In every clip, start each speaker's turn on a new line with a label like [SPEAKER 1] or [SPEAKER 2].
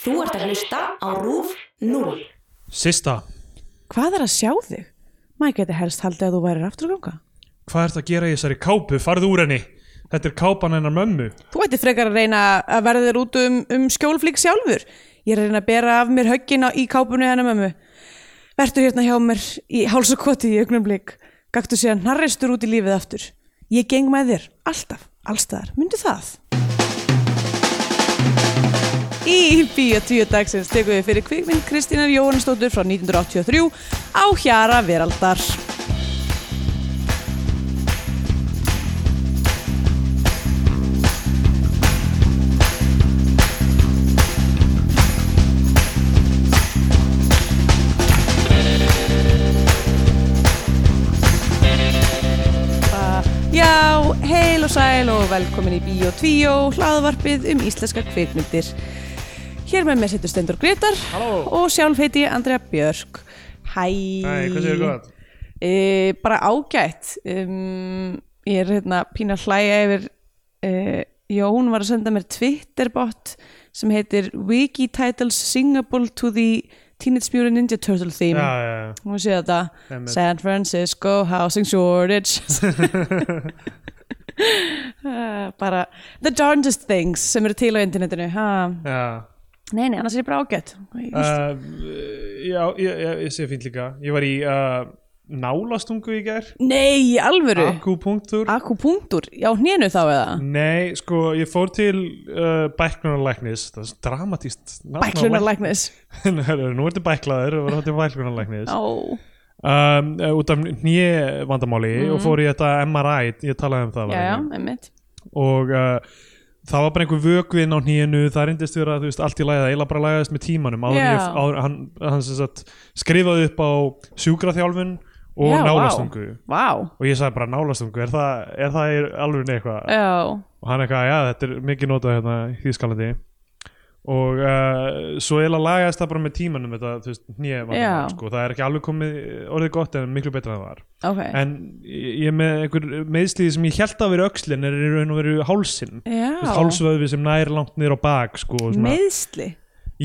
[SPEAKER 1] Þú ert að hlusta á RÚF 0.
[SPEAKER 2] Sista,
[SPEAKER 3] Hvað er að sjá þig? Maður geti helst haldið að þú værir aftur að ganga.
[SPEAKER 2] hvað ert að gera í þessari kápu? Farðu úr henni. Þetta er kápan hennar mömmu.
[SPEAKER 3] Þú ætti frekar að reyna að verða þér út um, um skjólflík sjálfur. Ég er að reyna að bera af mér höggin á, í kápunni hennar mömmu. Vertu hérna hjá mér í háls og koti í augnumblík. Gaktu síðan hnarreistur út í lífið aftur. Ég geng með þér, alltaf, allstaðar. Myndu það? Í Bíó 10 dagsins tekum við fyrir kvikmynd Kristínar Jóhannsdóttur frá 1983 á Hjara Veraldar. Já, heil og sæl og velkomin í Bíó 2, hlaðvarpið um íslenska kvikmyndir. Hér með mér setur Stendur Gretar
[SPEAKER 2] Halló.
[SPEAKER 3] og sjálf heiti ég Andrea Björk. Hæ.
[SPEAKER 2] Nei, hvað séu gott?
[SPEAKER 3] E, bara ágætt. Um, ég er hérna pín að hlæja yfir, e, Jón var að senda mér Twitterbot sem heitir Wiki Titles Singable to the Teenage Mutant Ninja Turtle Theme.
[SPEAKER 2] Já, já, já.
[SPEAKER 3] Hún sé þetta
[SPEAKER 2] Einmitt.
[SPEAKER 3] San Francisco Housing Shortage Eh, bara the darndest things sem eru til á internetinu ha.
[SPEAKER 2] já.
[SPEAKER 3] nei, nei, annars er ég bara ágætt uh,
[SPEAKER 2] Uh, já, ég, ég, ég sé fínt líka. Ég var í uh, nálastungu í gær.
[SPEAKER 3] nei, í alvöru
[SPEAKER 2] Akupunktur.
[SPEAKER 3] akupunktur, já, hnénu þá eða
[SPEAKER 2] Nei, sko, ég fór til uh, bæklunarlæknis. Það er svo dramatíst. nafn á
[SPEAKER 3] bæklunarlæknis
[SPEAKER 2] Herru, nú ertu bæklaður og var átti bæklunarlæknis
[SPEAKER 3] Ó,
[SPEAKER 2] um, út af nýje vandamáli og fór í þetta MRI, ég talaði um það
[SPEAKER 3] já, já, einmitt
[SPEAKER 2] og uh, það var bara einhver vökvinn á nýjunu það reyndist vera, þú veist, allt í lagi það eiginlega bara lagaðist með tímanum áður en
[SPEAKER 3] Já.
[SPEAKER 2] ég, áður, hann, hann sem sagt, skrifaði upp á sjúkraþjálfun og
[SPEAKER 3] Já, vá.
[SPEAKER 2] nálastungu
[SPEAKER 3] vá,
[SPEAKER 2] og ég sagði bara nálastungu, er það, er það í alveg eitthvað
[SPEAKER 3] já,
[SPEAKER 2] og hann eitthvað, já þetta er mikið notað hérna í Þýskalandi og uh, svo eiginlega lagaðist það bara með tímanum þetta, þú veist, nýja vandamál
[SPEAKER 3] Já.
[SPEAKER 2] sko. það er ekki alveg komið orðið gott en miklu betra en það var
[SPEAKER 3] ok
[SPEAKER 2] en ég ég er með einhver meðslíði sem ég held að vera öxlin er í raun og veru hálsin
[SPEAKER 3] já,
[SPEAKER 2] hálsvöðvi sem nær langt niður á bak sko, og svona,
[SPEAKER 3] meðsli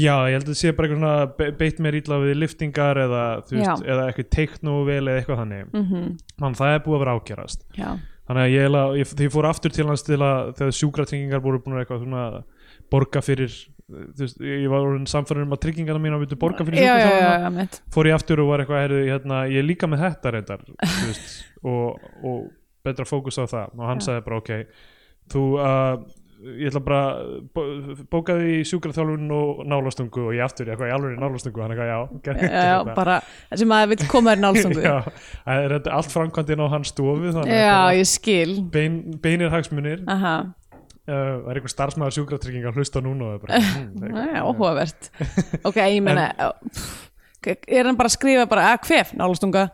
[SPEAKER 2] já, ég held að það sé bara eitthvað svona be- beitt mér ítla við liftingar eða, þú veist, eða eitthvað teikt nógu vel eða eitthvað þannig
[SPEAKER 3] mm -hmm.
[SPEAKER 2] Þannig að það er búið að vera ágerast
[SPEAKER 3] já,
[SPEAKER 2] þannig að ég, eiginlega- ég, þegar ég fór aftur til hans til að þegar sjúkratryggingar voru búin að eitthvað svona borga fyrir þú veist, ég var orðin samfærin um að tryggingarna mína vildu borga
[SPEAKER 3] já,
[SPEAKER 2] fyrir
[SPEAKER 3] já, já,
[SPEAKER 2] sjúkraþjálfana.
[SPEAKER 3] já, einmitt
[SPEAKER 2] fór ég aftur og var eitthvað heyrðu, hérna, ég er líka með þetta reyndar þú veist, og, og betra fókus á það og hann
[SPEAKER 3] Já.
[SPEAKER 2] sagði bara ok þú uh, ég ætla bara bó- bókaði í sjúkraþjálfun og nálastungu og ég aftur, ég eitthvað, ég alveg nálastungu hann eitthvað, já, gerði
[SPEAKER 3] já, já, bara, sem maður vill koma þér nálstungu já,
[SPEAKER 2] já, það er þetta allt framkvæmdinn á hans stofu þannig að
[SPEAKER 3] já,
[SPEAKER 2] þetta var
[SPEAKER 3] ég skil
[SPEAKER 2] bein, beinir hagsmunir
[SPEAKER 3] aha,
[SPEAKER 2] uh, er einhver starfsmæður sjúkratrygginga að hlusta núna og er bara, hmm,
[SPEAKER 3] Nei,
[SPEAKER 2] eitthvað.
[SPEAKER 3] áhugavert ok, ég meina pff, er hann bara að skrifa bara "Ah, að hvef nálastunga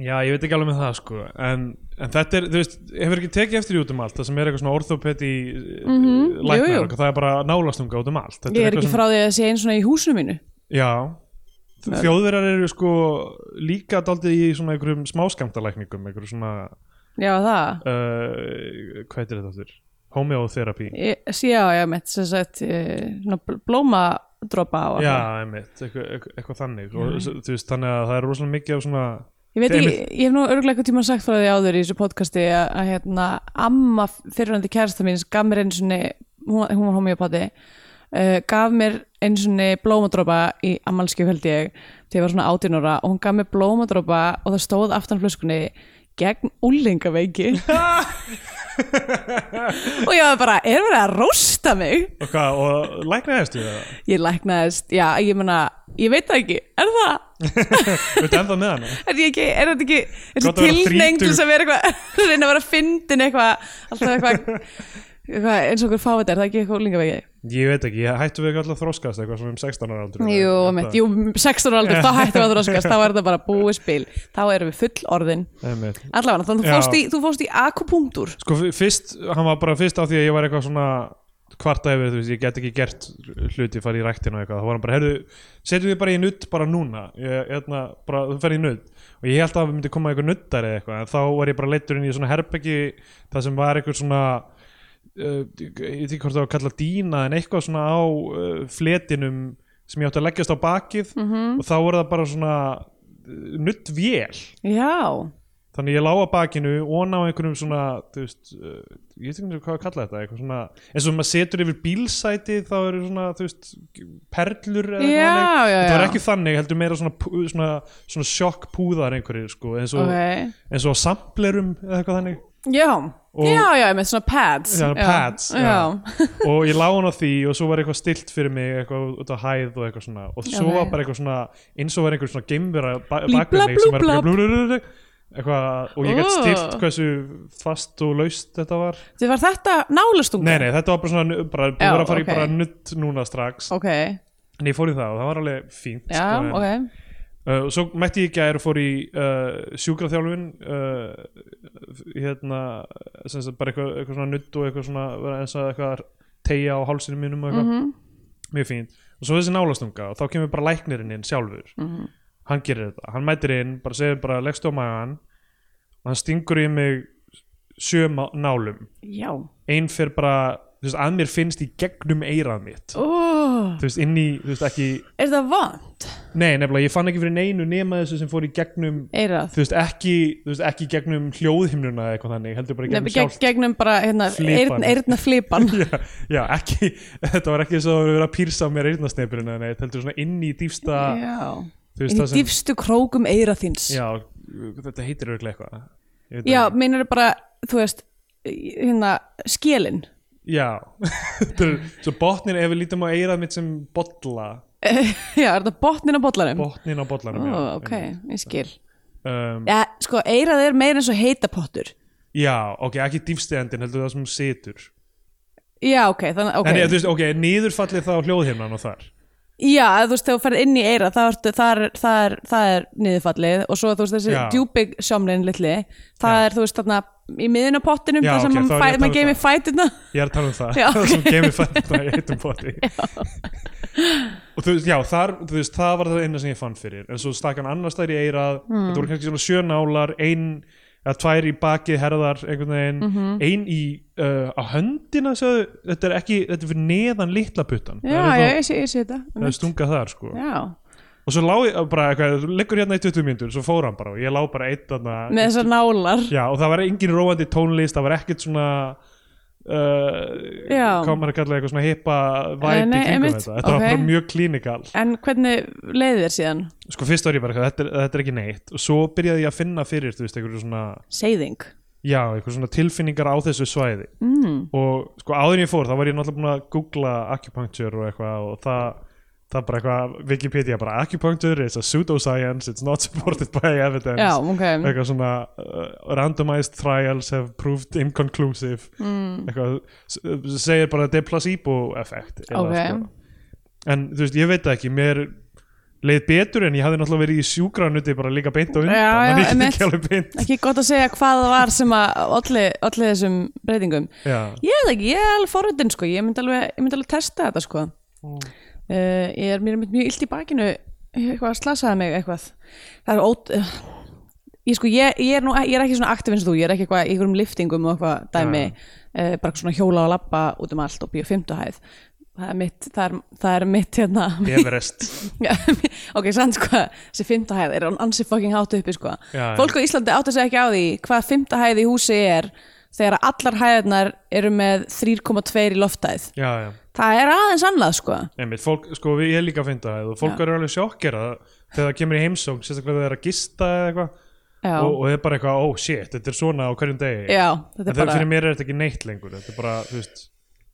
[SPEAKER 2] já, ég veit ekki alveg með það sko en, en þetta er, þú veist, hefur ekki tekið eftir í út um allt það sem er eitthvað svona orthopedi mm -hmm.
[SPEAKER 3] Mhm, jú, jú.
[SPEAKER 2] læknar, og það er bara nálastunga út um allt Þetta
[SPEAKER 3] ég er ekki
[SPEAKER 2] eitthvað
[SPEAKER 3] frá því að sé einn svona í húsinu mínu
[SPEAKER 2] sem, já, þjóðverjar eru sko líka daldið í svona einhverjum smáskamtalækningum einhverjum svona,
[SPEAKER 3] já það
[SPEAKER 2] uh, hvað heitir þetta aftur homeotherapy
[SPEAKER 3] ég, já, já, mitt sem sagt eh, svona bl- blómadropa á hana.
[SPEAKER 2] Já, einmitt, eitthvað, eitthvað, eitthvað þannig og, þú veist, þannig að það er rosalega mikið af svona
[SPEAKER 3] ég veit ekki,
[SPEAKER 2] einmitt.
[SPEAKER 3] ég hef nú örglega eitthvað tíma sagt frá því áður í þessu podcasti að, að hérna, amma fyrirhandi kærasta mín gaf mér einu svona, hún, hún var homeopati uh, gaf mér einu svona blómadropa í ammalskjöf held ég þegar ég var svona 18 ára og hún gaf mér blómadropa og það stóð aftan á flöskunni gegn úlingaveiki og ég var bara, er verið að rósta mig?
[SPEAKER 2] og, hvað, og læknaðist við það
[SPEAKER 3] Ég læknaðist, já, ég meina ég veit það ekki, er það?
[SPEAKER 2] Viltu enda með hana?
[SPEAKER 3] Er, ég ekki, er þetta ekki þessi
[SPEAKER 2] Gott að vera
[SPEAKER 3] tilneyng til
[SPEAKER 2] þrítug.
[SPEAKER 3] þess að vera eitthvað reyna að vera fyndin eitthvað alltaf eitthvað, eitthvað eins og okkur fáið þetta, er það ekki eitthvað úlingavegi?
[SPEAKER 2] Ég veit ekki, ég hættu við ekki alltaf að þroskast eitthvað svona um 16 ára aldrei
[SPEAKER 3] Jú, mitt, jú, 16 ára aldur, þá hættum við að þróskast þá er þetta bara búið spil, þá erum við full orðin
[SPEAKER 2] Einmitt.
[SPEAKER 3] allavega, þannig að þú
[SPEAKER 2] Já.
[SPEAKER 3] fórst í, þú fórst í akupunktur
[SPEAKER 2] Sko f- fyrst, hann var bara fyrst á því að ég var eitthvað svona kvarta yfir, þú veist, ég get ekki gert hluti, farið í ræktina og eitthvað, þá var hann bara heyrðu, setjum við bara í nudd bara núna ég, hérna, bara, þú ferð í nudd og ég held að það myndi koma eitthvað nuddar eða eitthvað en þá var ég bara leittur inn í svona herbeggi það sem var eitthvað svona eh, uh, ég veit ekki hvort það var að kalla dýna en eitthvað svona á uh, eh, fletinum sem ég átti að leggjast á bakið -hmm. og þá voru það bara svona uh, nuttvél
[SPEAKER 3] já,
[SPEAKER 2] þannig ég lá á bakinu og á einhverjum svona þú veist, uh, ég veit ekki hvað að kalla þetta eitthvað svona, eins og maður setur yfir bílsæti þá eru svona, þú veist perlur eða
[SPEAKER 3] Já,
[SPEAKER 2] eitthvað þannig.
[SPEAKER 3] já,
[SPEAKER 2] þetta var
[SPEAKER 3] já.
[SPEAKER 2] ekki þannig, heldur meira svona, pú- svona, svona sjokkpúðar einhverjir sko, eins og,
[SPEAKER 3] ok
[SPEAKER 2] eins og á samplerum eða eitthvað þannig
[SPEAKER 3] já,
[SPEAKER 2] Og-
[SPEAKER 3] já, já, með svona pads
[SPEAKER 2] Já, pads, já.
[SPEAKER 3] já,
[SPEAKER 2] og ég lá hann á því og svo var eitthvað stilt fyrir mig eitthvað út á hæð og eitthvað svona og svo
[SPEAKER 3] Já,
[SPEAKER 2] var
[SPEAKER 3] nei.
[SPEAKER 2] bara eitthvað svona eins og var einhver svona geimvera
[SPEAKER 3] Blí, blá,
[SPEAKER 2] bakvinni sem var
[SPEAKER 3] blú,
[SPEAKER 2] bara
[SPEAKER 3] blá.
[SPEAKER 2] blúblúblúblú eitthvað og ég gætt
[SPEAKER 3] Ó.
[SPEAKER 2] stilt hversu fast og laust þetta var
[SPEAKER 3] þið var þetta nálastunga
[SPEAKER 2] nei nei þetta var bara svona nu- bara búið
[SPEAKER 3] Já,
[SPEAKER 2] að fara
[SPEAKER 3] ok.
[SPEAKER 2] í bara nutt núna strax
[SPEAKER 3] ok,
[SPEAKER 2] en ég fór í það og það var alveg fínt sko,
[SPEAKER 3] já,
[SPEAKER 2] en-
[SPEAKER 3] ok
[SPEAKER 2] Uh, og svo mætti ég í gær og fór í uh, sjúkraþjálfin uh, hérna sem sagt bara eitthvað, eitthvað svona nudd og eitthvað svona vera eins og eitthvað tegja á hálsinu mínum og eitthvað
[SPEAKER 3] Mhm.
[SPEAKER 2] mjög fínt og svo þessi nálastunga og þá kemur bara læknirinn inn sjálfur
[SPEAKER 3] Mhm.
[SPEAKER 2] -hmm. hann gerir þetta, hann mætir inn bara segir bara leggstu á magan og hann stingur í mig sjö má- nálum
[SPEAKER 3] já,
[SPEAKER 2] ein fer bara, þú veist, að mér finnst í gegnum eirað mitt
[SPEAKER 3] ó,
[SPEAKER 2] þú veist, inn í, þú veist, ekki
[SPEAKER 3] er það vant
[SPEAKER 2] nei, nefnilega, ég fann ekki fyrir neinu nema þessu sem fór í gegnum
[SPEAKER 3] eirað,
[SPEAKER 2] þú veist ekki, þú veist, ekki gegnum hljóðhimnuna eða eitthvað þannig, heldur bara
[SPEAKER 3] Nei,
[SPEAKER 2] gegnum
[SPEAKER 3] geg-
[SPEAKER 2] sjálf
[SPEAKER 3] gegnum bara hérna,
[SPEAKER 2] Flipan.
[SPEAKER 3] eirna, eirna flipan
[SPEAKER 2] já, já, ekki, þetta var ekki eins og það voru verið að pýrsa á mér eyrnasneipurinn eða neitt, heldur svona inn í dýfsta
[SPEAKER 3] já,
[SPEAKER 2] þú
[SPEAKER 3] í
[SPEAKER 2] veist það sem,
[SPEAKER 3] dýfstu krókum eirað þins
[SPEAKER 2] já, þetta heitir auðvitað eitthvað Ég veit
[SPEAKER 3] Já,
[SPEAKER 2] ekki.
[SPEAKER 3] meinar bara, þú veist hérna, skélin
[SPEAKER 2] já. Þetta er- svo botnin, ef við lítum á eirað mitt sem bolla,
[SPEAKER 3] Já, er það botnin á bollanum?
[SPEAKER 2] botnin á bollanum
[SPEAKER 3] Ó,
[SPEAKER 2] já,
[SPEAKER 3] ok, ég skil
[SPEAKER 2] um,
[SPEAKER 3] Já, sko, eirað er meira eins og heita pottur
[SPEAKER 2] já, ok, ekki dýfstegandin heldur það sem hún situr
[SPEAKER 3] Já, ok, þannig, ok
[SPEAKER 2] en ég, þú veist, ok, niðurfallið þá hljóðhimnan og þar
[SPEAKER 3] Já, eða þú veist, þegar þú ferð inn í eirað það, ertu, það, er, það, er, það er niðurfallið og svo þú veist þessi
[SPEAKER 2] Já.
[SPEAKER 3] djúpi sjómlin litli það
[SPEAKER 2] Já.
[SPEAKER 3] er, þú veist, þarna í miðinu á pottinum
[SPEAKER 2] Já, ok,
[SPEAKER 3] þar
[SPEAKER 2] þá
[SPEAKER 3] sem
[SPEAKER 2] er ég að
[SPEAKER 3] okay, fæ,
[SPEAKER 2] tala um
[SPEAKER 3] maður geimir fætina
[SPEAKER 2] Ég er að tala um það,
[SPEAKER 3] Já,
[SPEAKER 2] það
[SPEAKER 3] ok.
[SPEAKER 2] sem gemið fætna í heitum poti Og þú veist, já, þar, þú veist, það var það eina sem ég fann fyrir En svo stakk hann annars þær í eirað
[SPEAKER 3] Hmm.
[SPEAKER 2] Þetta voru kannski svona sjö nálar, ein eða tvær í baki herðar einhvern veginn
[SPEAKER 3] Mhm.
[SPEAKER 2] Ein í, uh, á höndina sögðu, þetta er ekki, þetta er fyrir neðan litla puttan
[SPEAKER 3] Já,
[SPEAKER 2] það
[SPEAKER 3] já,
[SPEAKER 2] er,
[SPEAKER 3] ég sé, ég sé þetta
[SPEAKER 2] þá- það er stunga þar, sko
[SPEAKER 3] Já,
[SPEAKER 2] Og svo lá ég bara, eitthvað, liggur hérna í 20 mínútur Svo fór hann bara, og ég lá bara eitt þarna
[SPEAKER 3] með þessar nálar
[SPEAKER 2] Já, og það var engin róandi tónlist, það var ekkert svona uh,
[SPEAKER 3] Já.
[SPEAKER 2] hvað maður að kalla eitthvað svona hippa
[SPEAKER 3] Eh,
[SPEAKER 2] væpi
[SPEAKER 3] nei,
[SPEAKER 2] kringum
[SPEAKER 3] einmitt,
[SPEAKER 2] þetta, þetta var
[SPEAKER 3] ok.
[SPEAKER 2] bara mjög klínikal
[SPEAKER 3] En hvernig leiði þér síðan?
[SPEAKER 2] sko fyrst var ég bara eitthvað, þetta er, þetta er ekki neitt og svo byrjaði ég að finna fyrir, þú veist, einhverju svona
[SPEAKER 3] Seyðing
[SPEAKER 2] já, einhverju svona tilfinningar á þessu svæði
[SPEAKER 3] mm.
[SPEAKER 2] og sko áður en ég fór, þá var ég náttúrulega búin að googla acupuncture og eitthvað og það það bara eitthvað, Wikipedia bara acupuncture is a pseudoscience, it's not supported by evidence
[SPEAKER 3] Já, ok
[SPEAKER 2] eitthvað svona uh, randomized trials have proved inconclusive mm. eitthvað, s- uh, segir bara að þetta er placebo effekt eða sko.
[SPEAKER 3] Ok.
[SPEAKER 2] en þú veist, ég veit það ekki, mér leið betur en ég hafði náttúrulega verið í sjúkranuti bara líka beint og undan,
[SPEAKER 3] Já,
[SPEAKER 2] þannig
[SPEAKER 3] já,
[SPEAKER 2] ég get
[SPEAKER 3] einmitt.
[SPEAKER 2] ekki alveg beint
[SPEAKER 3] Ekki gott að segja hvað það var sem að olli, olli þessum breytingum
[SPEAKER 2] já,
[SPEAKER 3] Ég er ekki, ég er alveg forröndin sko Ég myndi alveg, ég myndi alveg testa þetta sko uh, Ég er mér er einmitt mjög illt í bakinu Eitthvað slasaði mig eitthvað Það er ót uh, Ég sko, ég, ég, er nú, ég er ekki svona aktiv eins og þú Ég er ekki eitthvað í einhverjum liftingum og eitthvað dæmi
[SPEAKER 2] Já.
[SPEAKER 3] uh, Bara svona hjóla og labba út um allt og býja fimmtuhæð Það er mitt, það er, það er mitt hérna
[SPEAKER 2] Everest
[SPEAKER 3] Já, ok, sann sko, þessi fymta hæð er ansi fucking hátt uppi sko.
[SPEAKER 2] Já, já.
[SPEAKER 3] Fólk á Íslandi átt að segja ekki á því hvað fymta hæð í húsi er þegar allar hæðarnar eru með 3,2 í loftæð.
[SPEAKER 2] já, já,
[SPEAKER 3] Það er aðeins annað sko.
[SPEAKER 2] einmitt, fólk, sko við ég er líka að finna það og fólk
[SPEAKER 3] Já.
[SPEAKER 2] eru alveg sjokkera þegar það kemur í heimsókn, sérstaklega þegar það er að gista eða eitthvað
[SPEAKER 3] Já,
[SPEAKER 2] og, og það er bara eitthvað, oh shit, þetta er svona á hverjum degi
[SPEAKER 3] já
[SPEAKER 2] En
[SPEAKER 3] þetta er
[SPEAKER 2] þegar
[SPEAKER 3] bara,
[SPEAKER 2] fyrir mér er þetta ekki neitt lengur Þetta er bara, þú veist,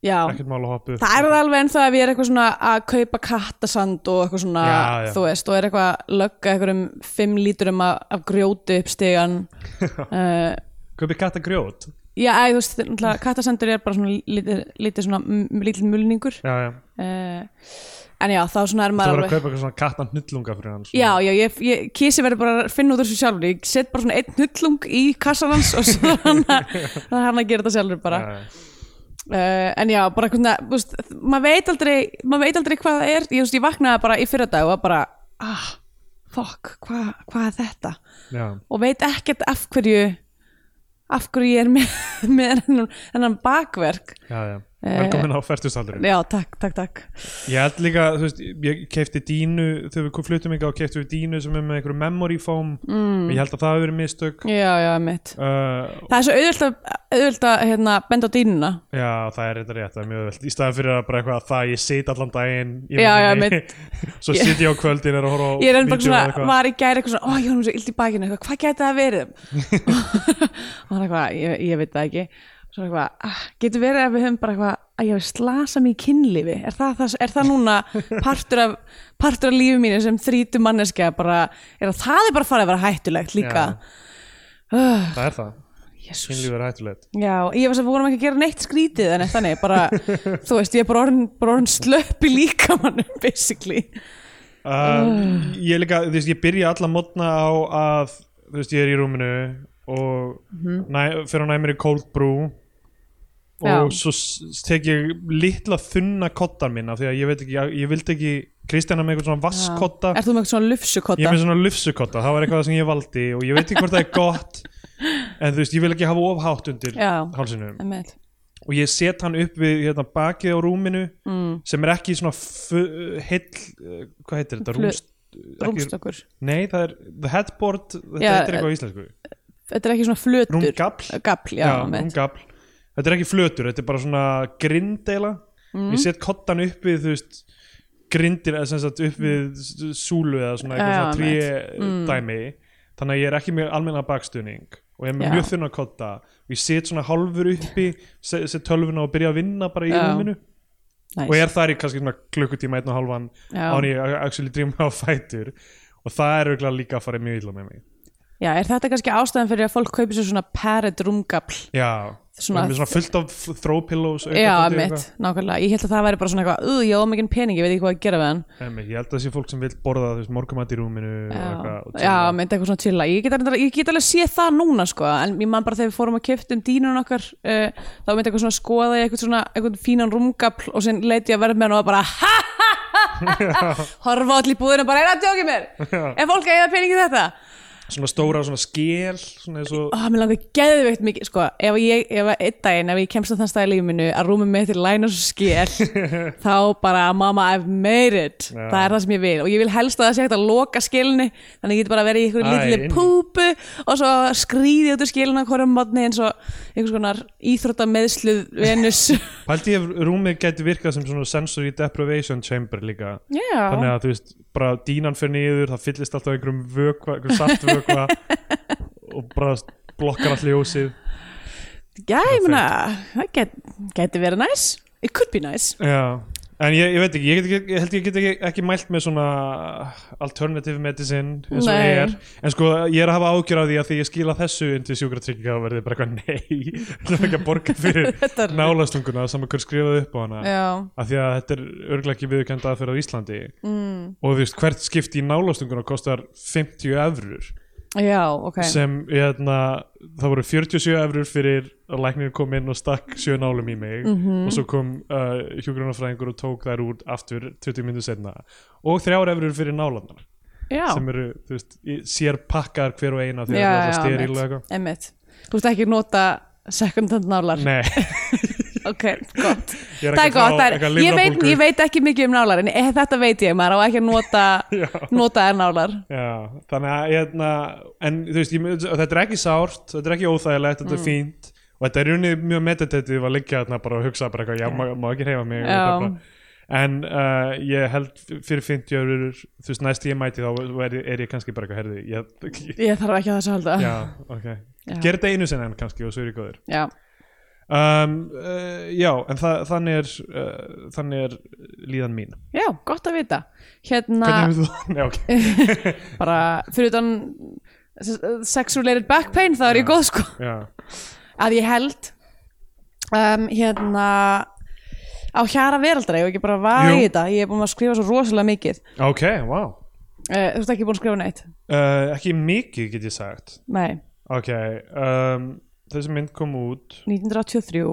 [SPEAKER 3] já.
[SPEAKER 2] ekkert mál að hoppa upp
[SPEAKER 3] Það er alveg ennþá að við erum eitthvað svona að kaupa kattasand og eitthvað svona,
[SPEAKER 2] Já, já.
[SPEAKER 3] þú veist, og er eitthvað að lögga eitthvað um 5 lítrum af, af grjóti upp stegan. uh,
[SPEAKER 2] Kaupi katta grjót
[SPEAKER 3] já, æ, þú veist, náttúrulega kattasandur er bara svona lítið, lítið svona, m- lítill mulningur.
[SPEAKER 2] Já, já,
[SPEAKER 3] uh, en já, þá svona er
[SPEAKER 2] það
[SPEAKER 3] maður
[SPEAKER 2] var að
[SPEAKER 3] alveg
[SPEAKER 2] kaupa eitthvað svona katta hnullunga fyrir hans
[SPEAKER 3] já, já, ég, ég kísi verið bara að finna út úr þessu sjálfur ég set bara svona einn hnullung í kassan hans og svo er hann að, það er hann að gera þetta sjálfur bara
[SPEAKER 2] já,
[SPEAKER 3] uh, en já, bara hvernig, þú veist maður veit aldrei, maður veit aldrei hvað það er ég, þú veist, ég vaknaði bara í fyrra dag og var bara ah, fuck, hvað hva er þetta
[SPEAKER 2] já,
[SPEAKER 3] og veit ekkert af hverju af hverju ég er með, með hennan, hennan bakverk
[SPEAKER 2] já, já.
[SPEAKER 3] Eh,
[SPEAKER 2] velkomin á fertustaldurinn
[SPEAKER 3] já, takk, takk, takk
[SPEAKER 2] Ég held líka, þú veist, ég kefti dínu þegar við fluttum ykkar og kefti við dínu sem er með einhverju memory foam mm. ég held að það hafi verið mistök Eh, uh,
[SPEAKER 3] já, já, mitt
[SPEAKER 2] Já,
[SPEAKER 3] það er svo auðvöld að, auðvöld að hérna, benda á dýnuna
[SPEAKER 2] það er þetta rétt, það er mjög veld í staðan fyrir að bara eitthvað að það ég sit allan daginn í
[SPEAKER 3] Já, já,
[SPEAKER 2] rúminu.
[SPEAKER 3] mitt.
[SPEAKER 2] Svo sit ég á kvöldin er að horfa á
[SPEAKER 3] ég er enn bara
[SPEAKER 2] vídeó eða
[SPEAKER 3] svona,
[SPEAKER 2] eitthvað.
[SPEAKER 3] var í gæri eitthvað svona, ó, ég var mér svo illt í bakinu, eitthvað, hvað gæti það verið og hann eitthvað, ég, ég veit það ekki svo eitthvað, ah, getur verið að við höfum bara eitthvað, að ég hef slasa mig í kynlífi er það, það, er það núna partur af, partur af lífi mínu sem þrítu manneskja bara, er að það er bara farið að vera hættulegt líka Ah,
[SPEAKER 2] Það er það,
[SPEAKER 3] Jesús.
[SPEAKER 2] kynlíf er hættulegt
[SPEAKER 3] Já, ég var sem við vorum ekki að gera neitt skrítið en þannig, bara, þú veist, ég er bara orðin, bara orðin slöppi líka mannum, basically.
[SPEAKER 2] Uh, ég líka, þú veist, ég byrja alla mótna á að, þú veist, ég er í rúminu og næ, fyrir að næ mér í cold brew og
[SPEAKER 3] Mhm. Já.
[SPEAKER 2] svo s- s- tek ég litla þunna kottan minna því að ég veit ekki, ég, ég vildi ekki Kristjana með eitthvað svona vasskotta
[SPEAKER 3] Er þú með eitthvað svona lufsukotta?
[SPEAKER 2] ég er með svona lufsukotta, það var eitthvað sem ég valdi og ég veit ekki hvort það er gott en þú veist, ég vil ekki hafa ofhátt undir
[SPEAKER 3] Já.
[SPEAKER 2] hálsinum
[SPEAKER 3] Einmitt.
[SPEAKER 2] og ég set hann upp við hérna, bakið á rúminu mm. sem er ekki svona fu- heill, uh, hvað heitir þetta?
[SPEAKER 3] Flu-
[SPEAKER 2] Rúmst, ekki-
[SPEAKER 3] Rúmstokkur.
[SPEAKER 2] Nei, það er the headboard, þetta
[SPEAKER 3] Já, eh,
[SPEAKER 2] heitir eitthvað á íslensku
[SPEAKER 3] Þetta er ekki svona flötur.
[SPEAKER 2] Rúmgafl,
[SPEAKER 3] Gafl, já,
[SPEAKER 2] já,
[SPEAKER 3] einmitt.
[SPEAKER 2] rúmgafl Þetta er ekki flötur, þetta er bara svona grindeila
[SPEAKER 3] Mm.
[SPEAKER 2] Ég set kottan upp við, þú veist grindin, eða sem sagt upp við s- súlu eða svona
[SPEAKER 3] Já,
[SPEAKER 2] eitthvað svona
[SPEAKER 3] einmitt.
[SPEAKER 2] trí dæmi Þannig að ég er ekki með almenna bakstuðning og ég er með
[SPEAKER 3] Já.
[SPEAKER 2] mjög þunna kotta og ég set svona hálfur uppi set, set tölvuna og byrja að vinna bara í
[SPEAKER 3] Já.
[SPEAKER 2] rúminu
[SPEAKER 3] Nice.
[SPEAKER 2] og er þar í kannski svona klukkutíma einn og hálfan
[SPEAKER 3] Já.
[SPEAKER 2] án ég actually dríma á fætur og það er auðvitað líka að fara mjög illa með mig
[SPEAKER 3] Já, er þetta kannski ástæðan fyrir að fólk kaupi sér svona parrot rúmgafl?
[SPEAKER 2] Já, svona,
[SPEAKER 3] Svona-
[SPEAKER 2] með svona fullt af throw pillows
[SPEAKER 3] Já, einmitt, nákvæmlega. Ég held að það væri bara svona eitthvað, uh, ég ómikinn pening, ég veit ekki hvað að gera við hann.
[SPEAKER 2] einmitt Ég held að það sé fólk sem vil borða þú veist, morgumat í rúminu og
[SPEAKER 3] Já,
[SPEAKER 2] eitthvað og
[SPEAKER 3] já
[SPEAKER 2] chilla.
[SPEAKER 3] myndi eitthvað svona chilla ég get, alveg, ég get alveg séð það núna sko en ég man bara þegar við fórum að kipta um dýnun okkar uh, þá myndi eitthvað svona skoða ég eitthvað svona eitthvað fínan rúmgafl og sen leiti ég að verð með hann og var bara ha ha ha ha horfa allir í búðinu og bara er það tjókið mér er fólk að eða peningi þetta
[SPEAKER 2] Svona stóra svona skél svona eins og
[SPEAKER 3] og mér langar geðveikt mikið sko ef ég, ef að einn daginn ef ég kemst á þann stað í lífi minu að rúmið mitt er læna svo skil þá bara mama I've made it
[SPEAKER 2] Já.
[SPEAKER 3] það er það sem ég vil og ég vil helst að það sé hægt að loka skilni þannig að ég get bara verið í
[SPEAKER 2] Æ,
[SPEAKER 3] einhverju litli
[SPEAKER 2] inn.
[SPEAKER 3] púpu og svo skrýði út úr skilina hverjum mótni eins og einhvers konar íþrótta meðsluð venus
[SPEAKER 2] Pældi ég ef rúmið gæti virkað sem svona sensory deprivation chamber líka Þannig
[SPEAKER 3] já,
[SPEAKER 2] að þú veist, bara dínan fyrir niður það fyllist alltaf einhverjum vökva, einhverjum saftvökva og bara blokkar allir ljósið
[SPEAKER 3] já ég meina það get, geti verið næs it could be nice
[SPEAKER 2] Já, en ég, ég veit ekki, ég, get, ekki- ég held ég get ekki, ekki mælt með svona alternative medicine eins og
[SPEAKER 3] Nei.
[SPEAKER 2] ég er, en sko ég er að hafa ágjör af því að því ég skila þessu inn til sjúkratrygginga og verði bara eitthvað nei það er ekki að borga
[SPEAKER 3] Þetta er-
[SPEAKER 2] fyrir nálastunguna sem hver skrifaði upp á hana
[SPEAKER 3] já,
[SPEAKER 2] af því að þetta er örglega ekki viðurkend aðferð á Íslandi mm. og þú veist hvert skipti í nálastunguna kostar 50 efrur
[SPEAKER 3] já, ok
[SPEAKER 2] sem hérna, það voru 47 efrur fyrir að læknir kom inn og stakk sjö nálum í mig
[SPEAKER 3] Mhm.
[SPEAKER 2] og svo kom uh, hjúgrunarfræðingur og tók þær út aftur 20 minnur setna og þrjár efrur fyrir nálanar
[SPEAKER 3] já.
[SPEAKER 2] sem eru, þú veist, í- sér pakkaðar hver og eina þegar
[SPEAKER 3] Já,
[SPEAKER 2] það er
[SPEAKER 3] já,
[SPEAKER 2] alltaf styrir og
[SPEAKER 3] einmitt.
[SPEAKER 2] eitthvað
[SPEAKER 3] Einmitt. Þú veist ekki nota second hand nálar
[SPEAKER 2] Nei,
[SPEAKER 3] Ok, gott
[SPEAKER 2] Ég er ekki
[SPEAKER 3] Það er
[SPEAKER 2] að
[SPEAKER 3] gott,
[SPEAKER 2] fá
[SPEAKER 3] það er,
[SPEAKER 2] eitthvað
[SPEAKER 3] ég, veit,
[SPEAKER 2] lifrarbólgu.
[SPEAKER 3] ég veit ekki mikið um nálar en eh, þetta veit ég, maður á ekki að nota nota þær nálar
[SPEAKER 2] já, þannig að hérna, en þú veist, ég, mun- þetta er ekki sárt þetta er ekki óþægilegt, þetta er
[SPEAKER 3] Mm.
[SPEAKER 2] fínt og þetta er unnið mjög meditativ að liggja þarna bara og hugsa bara eitthvað, já, má, má ekki reyfa mig og
[SPEAKER 3] Já.
[SPEAKER 2] þetta bara. en uh, ég held fyrir 50 örur, þú veist, næst ég mæti þá er, er ég kannski bara eitthvað herði ég,
[SPEAKER 3] Ég þarf ekki að þessu að halda
[SPEAKER 2] já, ok
[SPEAKER 3] Já.
[SPEAKER 2] gera þetta einu sinni enn kannski og svo er ég góður
[SPEAKER 3] Já.
[SPEAKER 2] um, uh, já, en þa þannig er uh, þannig er líðan mín
[SPEAKER 3] Já, gott að vita Hérna,
[SPEAKER 2] hvernig hefur þú, nei, ok
[SPEAKER 3] bara fyrir utan sex related back pain, það er ég góð sko
[SPEAKER 2] já,
[SPEAKER 3] að ég held um, hérna á hjara veraldra, ég hef ekki bara var í
[SPEAKER 2] Jú.
[SPEAKER 3] þetta ég er búin að skrifa svo rosalega mikið uh,
[SPEAKER 2] ok, wow
[SPEAKER 3] Þú veist ekki búin að skrifa neitt
[SPEAKER 2] uh, ekki mikið get ég sagt
[SPEAKER 3] Nei,
[SPEAKER 2] Ok, um, þessi mynd kom út
[SPEAKER 3] 1983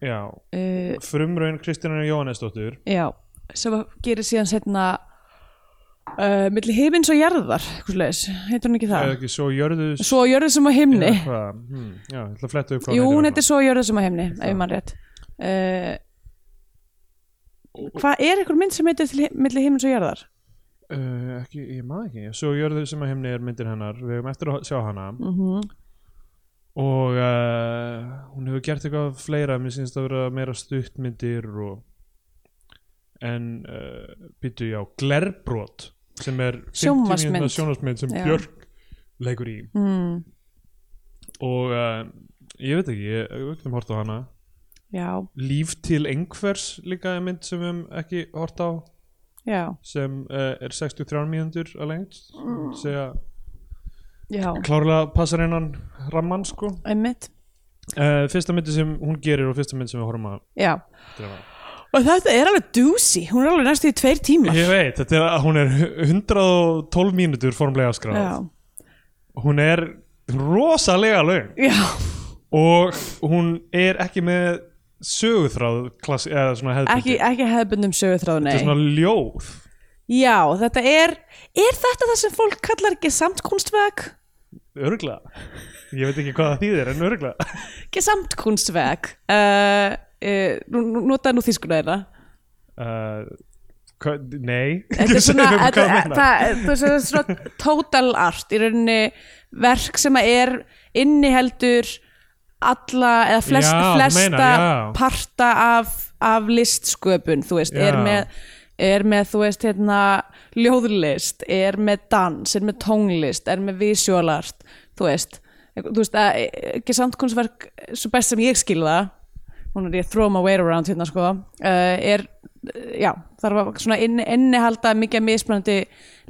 [SPEAKER 2] Já,
[SPEAKER 3] uh,
[SPEAKER 2] frumraun Kristjana Jóhannesdóttur
[SPEAKER 3] já, sem að gerir síðan setna uh, milli heimins og jarðar eitthvað leis, heitur hún ekki það
[SPEAKER 2] eða ekki svo jörðu
[SPEAKER 3] svo jörðu sem á himni
[SPEAKER 2] Já, hvað, hmm, já, ég ætla að fletta upp hvað
[SPEAKER 3] jú,
[SPEAKER 2] hún
[SPEAKER 3] hún heitir svo jörðu sem á himni ef ég mann rétt uh, hvað er einhver mynd sem heitir til hi- milli himins og jarðar
[SPEAKER 2] Uh, ekki, ég maður ekki, svo jörður sem að himni er myndir hennar, við hefum eftir að sjá hana
[SPEAKER 3] mm -hmm.
[SPEAKER 2] og uh, hún hefur gert eitthvað fleira, mér finnst að vera meira stuttmyndir og en uh, býtu já, Glerbrot sem er 50
[SPEAKER 3] Sjónvarpsmynd.
[SPEAKER 2] mínútna sjónvarsmynd sem
[SPEAKER 3] Já.
[SPEAKER 2] Björk leikur í
[SPEAKER 3] Mm.
[SPEAKER 2] og uh, ég veit ekki, ég hef ekki hort á hana
[SPEAKER 3] já,
[SPEAKER 2] Líf til einhvers líka er mynd sem við hefum ekki hort á
[SPEAKER 3] já,
[SPEAKER 2] sem uh, er 63 mínútur að lengt mm. segja
[SPEAKER 3] já
[SPEAKER 2] klárlega passar innan ramman sko
[SPEAKER 3] einmitt,
[SPEAKER 2] uh, fyrsta myndi sem hún gerir og fyrsta myndi sem við horfum að
[SPEAKER 3] já
[SPEAKER 2] drefa
[SPEAKER 3] og þetta er alveg doozy, hún er alveg næstu í tveir tímar
[SPEAKER 2] ég veit, þetta er að hún er 112 mínútur formlega
[SPEAKER 3] já,
[SPEAKER 2] skráð hún er rosalega lög
[SPEAKER 3] já,
[SPEAKER 2] og hún er ekki með söguþráð klass, eða svona
[SPEAKER 3] ekki,
[SPEAKER 2] hefðbundi
[SPEAKER 3] ekki hefðbundum söguþráð,
[SPEAKER 2] þetta er
[SPEAKER 3] nei
[SPEAKER 2] svona ljóð
[SPEAKER 3] já, þetta er er þetta það sem fólk kallar gesamtkunstverk?
[SPEAKER 2] örgla, ég veit ekki hvað það þýðir en örgla
[SPEAKER 3] Gesamtkunstwerk uh, uh, nú- nú- Notaði nú þýskuna hérna. þeirra
[SPEAKER 2] uh, hva, nei
[SPEAKER 3] Þetta er
[SPEAKER 2] Segðu
[SPEAKER 3] svona,
[SPEAKER 2] mér
[SPEAKER 3] þetta,
[SPEAKER 2] hvað það
[SPEAKER 3] það,
[SPEAKER 2] meinar.
[SPEAKER 3] það, það er svona total art í rauninni verk sem að er inniheldur alla eða flest,
[SPEAKER 2] Já, þú
[SPEAKER 3] flesta
[SPEAKER 2] meinar, já.
[SPEAKER 3] parta af, af listsköpun þú veist, er
[SPEAKER 2] Já.
[SPEAKER 3] með er með, þú veist, hérna ljóðlist, er með dans er með tónlist, er með visualart þú veist, þú veist að ekki samtkunnsverk, svo best sem ég skil það hún er ég throw my weight around hérna sko, uh, er já, þarf að svona inni, innihalda mikið af mismunandi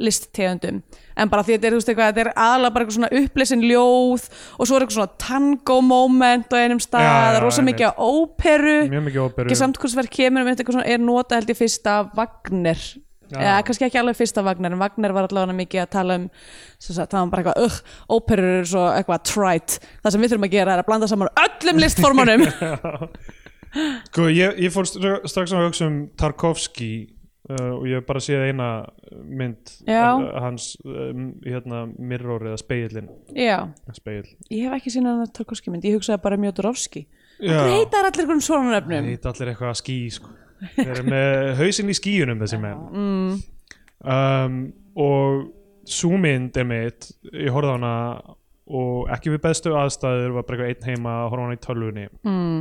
[SPEAKER 3] listtegundum en bara því að þetta er, þú veist, eitthvað, þetta er aðalega bara eitthvað svona upplesin ljóð og svo er eitthvað svona tango moment á einum stað,
[SPEAKER 2] Já, já,
[SPEAKER 3] rosa
[SPEAKER 2] einmitt.
[SPEAKER 3] mikið af óperu
[SPEAKER 2] mjög mikið óperu
[SPEAKER 3] ekki samtkursverk kemur um eitthvað svona er nota held ég fyrsta Wagner
[SPEAKER 2] Já.
[SPEAKER 3] eða kannski ekki alveg fyrsta Wagner en Wagner var allavega mikið að tala um sem sagt, það var bara eitthvað, ugh, óperur eru svo eitthvað trite, það sem við þurfum að gera er að blanda saman öllum listformunum
[SPEAKER 2] Sko, ég, ég fór stra- strax að hugsa um Tarkovski uh, og ég hef bara séð eina mynd
[SPEAKER 3] Já.
[SPEAKER 2] uh, hans um, hérna, mirror eða speilin
[SPEAKER 3] já,
[SPEAKER 2] speil
[SPEAKER 3] ég hef ekki sínað að Tarkovski mynd, ég hugsaði bara um mjög Dorovski
[SPEAKER 2] Já.
[SPEAKER 3] hvað heitar allir einhverjum svona
[SPEAKER 2] Það
[SPEAKER 3] nöfnum
[SPEAKER 2] heit allir eitthvað að ský sko. Þeir eru með hausinn í skýjunum þessi menn mm. um, og svo mynd er mitt ég horfði á hana og ekki við bestu aðstæður var bara eitthvað einn heima að horfa á hana í tölvunni mm.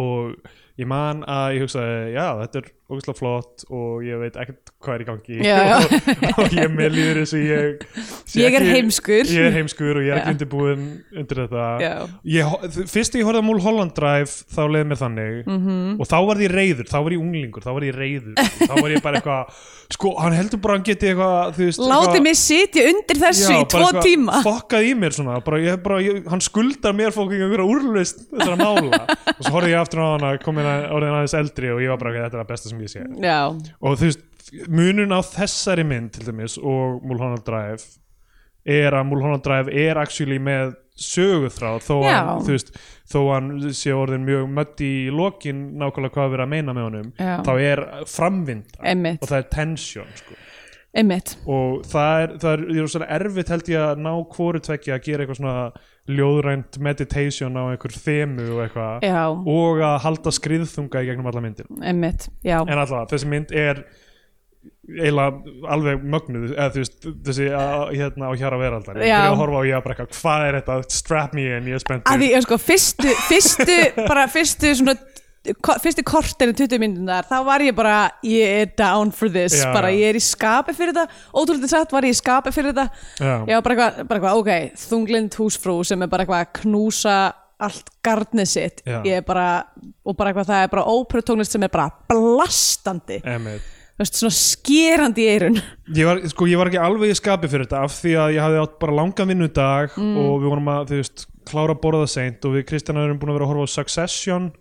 [SPEAKER 2] og ég man að ég hugsaði já þetta er ógustlega flott og ég veit ekkert hvað er í gangi
[SPEAKER 3] Já, já.
[SPEAKER 2] og, og ég með líður þessu ég, sé
[SPEAKER 3] Ég er
[SPEAKER 2] ekki-
[SPEAKER 3] heimskur.
[SPEAKER 2] ég er heimskur og ég er
[SPEAKER 3] Já.
[SPEAKER 2] ekki undirbúin undir þetta
[SPEAKER 3] Já.
[SPEAKER 2] ég, ho- þ- fyrst þegar ég horfði á Mulholland Drive þá leiði mér þannig -hmm.
[SPEAKER 3] Mhm.
[SPEAKER 2] og þá var ég reyður, þá var ég unglingur þá var ég reyður, þá var ég bara eitthvað sko, hann heldur bara að hann geti eitthvað þú veist,
[SPEAKER 3] látið
[SPEAKER 2] eitthvað-
[SPEAKER 3] mig sitja undir þessu
[SPEAKER 2] Já,
[SPEAKER 3] í
[SPEAKER 2] bara
[SPEAKER 3] tvo
[SPEAKER 2] eitthvað
[SPEAKER 3] tíma
[SPEAKER 2] fokkað í mér svona, bara, ég, bara, ég, hann skuldar mér fólk einhverja úrlust þessara mála og svo horfði ég aftur á hana, komin að orðin aðeins eldri og ég var bara, "Ok, þetta er að besta sem ég sé
[SPEAKER 3] já,
[SPEAKER 2] og þú veist, munun á þessari mynd til dæmis og Mulholland Drive er að Mulholland Drive er actually með söguþráð þó
[SPEAKER 3] Já.
[SPEAKER 2] hann, þú veist, þó hann sé orðin mjög mött í lokin nákvæmlega hvað við erum að meina með honum
[SPEAKER 3] Já.
[SPEAKER 2] þá er framvinda
[SPEAKER 3] Einmitt.
[SPEAKER 2] og það er tension sko.
[SPEAKER 3] einmitt
[SPEAKER 2] og það er, það er, það er svona erfitt held ég að ná hvoru tvekja að gera eitthvað svona ljóðrænt meditation á einhver þemu og eitthvað
[SPEAKER 3] já,
[SPEAKER 2] og að halda skriðþunga í gegnum alla myndina
[SPEAKER 3] einmitt, já,
[SPEAKER 2] en alltaf þessi mynd er eiginlega alveg mögnuð eða þú veist þessi á- hérna á hjara veraldar ég
[SPEAKER 3] Já.
[SPEAKER 2] byrja að horfa á ég að brekka hvað er þetta strap me in ég er
[SPEAKER 3] að því
[SPEAKER 2] spenntur
[SPEAKER 3] ég sko fyrstu, fyrstu bara fyrstu svona ko- fyrstu kortin 20 myndunar þá var ég bara, ég er down for this
[SPEAKER 2] Já,
[SPEAKER 3] bara
[SPEAKER 2] já.
[SPEAKER 3] ég er í skapi fyrir þetta ótrúlega satt var ég í skapi fyrir þetta
[SPEAKER 2] Já.
[SPEAKER 3] ég var bara eitthvað, bara eitthvað ok, þunglind húsfrú sem er bara eitthvað að knúsa allt garnið sitt
[SPEAKER 2] Já.
[SPEAKER 3] ég er bara, og bara eitthvað það er bara óprutónlist sem er bara blastandi
[SPEAKER 2] Einmitt.
[SPEAKER 3] þú veist, svona skerandi í eirun
[SPEAKER 2] ég var, sko, ég var ekki alveg í skapi fyrir þetta af því að ég hafði átt bara langan vinnudag og við vorum að þú veist klára að borða seint og við Kristjana erum búin að vera að horfa á Succession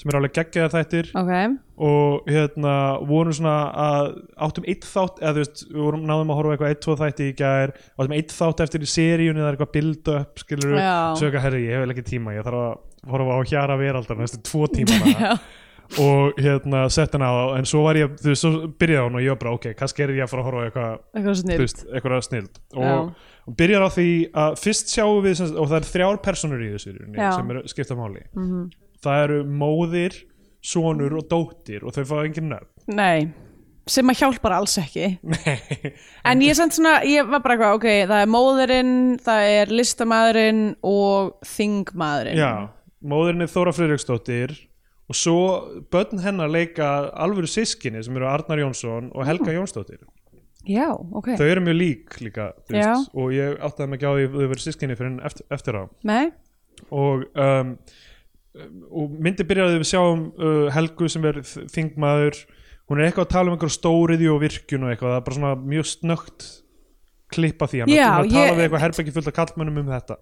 [SPEAKER 2] sem er alveg geggjaðar þættir
[SPEAKER 3] ok,
[SPEAKER 2] og hérna vorum svona að áttum eitt þátt eða þú veist, við vorum náðum að horfa á eitthvað eitt, tvo þætti í gær, áttum eitt þátt eftir í seríunni eða eitthvað build up, skilur við
[SPEAKER 3] Já.
[SPEAKER 2] svo eitthvað, herri, ég hef eiginlega ekki tíma, ég þarf að horfa á hjara veraldar næstu tvo tíma og hérna sett hana á en svo var ég, þú veist, svo byrjaði hún og ég var bara, ok, kannski er ég að fara að horfa á eitthvað
[SPEAKER 3] eitthvað svona
[SPEAKER 2] þú veist, eitthvað snild og,
[SPEAKER 3] Já.
[SPEAKER 2] og byrjar á því að fyrst sjáum við sem, sagt- og það er þrjár personur í þessu í rauninni
[SPEAKER 3] Já.
[SPEAKER 2] sem eru skipta máli -hmm. það eru móðir sonur og dóttir og þau fá engin nöfn
[SPEAKER 3] Nei, sem að hjálpar alls ekki
[SPEAKER 2] Nei,
[SPEAKER 3] En ég samt svona, ég var bara eitthvað, ok, það er móðurinn, það er listamaðurinn og þingmaðurinn.
[SPEAKER 2] já, móðurinn er Þóra Friðriksdóttir og svo börn hennar leika alvöru sískinni sem eru Arnar Jónsson og Helga
[SPEAKER 3] Mm.
[SPEAKER 2] Jónsdóttir
[SPEAKER 3] Já, ok.
[SPEAKER 2] þau eru mjög lík líka þú
[SPEAKER 3] Já.
[SPEAKER 2] veist, og ég áttaði mig ekki á því að þau verið sískinni fyrir en eftir, eftir á
[SPEAKER 3] Nei,
[SPEAKER 2] og um, um, og myndi byrjaði við sjáum uh, Helgu sem er þ- þingmaður hún er eitthvað að tala um einhver stóriði og virkjun og eitthvað, það er bara svona mjög snögt klippa því, hann
[SPEAKER 3] Já,
[SPEAKER 2] er að tala
[SPEAKER 3] ég-
[SPEAKER 2] við eitthvað herbergi fullt af kallmönnum um þetta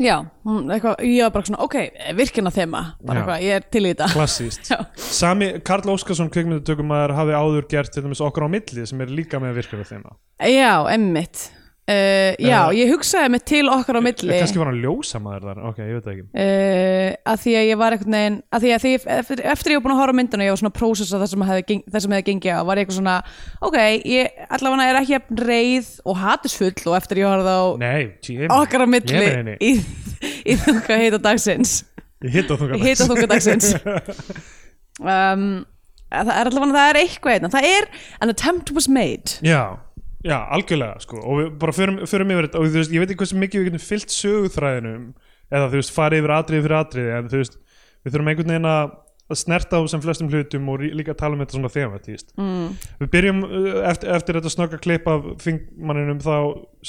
[SPEAKER 3] já, hún, eitthvað, ég var bara svona, ok, virkina þema, bara
[SPEAKER 2] Já.
[SPEAKER 3] eitthvað, ég er til í þetta.
[SPEAKER 2] klassíst
[SPEAKER 3] Já.
[SPEAKER 2] Sami, Karl Óskarsson kvikmyndutökumæður hafi áður gert til dæmis okkur á milli sem er líka með virkjur þeim
[SPEAKER 3] Já, emmitt. Uh, já,
[SPEAKER 2] Eh,
[SPEAKER 3] ég hugsaði mig til okkar á milli.
[SPEAKER 2] kannski var hann ljósamæður þar, ok, ég veit það ekki
[SPEAKER 3] uh, að því að ég var einhvern veginn að því að því, eftir, eftir ég var búin að horfa á myndina ég var svona að prósessa það sem hefði, geng- það sem hefði gengið á var ég eitthvað svona, ok, ég allavega er ekki jafn reið og hatusfull og eftir ég horfði á
[SPEAKER 2] Nei, tí, ég,
[SPEAKER 3] okkar á milli
[SPEAKER 2] ég, meni,
[SPEAKER 3] í, í þunga heita dagsins
[SPEAKER 2] ég hitt á
[SPEAKER 3] í
[SPEAKER 2] þungar
[SPEAKER 3] heita þunga dagsins um, að það er allavega það er eitthvað einna, það er an attempt was made
[SPEAKER 2] Já, já, algjörlega sko og við bara förum, förum yfir þetta og þú veist, ég veit ekki hversu mikið við getum fyllt söguþræðinum eða þú veist, farið yfir atriði fyrir atriði en þú veist, við þurfum einhvern veginn að að snerta á sem flestum hlutum og rí- líka tala um þetta svona þematíst mm. við byrjum uh, eftir, eftir þetta snögga klipp af þingmanninum þá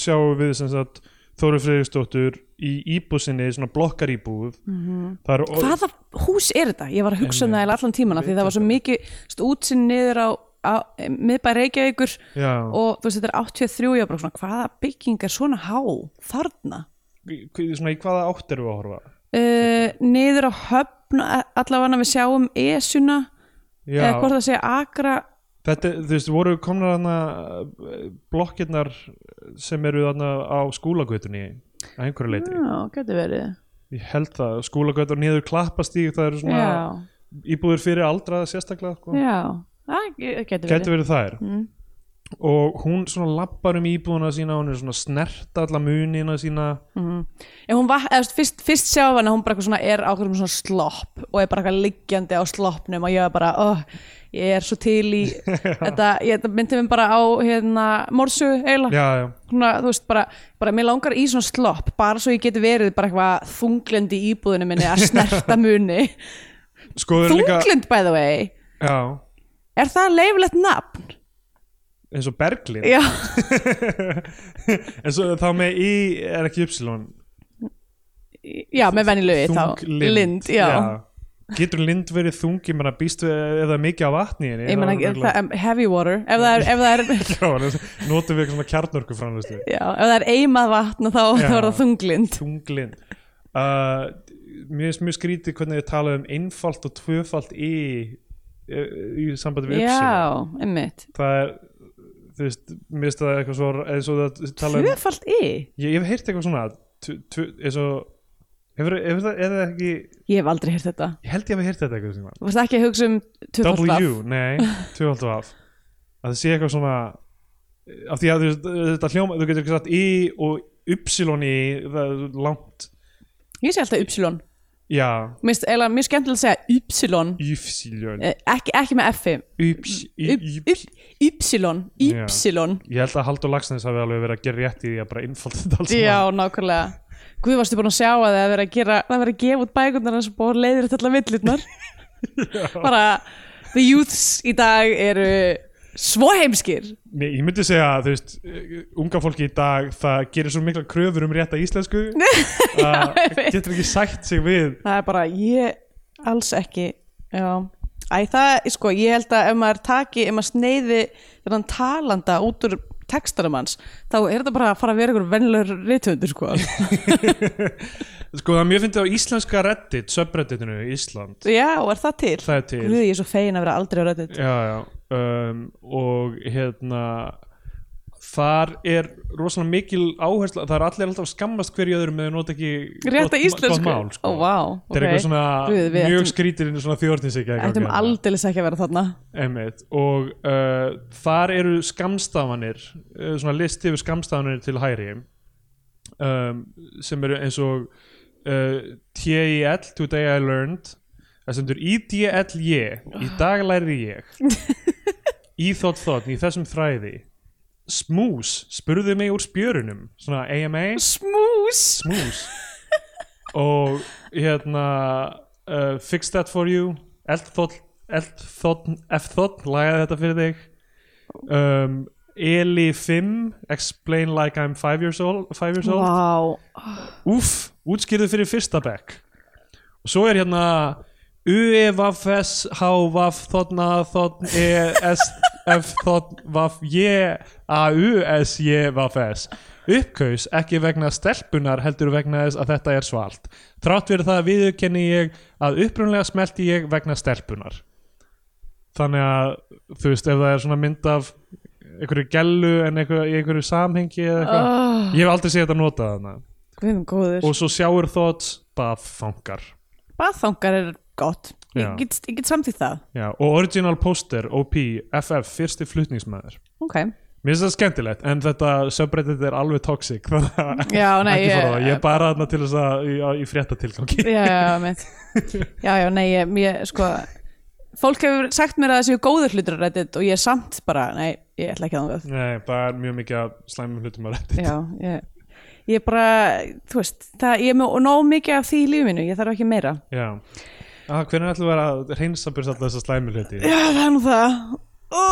[SPEAKER 2] sjáum við sem sagt Þóru Freyðisdóttur í íbúsinni svona blokkaríbúð mm -hmm.
[SPEAKER 3] hvaða hús er þetta? Ég var að hugsa um það eiginlega allan tíman af því það var svo mikið st, útsinn niður á, á miðbæ Reykjavíkur
[SPEAKER 2] Já.
[SPEAKER 3] og þú veist þetta er 83 ég var bara svona hvaða bygging er svona há þarna?
[SPEAKER 2] svona, í hvaða átt erum við að horfa?
[SPEAKER 3] Uh, niður á höfn a- allavega við sjáum Esuna
[SPEAKER 2] Já.
[SPEAKER 3] eða hvort það segja Akra
[SPEAKER 2] Þetta, þú veist, voru komnar hana blokkirnar sem eru hana á skúlagötunni að einhverju leiti.
[SPEAKER 3] Já, getur verið
[SPEAKER 2] Ég held það, skúlagötun niður klappastíg, það eru svona
[SPEAKER 3] Já,
[SPEAKER 2] íbúður fyrir aldraða sérstaklega, sko.
[SPEAKER 3] já, Mm. það getur verið
[SPEAKER 2] Gæti verið þær. Og hún svona lappar um íbúðuna sína, hún er svona að snerta alla munina sína.
[SPEAKER 3] Hm. En hún var, eða, þú veist, fyrst, fyrst sjá hann að hún bara eitthvað svona er á hverjum svona slopp og er bara eitthvað liggjandi á sloppnum og ég er bara, oh, ég er svo til í þetta, ég þetta myndi mér bara á hérna, morsu eiginlega
[SPEAKER 2] Já, já.
[SPEAKER 3] svona, þú veist, bara, bara mér langar í svona slopp bara svo ég geti verið bara eitthvað þunglindi í íbúðinu minni að snerta muni
[SPEAKER 2] Sko, þau eru líka,
[SPEAKER 3] þunglind by the way
[SPEAKER 2] já,
[SPEAKER 3] er það leifilegt nafn?
[SPEAKER 2] eins og Berglind.
[SPEAKER 3] Já,
[SPEAKER 2] en svo þá með í, er ekki ypsilon.
[SPEAKER 3] já með venjulegi þá
[SPEAKER 2] Þunglind,
[SPEAKER 3] lind, já,
[SPEAKER 2] Getur lind verið þung, ég meina býst við eða mikið af vatni í henni
[SPEAKER 3] Ég meina,
[SPEAKER 2] Það er
[SPEAKER 3] það- um heavy water ef það er, ef það er
[SPEAKER 2] örugglega- Já, Notum við eitthvað svona kjarnorku framlistu
[SPEAKER 3] Já, ef það er eimað vatn þá,
[SPEAKER 2] Já.
[SPEAKER 3] þá er það þunglind
[SPEAKER 2] Þunglind uh, Mér finnst mjög skrítið hvernig þið tala um einfalt og tvöfalt í eh, í sambandi við uppsýn
[SPEAKER 3] Já, einmitt
[SPEAKER 2] Það er, þú veist, mér finnst það eitthvað svo eins og það tala um
[SPEAKER 3] Tvöfalt í?
[SPEAKER 2] Ég ég hef heyrt eitthvað svona tv- tv- eins og Hefur, hefur það, er það ekki,
[SPEAKER 3] Ég hef aldrei heyrt þetta
[SPEAKER 2] ég held ég hef heyrt þetta eitthvað sem
[SPEAKER 3] Varst ekki að hugsa um tvöfalt
[SPEAKER 2] W,
[SPEAKER 3] af
[SPEAKER 2] nei, 12 af að það sé eitthvað svona af því að þú veist, þetta hljóma þú getur ekki sagt I og Upsilon í það er langt
[SPEAKER 3] Ég sé alltaf Y
[SPEAKER 2] já,
[SPEAKER 3] Mér finnst eiginlega mjög skemmtilega að segja Y
[SPEAKER 2] Upsilon
[SPEAKER 3] Eh, ekki, ekki með F-i
[SPEAKER 2] Ups,
[SPEAKER 3] Y,
[SPEAKER 2] Ups
[SPEAKER 3] Y, Y
[SPEAKER 2] Já. ég held að Haldur Lagsnes hafi alveg verið að gera rétt í því að bara innfalda þetta alls
[SPEAKER 3] Já, nákvæmlega Guð varstu búin að sjá að það er verið að gera það er verið að gefa út bækurnar hans og búið að leiðir þetta allar villirnar bara the youths í dag eru svo heimskir
[SPEAKER 2] Nei, ég myndi segja að þú veist eh, unga fólki í dag það gerir svo mikla kröfur um rétta íslensku að
[SPEAKER 3] ég veit.
[SPEAKER 2] getur ekki sætt sig við
[SPEAKER 3] það er bara ég alls ekki já Æ, það, sko, ég held að ef maður taki, ef maður sneiði þennan talanda út úr textarum hans, þá er þetta bara að fara að vera einhver venlur rithundur, sko.
[SPEAKER 2] sko það er mjög fyndið á íslenska reddit subredditinu í Ísland
[SPEAKER 3] Já, er það til?
[SPEAKER 2] það er til
[SPEAKER 3] Guð, ég er svo fegin að vera aldrei á röddit.
[SPEAKER 2] já, já. Um, og hérna þar er rosalega mikil áhersla það er allir alltaf að skammast hverju öðrum með að nota ekki
[SPEAKER 3] Rétta
[SPEAKER 2] gott-
[SPEAKER 3] íslensku?
[SPEAKER 2] gott mál, sko.
[SPEAKER 3] Ó, vá,
[SPEAKER 2] það er
[SPEAKER 3] ok.
[SPEAKER 2] eitthvað svona
[SPEAKER 3] Guð, við
[SPEAKER 2] mjög
[SPEAKER 3] ættum-
[SPEAKER 2] skrítirinn svona þjórninsíkja
[SPEAKER 3] Ættum aldeilis ekki að vera þarna.
[SPEAKER 2] Einmitt. og uh, þar eru skamstafanir uh, svona listi yfir skamstafanir til hæri um, sem eru eins og uh, TIL Today I Learned það stendur IDLJ í dag læri ég íþótt þótt í þessum þræði smús spurðu mig úr spjörunum svona AMA
[SPEAKER 3] smús
[SPEAKER 2] smús og hérna uh, fix that for you eldþótt eldþótt eftþótt lagaði þetta fyrir þig um, Eli 5 explain like I'm 5 years old, five years old.
[SPEAKER 3] Vá,
[SPEAKER 2] Úff, útskýrðu fyrir fyrsta bekk og svo er hérna UE, Vaf, S, H, Vaf, Þotna, Þotn, E, S, F, Þotn, Vaf, J, A, U, S, J, Vaf, S uppkaus ekki vegna stelpunar heldur vegna þess að þetta er svalt þrátt fyrir það viðurkenni ég að upprunlega smelti ég vegna stelpunar þannig að þú veist ef það er svona mynd af einhverju gellu en einhverju, í einhverju samhengi eða eitthvað
[SPEAKER 3] oh,
[SPEAKER 2] ég hef aldrei séð þetta notað þannig
[SPEAKER 3] guðum góður
[SPEAKER 2] og svo sjáur þótt baðfangar
[SPEAKER 3] baðfangar er gott
[SPEAKER 2] Já.
[SPEAKER 3] ég get, ég get samtíð það
[SPEAKER 2] Já, og original poster, OP, FF, fyrsti flutningsmaður
[SPEAKER 3] ok,
[SPEAKER 2] Mér finnst það skemmtilegt, en þetta subreddit er alveg toxic þannig að
[SPEAKER 3] já, nei
[SPEAKER 2] ekki fara á
[SPEAKER 3] ég,
[SPEAKER 2] það, ég er bara þarna til þess að í, í fréttatilgangi
[SPEAKER 3] já, já, mitt. já, já, nei, ég, ég sko fólk hefur sagt mér að það séu góður hlutur á reddit og ég er samt bara, nei, ég ætla ekki að það
[SPEAKER 2] Nei, það er mjög mikið að slæmum hlutum að reddit
[SPEAKER 3] já, ég, ég bara þú veist, það, ég er með nóg mikið af því í lífi mínu, ég þarf ekki meira
[SPEAKER 2] Já, ah, hvernig ætlum við að reynsa byrst alltaf þessa slæmum hluti?
[SPEAKER 3] já, það er nú það Ó,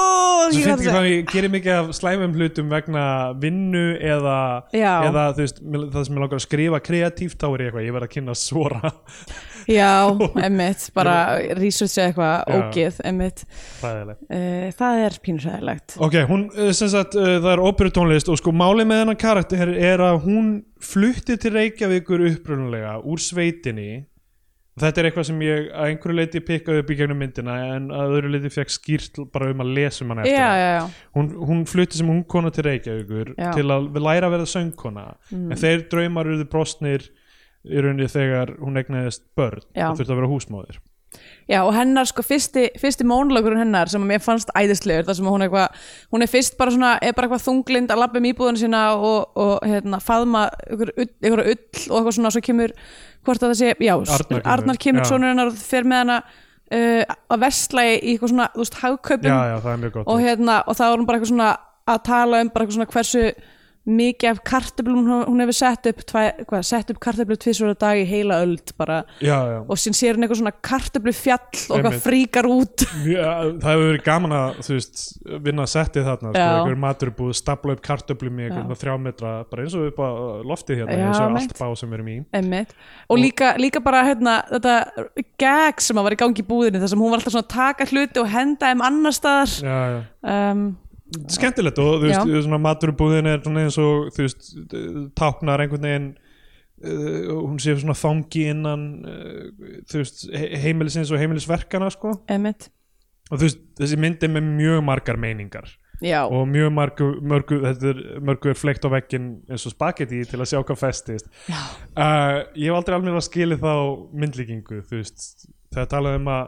[SPEAKER 2] Svo
[SPEAKER 3] ég
[SPEAKER 2] finnst
[SPEAKER 3] þarf
[SPEAKER 2] ekki
[SPEAKER 3] það
[SPEAKER 2] hvað ég gerir mikið af slæmum hlutum vegna vinnu eða,
[SPEAKER 3] Já.
[SPEAKER 2] eða þú veist, mér- það sem ég langar að skrifa kreatíft þá er ég eitthvað, ég verð að kynna svora
[SPEAKER 3] já, emmitt, bara researcha eitthvað,
[SPEAKER 2] Já.
[SPEAKER 3] ógið, emmitt
[SPEAKER 2] Fæðileg
[SPEAKER 3] uh, það er pínusæðilegt
[SPEAKER 2] Ok, hún, eh, sem sagt, uh, það er óperutónlist og sko málið með hennar karakter er að hún flutti til Reykjavíkur upprunalega úr sveitinni þetta er eitthvað sem ég að einhverju leiti pikkaði upp í gegnum myndina en að öðru leiti fekk skýrt bara um að lesa um hann eftir
[SPEAKER 3] já,
[SPEAKER 2] það.
[SPEAKER 3] já, já,
[SPEAKER 2] hún, hún flutti sem ung kona til Reykjavíkur
[SPEAKER 3] Já. Mm.
[SPEAKER 2] til að læra að vera söngkona en þeir draumar eruðu brostnir í rauninni þegar hún egnaðist börn
[SPEAKER 3] Já.
[SPEAKER 2] og þurfti að vera húsmóðir
[SPEAKER 3] Já og hennar sko fyrsti, fyrsti mónlökurinn hennar sem að mér fannst æðislegur þar sem að hún er eitthvað, hún er fyrst bara svona er bara eitthvað þunglind að labba um íbúðun sína og, og hérna faðma ykkur, ykkur ull og eitthvað svona svo kemur hvort að það sé, já, s-
[SPEAKER 2] Arnar kemur,
[SPEAKER 3] Arnar kemur
[SPEAKER 2] já.
[SPEAKER 3] sonur hennar og fer með hana uh, að vestla í eitthvað svona, þú veist,
[SPEAKER 2] Já,
[SPEAKER 3] hagkaupum
[SPEAKER 2] já, það er mjög gott
[SPEAKER 3] Um, og hérna, og þá er hún bara eitthvað svona að tala um bara eitthvað svona hversu mikið af kartöflum hún- hún hefur sett upp, tvæ, hvað, sett upp kartöflum tvisur á dag í heila öld bara
[SPEAKER 2] Já, já.
[SPEAKER 3] og sín sér hún eitthvað svona kartöflu fjall og hvað
[SPEAKER 2] Einmitt.
[SPEAKER 3] fríkar út
[SPEAKER 2] Já, það hefur verið gaman að þú veist, vinna að setja þarna sko,
[SPEAKER 3] Já.
[SPEAKER 2] einhver matur er búið að stapla upp kartöflum í einhverjum þrjá metra, bara eins og upp á loftið hérna,
[SPEAKER 3] Já,
[SPEAKER 2] eins og
[SPEAKER 3] mitt.
[SPEAKER 2] allt bá sem við erum í
[SPEAKER 3] Einmitt. og líka, líka bara hérna, þetta gag sem að var í gangi í búðinni þar sem hún var alltaf svona að taka hluti og henda þeim annar staðar
[SPEAKER 2] já, já.
[SPEAKER 3] um,
[SPEAKER 2] skemmtilegt og þú veist, svona maturbúðin er svona eins og þú veist, táknar einhvern veginn uh, hún sé svona þangi innan uh, þú veist, he- heimilisins og heimilisverkana sko,
[SPEAKER 3] einmitt
[SPEAKER 2] og þú veist, þessi mynd er með mjög margar meiningar
[SPEAKER 3] já,
[SPEAKER 2] og mjög margu, mörgu, þetta er, mörgu er fleikt á vekkin eins og spagetti til að sjá hvað festist uh, ég hef aldrei alveg að skili þá myndlíkingu þú veist, það er talað um að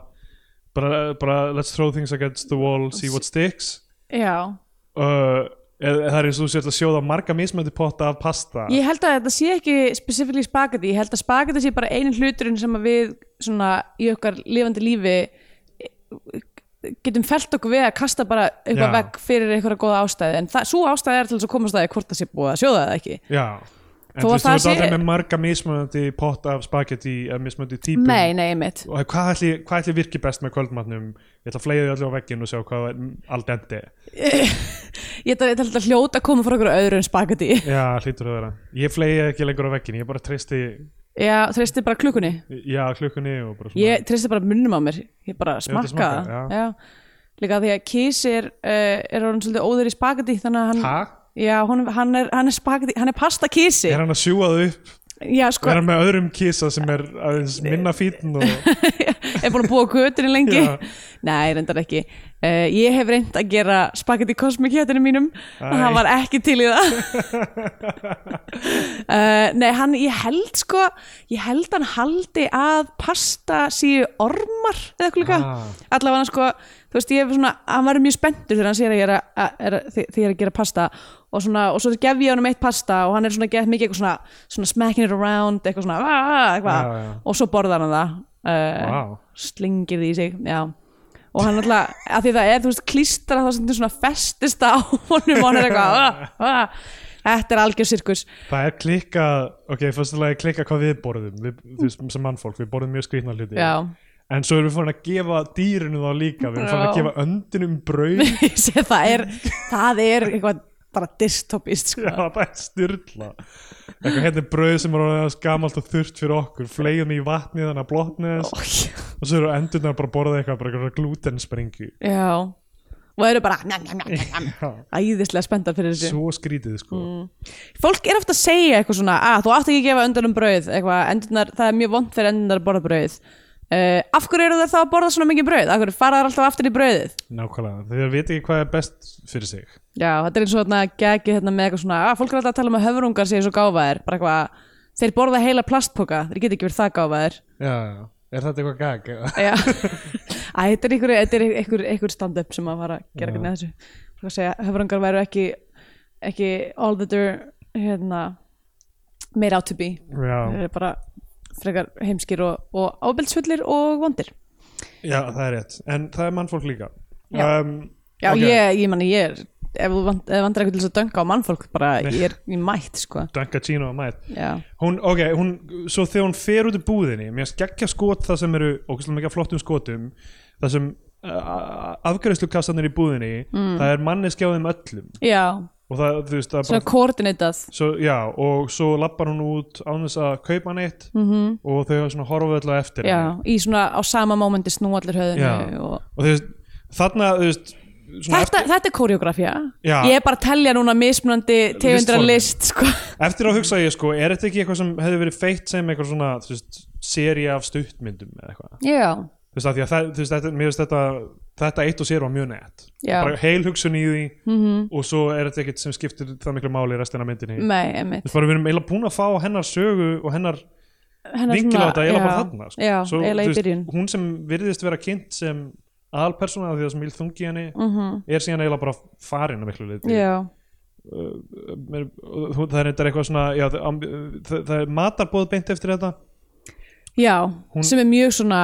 [SPEAKER 2] bara, bara let's throw things against the wall see what sticks
[SPEAKER 3] já
[SPEAKER 2] uh, eða það er eins og þú sért að sjóða marga mismöndi potta af pasta
[SPEAKER 3] ég held að þetta sé ekki spesifíli spagetti, ég held að spagetti sé bara einu hluturinn sem að við svona í okkar lifandi lífi e, getum felt okkur við að kasta bara
[SPEAKER 2] Já.
[SPEAKER 3] eitthvað vegg fyrir eitthvað góða ástæði en það, svo ástæði er til þess að komast að því hvort það sé búið að sjóða það ekki
[SPEAKER 2] já en
[SPEAKER 3] Þó
[SPEAKER 2] þú
[SPEAKER 3] að
[SPEAKER 2] veist, þú
[SPEAKER 3] það
[SPEAKER 2] veist
[SPEAKER 3] sé-
[SPEAKER 2] aldrei með marga mismöndi potta af spagetti eða mismöndi típum
[SPEAKER 3] Nei, nei, mitt
[SPEAKER 2] og hvað ætli, hvað ætli virki best með kvöldmatnum ég ætla að fleiði öllu á veggin og sjá hvað er al dente
[SPEAKER 3] Ég ætla ég ætla að hljóta að koma frá okkur öðru en spagetti
[SPEAKER 2] Já, hlýtur að vera. Ég flegi ekki lengur á veggin, ég bara treysti,
[SPEAKER 3] Já, treysti bara klukkunni
[SPEAKER 2] já, klukkunni og bara svona.
[SPEAKER 3] Ég treysti bara munnum á mér Ég bara
[SPEAKER 2] þetta
[SPEAKER 3] smakka
[SPEAKER 2] smakka,
[SPEAKER 3] það já. Líka því að Kísi er, uh, er orðin svolítið óður í spagetti Þannig að hann
[SPEAKER 2] Ha?
[SPEAKER 3] Já, hún, hann, er, hann er spagetti, hann er pasta Kísi
[SPEAKER 2] Er hann að sjúað upp?
[SPEAKER 3] Já, sko,
[SPEAKER 2] Er hann með öðrum kísa sem er aðeins minna fítn og...
[SPEAKER 3] er búin að búa á götunni lengi
[SPEAKER 2] Já.
[SPEAKER 3] Nei, reyndar ekki uh, Ég hef reynd að gera spagetti kosmik hétinu mínum
[SPEAKER 2] Æ.
[SPEAKER 3] en hann var ekki til í það uh, Nei, hann, ég held sko ég held hann haldi að pasta síu ormar eða eitthvað líka
[SPEAKER 2] Ah.
[SPEAKER 3] allavega hann sko, þú veist, ég hef svona hann var mjög spenntur þegar hann sér að ég er að, að, er að þegar ég er að gera pasta og, svona, og svo gef ég honum eitt pasta og hann er svona gett mikið eitthvað svona, svona smacking it around eitthvað svona, "Ah, ah," eitthvað
[SPEAKER 2] Já, já.
[SPEAKER 3] og svo borðar hann það uh,
[SPEAKER 2] Vá.
[SPEAKER 3] slingir því í sig já. og hann alltaf, að því það er þú veist klístra þá sem svona festist á honum og hann er eitthvað "Ah, ah." þetta er algjör sirkus
[SPEAKER 2] Það er klikka, ok, fyrstulega klikka hvað við borðum, við, þú veist, sem mannfólk, við borðum mjög skrýtna hluti.
[SPEAKER 3] já,
[SPEAKER 2] En svo erum við farin að gefa dýrinu þá líka, við erum farin að
[SPEAKER 3] Já.
[SPEAKER 2] gefa öndinum brauð,
[SPEAKER 3] Ég sé, það er það er eitthvað bara dystopist sko.
[SPEAKER 2] já, það er styrla. Eitthvað, hérna er brauð sem er orðið aðeins gamalt og þurft fyrir okkur, fleigum í vatnið þannig að blotnið þess og svo eru endurnar bara að borða eitthvað, bara eitthvað glutenspringu.
[SPEAKER 3] já og það eru bara njam, njam, njam, njam.
[SPEAKER 2] Já,
[SPEAKER 3] æðislega spennta fyrir þessu
[SPEAKER 2] svo skrítið, sko.
[SPEAKER 3] fólk er ofta að segja eitthvað svona að þú átt ekki að gefa öndanum brauð eitthvað, endurnar, það er mjög vond fyrir endunar að borða brauð uh, af hverju eru það þá að borða svona mikið brauð af hverju fara þær alltaf aftur í brauðið
[SPEAKER 2] Nákvæmlega, þeir veit ekki hvað er best fyrir sig.
[SPEAKER 3] já, þetta er eins og þarna gegið hérna, með eitthvað svona að fólk er alltaf að tala um að höfrungar séu svo gáfaðir bara eitthvað, þeir borða heila plastpoka þeir geta ekki verið það gáfaðir
[SPEAKER 2] Já, já. Er þetta eitthvað gag? eða?
[SPEAKER 3] Já, Æ, þetta er einhver, þetta er einhver, einhver stand-up sem að fara að gera hvernig þessu Svo að segja, höfrangar væru ekki, ekki all that they're hérna, made out to be Þeir
[SPEAKER 2] Já,
[SPEAKER 3] eru bara frekar heimskir og, og ábeldsfullir og vondir
[SPEAKER 2] já, það er rétt. En það er mannfólk líka.
[SPEAKER 3] Já.
[SPEAKER 2] um,
[SPEAKER 3] Já,
[SPEAKER 2] ok.
[SPEAKER 3] ég, ég manni, ég er ef þú vant- ef vantar eitthvað til þess að dönga á mannfólk bara, ég er í mætt, sko
[SPEAKER 2] Danka Chino að mætt
[SPEAKER 3] Já,
[SPEAKER 2] hún, ok, hún, svo þegar hún fer út í búðinni mér skeggja skot það sem eru ógæslega mikið af flottum skotum það sem uh, afgjörslukastanir í búðinni
[SPEAKER 3] Mm.
[SPEAKER 2] það er manneski á þeim öllum
[SPEAKER 3] já
[SPEAKER 2] og það, þú veist, það er
[SPEAKER 3] svona
[SPEAKER 2] bara
[SPEAKER 3] koordinitað
[SPEAKER 2] svo, já, og svo lappar hún út án þess að kaupa neitt -hmm. og þau hafa svona horfa öll á eftir henni.
[SPEAKER 3] Mhm. Já, í svona á sama mómenti snú allir
[SPEAKER 2] Já.
[SPEAKER 3] höfðinu og
[SPEAKER 2] og þú veist, þarna þú veist, svona
[SPEAKER 3] Þetta, þetta er koreografía
[SPEAKER 2] Já.
[SPEAKER 3] Ég er bara að telja núna mismunandi tegundra
[SPEAKER 2] Listformin.
[SPEAKER 3] list sko.
[SPEAKER 2] Eftir að hugsa ég sko, er þetta ekki eitthvað sem hefði verið feitt sem eitthvað svona, þú veist, seri af stuttmyndum eða eitthvað?
[SPEAKER 3] Já,
[SPEAKER 2] þú veist, af því að það, þú veist, þetta, mér veist þetta þetta eitt og sér var mjög nett
[SPEAKER 3] Já. Mhm.
[SPEAKER 2] bara heil hugsun í því -hmm. og svo er þetta ekkert sem skiptir það miklu máli í restina af myndinni mm.
[SPEAKER 3] nei, einmitt
[SPEAKER 2] bara, við erum eiginlega búin að fá hennar sögu og hennar
[SPEAKER 3] Hennar
[SPEAKER 2] vingil á
[SPEAKER 3] svona-
[SPEAKER 2] þetta eiginlega
[SPEAKER 3] já,
[SPEAKER 2] bara þarna sko.
[SPEAKER 3] Já,
[SPEAKER 2] Svo,
[SPEAKER 3] eiginlega
[SPEAKER 2] þú
[SPEAKER 3] í byrjun
[SPEAKER 2] hún sem virðist vera kynnt sem aðalpersona af því að sem íl þungi í henni -hmm. er síðan eiginlega bara farin að miklu leiti
[SPEAKER 3] Mm. Mhm. Já,
[SPEAKER 2] Mér- og það er þetta eitthvað svona já, það, am- það, það er matarbóð beint eftir þetta
[SPEAKER 3] já sem er mjög svona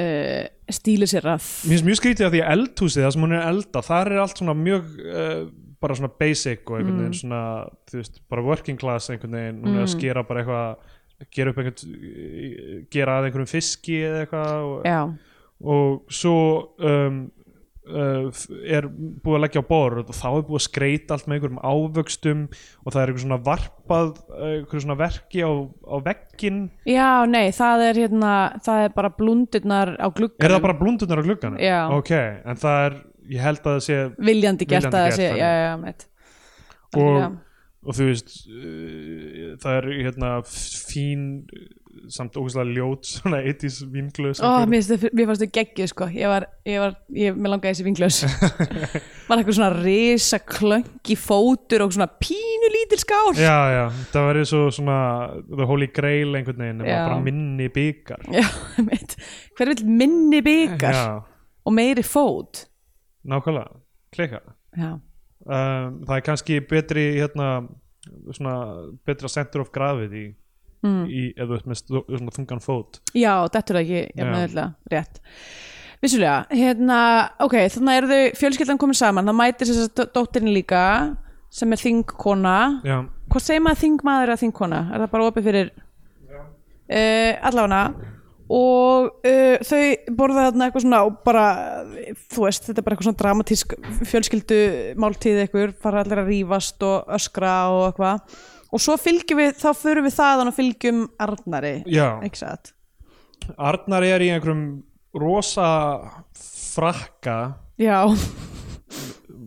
[SPEAKER 3] uh, stíli sér að
[SPEAKER 2] Mér finnst mjög skrítið að því að eldhúsið, það sem hún er að elda, þar er allt svona mjög uh, bara svona basic og einhvern
[SPEAKER 3] Mm.
[SPEAKER 2] veginn svona, þú veist, bara working class einhvern veginn, hún er að skera bara eitthvað gera upp einhvern gera að einhverjum fiski eða eitthvað og,
[SPEAKER 3] Já,
[SPEAKER 2] og svo um, uh, f- er búið að leggja á borð og þá er búið að skreita allt með einhverjum ávöxtum og það er einhver svona varpað uh, einhver svona verki á, á veggin
[SPEAKER 3] já, nei, það er hérna það er bara blundirnar á glugganum
[SPEAKER 2] er það bara blundunar á glugganum?
[SPEAKER 3] Já.
[SPEAKER 2] Ok, en það er, ég held að það sé
[SPEAKER 3] viljandi gert
[SPEAKER 2] Viljandi
[SPEAKER 3] að
[SPEAKER 2] gert
[SPEAKER 3] þessi
[SPEAKER 2] þannig.
[SPEAKER 3] Já, já, meitt
[SPEAKER 2] og, og þú veist uh, það er hérna f- fín uh, samt ógæslega ljót svona 80s vinglaus
[SPEAKER 3] Ó, mér finnst þau- mér fannst þau geggjuð sko Ég var, ég var, ég, mér langaði þessi vinglaus Var eitthvað svona risa klöngi fótur og svona pínu lítil skál
[SPEAKER 2] já, já, það var eins og svona the holy grail einhvern veginn nema
[SPEAKER 3] Já.
[SPEAKER 2] bara minni byggar
[SPEAKER 3] Já, einmitt. Hver vill minni byggar
[SPEAKER 2] já,
[SPEAKER 3] og meiri fót?
[SPEAKER 2] nákvæmlega, klika
[SPEAKER 3] Já,
[SPEAKER 2] um, það er kannski betri hérna svona betra center of gravity mm. í, ef þú ert með stó- svona þungan fót
[SPEAKER 3] Já þetta er ekki
[SPEAKER 2] Já.
[SPEAKER 3] jafnöðulega rétt. Vissulega, hérna, ok, þannig eru þau fjölskyldan komin saman, það mætir þess að dóttirin líka sem er þingkona.
[SPEAKER 2] já,
[SPEAKER 3] Hvað segir maður þingmaður að þingkona? Er það bara opið fyrir uh, allafana? Og uh, þau borða þarna eitthvað svona og bara, þú veist, þetta er bara eitthvað svona dramatísk fjölskyldu máltíð eitthvað, fara allir að rífast og öskra og eitthvað. Og svo fylgjum við, þá förum við þaðan og fylgjum Arnari,
[SPEAKER 2] já.
[SPEAKER 3] ekki satt?
[SPEAKER 2] Arnar er í einhverjum rosa frakka
[SPEAKER 3] Já,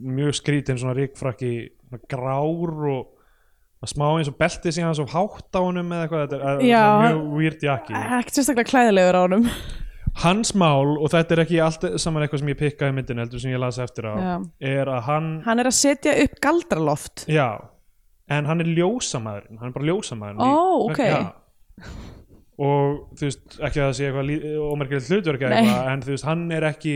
[SPEAKER 2] mjög skrítinn svona ríkfrakki svona grár og það smá eins og beltið síðan svo hátt á honum eða eitthvað, þetta er,
[SPEAKER 3] Já.
[SPEAKER 2] þetta er mjög weird jakki
[SPEAKER 3] ekkert sérstaklega klæðilegur á honum.
[SPEAKER 2] hans mál, og þetta er ekki allt saman eitthvað sem ég pikkaði í myndin heldur sem ég las eftir á
[SPEAKER 3] Já.
[SPEAKER 2] er að hann,
[SPEAKER 3] Hann er að setja upp galdraloft.
[SPEAKER 2] já en hann er ljósamaðurinn, hann er bara ljósamaðurinn
[SPEAKER 3] Ó,
[SPEAKER 2] í-
[SPEAKER 3] ok.
[SPEAKER 2] já. og þú veist, ekki að það sé eitthvað ómerkilegt hlutverk eða
[SPEAKER 3] Nei.
[SPEAKER 2] eitthvað en þú veist, hann er ekki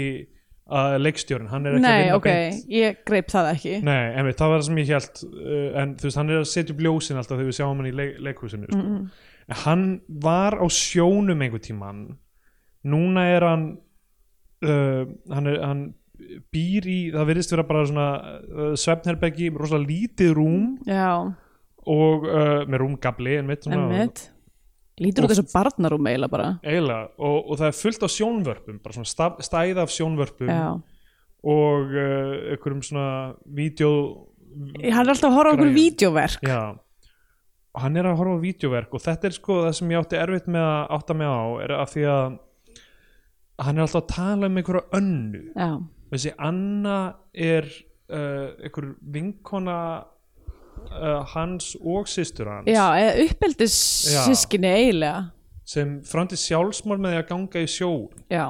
[SPEAKER 2] uh, leikstjórn, hann er ekki að
[SPEAKER 3] Nei,
[SPEAKER 2] vinna
[SPEAKER 3] ok,
[SPEAKER 2] beint
[SPEAKER 3] ég greip það ekki.
[SPEAKER 2] Nei, einmitt, það var það sem ég held uh, en þú veist, hann er að setja upp ljósin alltaf þegar við sjáum hann í leik leikhúsinu sko. en hann var á sjónum einhver tíman núna er hann uh, hann, er, hann býr í, það virðist vera bara svona uh, svefnherbergi, rosalega lítið rúm
[SPEAKER 3] já,
[SPEAKER 2] og uh, með rúmgabli en mitt
[SPEAKER 3] emmitt lítur út þessu barnarúm eiginlega bara
[SPEAKER 2] eiginlega og, og það er fullt af sjónvörpum bara svona staf, stæð af sjónvörpum
[SPEAKER 3] já.
[SPEAKER 2] og uh, einhverjum svona vídeo
[SPEAKER 3] hann er alltaf að horfa á okkur
[SPEAKER 2] Græn.
[SPEAKER 3] vídeoverk
[SPEAKER 2] já og hann er að horfa á vídeoverk og þetta er sko það sem ég átti erfitt með að átta mig á er að því að hann er alltaf að tala um einhverja önnu
[SPEAKER 3] já,
[SPEAKER 2] og þessi Anna er uh, einhver vinkona uh, hans og systur hans
[SPEAKER 3] já eða uppeldis sískinni eiginlega
[SPEAKER 2] sem framti sjálfsmál með því að ganga í sjó
[SPEAKER 3] já,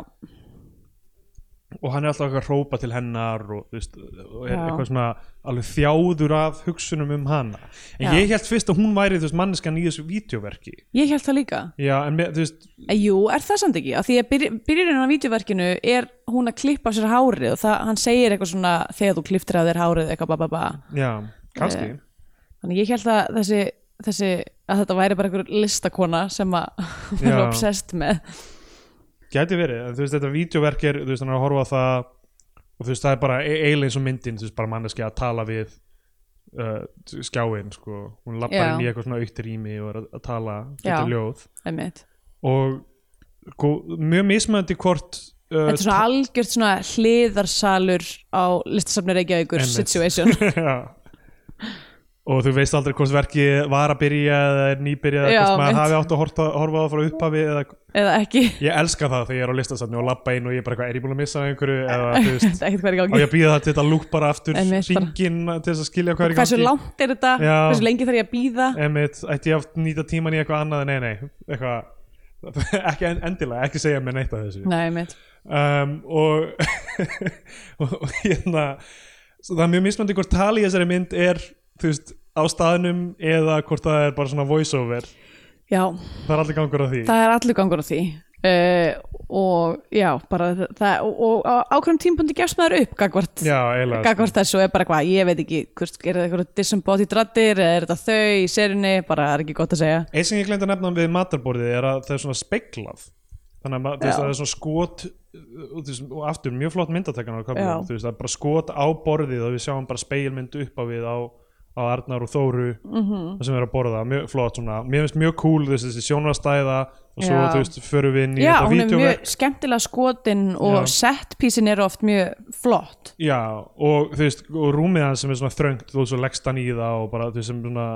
[SPEAKER 2] og hann er alltaf eitthvað að hrópa til hennar og, þú veist, og er
[SPEAKER 3] Já.
[SPEAKER 2] eitthvað svona alveg þjáður af hugsunum um hana en
[SPEAKER 3] Já.
[SPEAKER 2] ég held fyrst að hún væri þú veist, manneskan í þessu vídeoverki
[SPEAKER 3] ég held það líka
[SPEAKER 2] já, en með, þú veist,
[SPEAKER 3] Eh, Jú, er það samt ekki? Af Því að byrj- byrjunin á vídeoverkinu er hún að klippa af sér hárið og það, hann segir eitthvað svona þegar þú kliftir að þér hárið eitthvað ba ba ba.
[SPEAKER 2] já, kannski
[SPEAKER 3] Eh. Þannig ég held að þessi, þessi að þetta væri bara einhver listakona sem að vera
[SPEAKER 2] Já.
[SPEAKER 3] obsessed með.
[SPEAKER 2] gæti verið, en þú veist, þetta vídeoverk er þú veist, hann er að horfa á það og þú veist, það er bara e- eiginlega eins og myndin þú veist, bara manneski að tala við uh, skjáin, sko hún lappar
[SPEAKER 3] Já.
[SPEAKER 2] inn í eitthvað svona aukt rými og er að, að tala, þetta
[SPEAKER 3] Já.
[SPEAKER 2] ljóð
[SPEAKER 3] Einmitt.
[SPEAKER 2] og sko, mjög mismöndi hvort uh,
[SPEAKER 3] Þetta er svona algjört svona hliðarsalur á listasafni Reykjavíkur
[SPEAKER 2] Einmitt.
[SPEAKER 3] situation.
[SPEAKER 2] Já. og þú veist aldrei hvort verki var að byrja eða er nýbyrja eða
[SPEAKER 3] Já,
[SPEAKER 2] hvort maður
[SPEAKER 3] mitt.
[SPEAKER 2] hafi átt að horta, horfa á það frá upphafi eða,
[SPEAKER 3] Eða ekki,
[SPEAKER 2] ég elska það þegar ég er á listasafni og labba inn og ég er bara eitthvað, er ég búin að missa af einhverju eða þú veist,
[SPEAKER 3] þetta er ekkert hvað er í
[SPEAKER 2] á ég
[SPEAKER 3] gangi.
[SPEAKER 2] að býða það til þetta lúk bara aftur
[SPEAKER 3] Einmitt, bara-
[SPEAKER 2] hringin til þess að skilja hvað er í
[SPEAKER 3] Hversu
[SPEAKER 2] gangi
[SPEAKER 3] langt er þetta?
[SPEAKER 2] Já.
[SPEAKER 3] Hversu lengi þarf ég að býða?
[SPEAKER 2] Einmitt, ætti ég að nýta tíman í eitthvað annað en nei, nei, eitthvað ekki en- endilega, ekki segja mér neitt af þessu
[SPEAKER 3] Nei, mitt.
[SPEAKER 2] um, og, og, og hérna svo það er mjög mismandi hvort tali í þessari mynd er þú veist, á staðnum eða hvort það er bara svona voiceover
[SPEAKER 3] Já,
[SPEAKER 2] það er allir gangur á því
[SPEAKER 3] það er allur gangur á því uh, og já, bara þa- það og, og á ákveðum tímpundi gefst maður upp gagvart,
[SPEAKER 2] já, eiginlega sko.
[SPEAKER 3] gagvart þessu og er bara hvað, ég veit ekki, hvort, er það eitthvað disembodied rattir eða er þetta þau í serinni bara það er ekki gott að segja
[SPEAKER 2] eins sem ég glemt að nefna við matarborðið er að það er svona speglað þannig að ma- þú veist,
[SPEAKER 3] Já.
[SPEAKER 2] það er svona skot og, þú veist, og aftur mjög flott myndatekan á
[SPEAKER 3] Já.
[SPEAKER 2] köflum, þú veist, það er bara skot á borðið og við sjáum bara speilmynd upp á við á, á Arnar og Þóru -hmm.
[SPEAKER 3] Mhm.
[SPEAKER 2] sem er að borða, mjög flott svona mér finnst mjög cool þessi, þessi sjónvastæða og svo
[SPEAKER 3] Já.
[SPEAKER 2] þú veist, förum við inn í
[SPEAKER 3] Já,
[SPEAKER 2] þetta
[SPEAKER 3] hún er
[SPEAKER 2] vídeóverk
[SPEAKER 3] mjög skemmtilega skotin og
[SPEAKER 2] Já.
[SPEAKER 3] set písin eru oft mjög flott
[SPEAKER 2] Já, og þú veist, og rúmið hans sem er svona þröngt og svo leggst hann í það og bara, þú veist, sem svona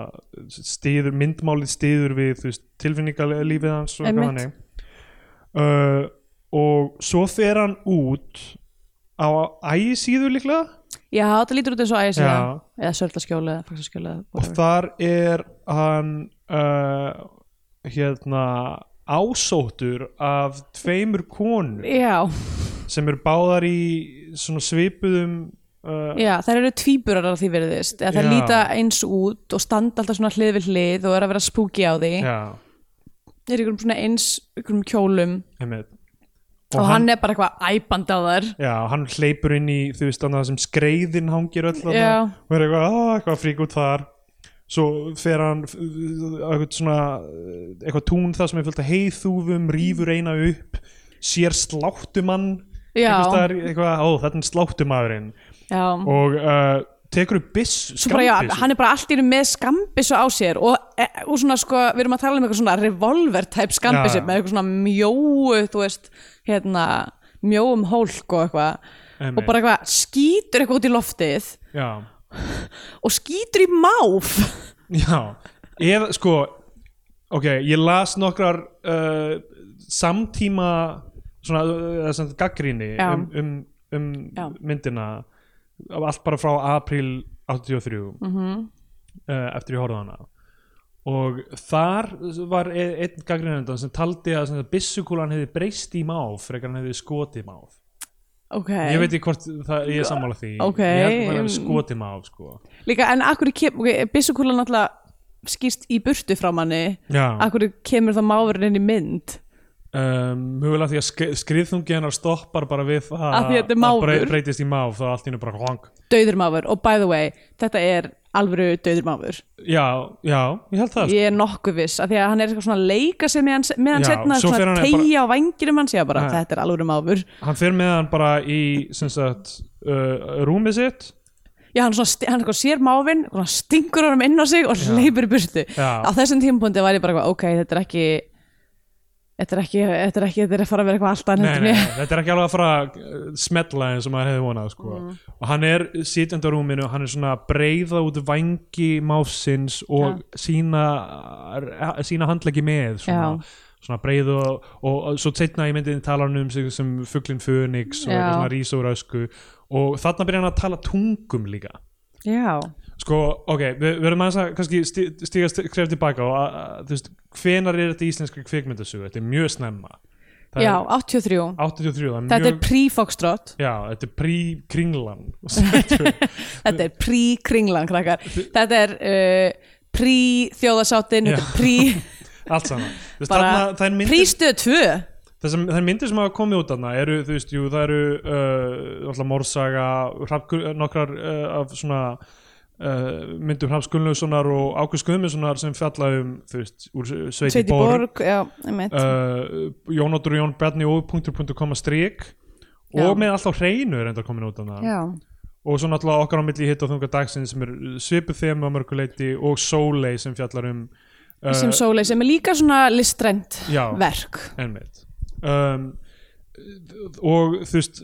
[SPEAKER 2] stíður, myndmálið stíður við, þú veist, tilfinningalífið hans og
[SPEAKER 3] Einmitt.
[SPEAKER 2] þannig uh, og svo fer hann út á ægisíðu líklega
[SPEAKER 3] Já, þetta lítur út eins og æs
[SPEAKER 2] Já.
[SPEAKER 3] eða sörlaskjóla eða faksaskjóla
[SPEAKER 2] og þar er hann uh, hérna ásóttur af tveimur konur
[SPEAKER 3] Já,
[SPEAKER 2] sem eru báðar í svona svipuðum uh,
[SPEAKER 3] já, þær eru tvíburar að því verðist eða þær
[SPEAKER 2] Já.
[SPEAKER 3] líta eins út og standa alltaf svona hlið við hlið og er að vera spooky á því
[SPEAKER 2] já,
[SPEAKER 3] er ykkur svona eins ykkur kjólum
[SPEAKER 2] einmitt
[SPEAKER 3] og, hann, er bara eitthvað æpandi á þær
[SPEAKER 2] Já, hann hleypur inn í þú veist annað sem skreiðin hangir öll þarna
[SPEAKER 3] Já.
[SPEAKER 2] og er eitthvað, "Ah, eitthvað frík út þar svo fer hann f- á eitthvað svona eh, eitthvað tún það sem er fullt af heiðúfum rýfur eina upp, sér sláttumann
[SPEAKER 3] Já.
[SPEAKER 2] einhvers staðar, eitthvað, ó, þetta er sláttumadurinn
[SPEAKER 3] já.
[SPEAKER 2] og uh, tekur upp byss
[SPEAKER 3] Svo bara, já, hann er bara allt í einu með skambissu á sér og, e, og svona sko, við erum að tala um eitthvað svona revolver type skambissu
[SPEAKER 2] Já, já.
[SPEAKER 3] með eitthvað svona mjóu, þú veist hérna, mjóum hólk og eitthvað
[SPEAKER 2] Einmitt.
[SPEAKER 3] og bara eitthvað skýtur eitthvað út í loftið
[SPEAKER 2] já,
[SPEAKER 3] og skýtur í máf
[SPEAKER 2] já. eða sko ok, ég las nokkrar uh, samtíma svona uh, sem sagt gaggríni
[SPEAKER 3] Já.
[SPEAKER 2] um, um, um
[SPEAKER 3] Já.
[SPEAKER 2] myndina af- allt bara frá april 83 -hmm.
[SPEAKER 3] Mhm.
[SPEAKER 2] uh, eftir ég horfði á hana og þar var e- einn gaggrinendan sem taldi að sem sagt, byssukúlan hefði breyst í máf frekar hann hefði skotið máf
[SPEAKER 3] ok,
[SPEAKER 2] ég veit ekki hvort það, ég er sammála því
[SPEAKER 3] Ok,
[SPEAKER 2] ég held að hann hefði
[SPEAKER 3] um,
[SPEAKER 2] skotið máf sko.
[SPEAKER 3] líka en akkur kem, okay, byssukúla náttúrulega skýst í burtu frá manni
[SPEAKER 2] Já.
[SPEAKER 3] akkur kemur það máfurinn inn í mynd
[SPEAKER 2] um, mögulega því að sk skriðþungi hennar stoppar bara við það
[SPEAKER 3] Af því að þetta er máfur.
[SPEAKER 2] breytist í máf þá allt í hennu bara honk
[SPEAKER 3] döður máfur og by the way, þetta er alvöru döður máfur
[SPEAKER 2] já, já, ég held það sko.
[SPEAKER 3] ég er nokkuð viss, af því að hann er eitthvað svona að leika sig með hann, með hann
[SPEAKER 2] Já,
[SPEAKER 3] setna,
[SPEAKER 2] svo fer
[SPEAKER 3] svona
[SPEAKER 2] hann
[SPEAKER 3] tegja bara... á vanginum hans, ég var bara,
[SPEAKER 2] Nei.
[SPEAKER 3] þetta er alvöru máfur
[SPEAKER 2] hann fyrir með hann bara í sem sagt, uh, rúmið sitt
[SPEAKER 3] já, hann, svona, sti- hann eitthvað sér máfin svona stingur honum inn á sig og hleypur í burtu
[SPEAKER 2] Já.
[SPEAKER 3] á þessum tímpúndi var ég bara, eitthvað, ok, þetta er ekki þetta er ekki, þetta er ekki þetta er að fara að vera eitthvað allt
[SPEAKER 2] nei,
[SPEAKER 3] annað
[SPEAKER 2] nei,
[SPEAKER 3] heldur en ég-
[SPEAKER 2] nei, þetta er ekki alveg að fara að uh, smetla eins og maður hefði vonað sko.
[SPEAKER 3] Mm.
[SPEAKER 2] og hann er sitjandi á rúminu hann er svona að breyða út vangi máfsins og sína sína handleggi með svona,
[SPEAKER 3] Já.
[SPEAKER 2] svona breyðu og, og, og svo setna í myndinni tala hann um sig sem fuglinn Fönix og
[SPEAKER 3] Já.
[SPEAKER 2] eitthvað svona rísa úr ösku og þarna byrja hann að tala tungum líka
[SPEAKER 3] já,
[SPEAKER 2] Sko, ok, við við verðum aðeins að kannski stíga stíga skref tilbaka og að, að, þú veist, hvenar er þetta í íslenska kvikmyndasögu? Þetta er mjög snemma. Það
[SPEAKER 3] já,
[SPEAKER 2] er
[SPEAKER 3] 83
[SPEAKER 2] 83, það er
[SPEAKER 3] þetta er
[SPEAKER 2] mjög...
[SPEAKER 3] pre-foxtrot
[SPEAKER 2] Já, þetta er prí-kringlan. já,
[SPEAKER 3] Þetta er prí-kringlan, krakkar. Þetta er uh, prí-þjóðasáttin, þetta
[SPEAKER 2] Já.
[SPEAKER 3] er prí...
[SPEAKER 2] allt saman. Þú veist,
[SPEAKER 3] Bara
[SPEAKER 2] þarna, það er myndir...
[SPEAKER 3] Prístöð 2.
[SPEAKER 2] Þessar þær myndir sem hafa komið út þarna eru, þú veist, jú, það eru uh, alltaf morsaga, hrafkur, nokkrar uh, af svona uh, myndum Hrafs Gunnlaugssonar og Ágúst Guðmundssonar sem fjalla um, þú veist, úr Sveiti
[SPEAKER 3] Sveiti
[SPEAKER 2] Borg,
[SPEAKER 3] Borg, já, einmitt.
[SPEAKER 2] uh, Jónóttur og Jón Bjarni og punktur punktur koma strik og
[SPEAKER 3] Já.
[SPEAKER 2] með alltaf hreinu er enda komin út af það
[SPEAKER 3] já,
[SPEAKER 2] og svo náttúrulega okkar á milli hitt og þunga dagsinn sem er svipuð þeim á mörguleiti og Sólei sem fjallar um uh,
[SPEAKER 3] sem Sólei, sem er líka svona listrænt
[SPEAKER 2] Já.
[SPEAKER 3] verk.
[SPEAKER 2] Einmitt um, og þú veist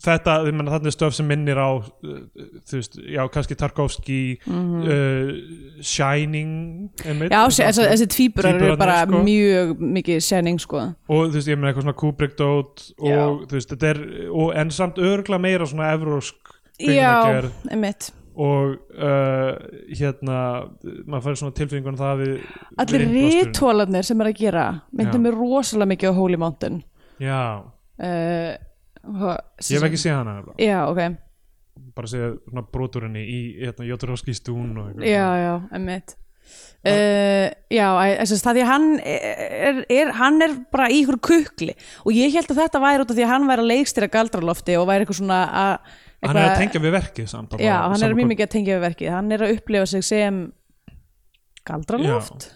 [SPEAKER 2] þetta, ég menna þarna er stöf sem minnir á uh, þú veist, já, kannski Tarkovski uh, Shining einmitt,
[SPEAKER 3] Mhm. Já, þessi, þessi, þessi tvíburar eru
[SPEAKER 2] Tvíburarnir,
[SPEAKER 3] bara
[SPEAKER 2] sko.
[SPEAKER 3] mjög mikið sjenning, sko.
[SPEAKER 2] og þú veist, ég meina eitthvað svona Kubrick dót og
[SPEAKER 3] Já.
[SPEAKER 2] þú veist, þetta er og, en samt örgla meira svona evrósk
[SPEAKER 3] Já,
[SPEAKER 2] kvikmyndagerð
[SPEAKER 3] einmitt.
[SPEAKER 2] og uh, hérna maður fær svona tilfinningun það við
[SPEAKER 3] Allir
[SPEAKER 2] við innblásturinn.
[SPEAKER 3] rítólarnir sem er að gera myndum
[SPEAKER 2] Já.
[SPEAKER 3] mér rosalega mikið á Holy Mountain.
[SPEAKER 2] já,
[SPEAKER 3] Uh,
[SPEAKER 2] ég hef ekki séð hana nefnilega.
[SPEAKER 3] Já, ok.
[SPEAKER 2] bara séð svona broturinni í hérna, Jóturovski stún og eitthvað
[SPEAKER 3] já, já, einmitt uh, já, æ, þess að það því að hann er, er, hann er bara í ykkur kukli og ég held að þetta væri út af því að hann væri að leikstýra galdralofti og væri eitthvað svona að
[SPEAKER 2] hann er að tengja við verkið samt
[SPEAKER 3] já, hann er mjög mikið að tengja við verkið hann er að upplifa sig sem galdraloft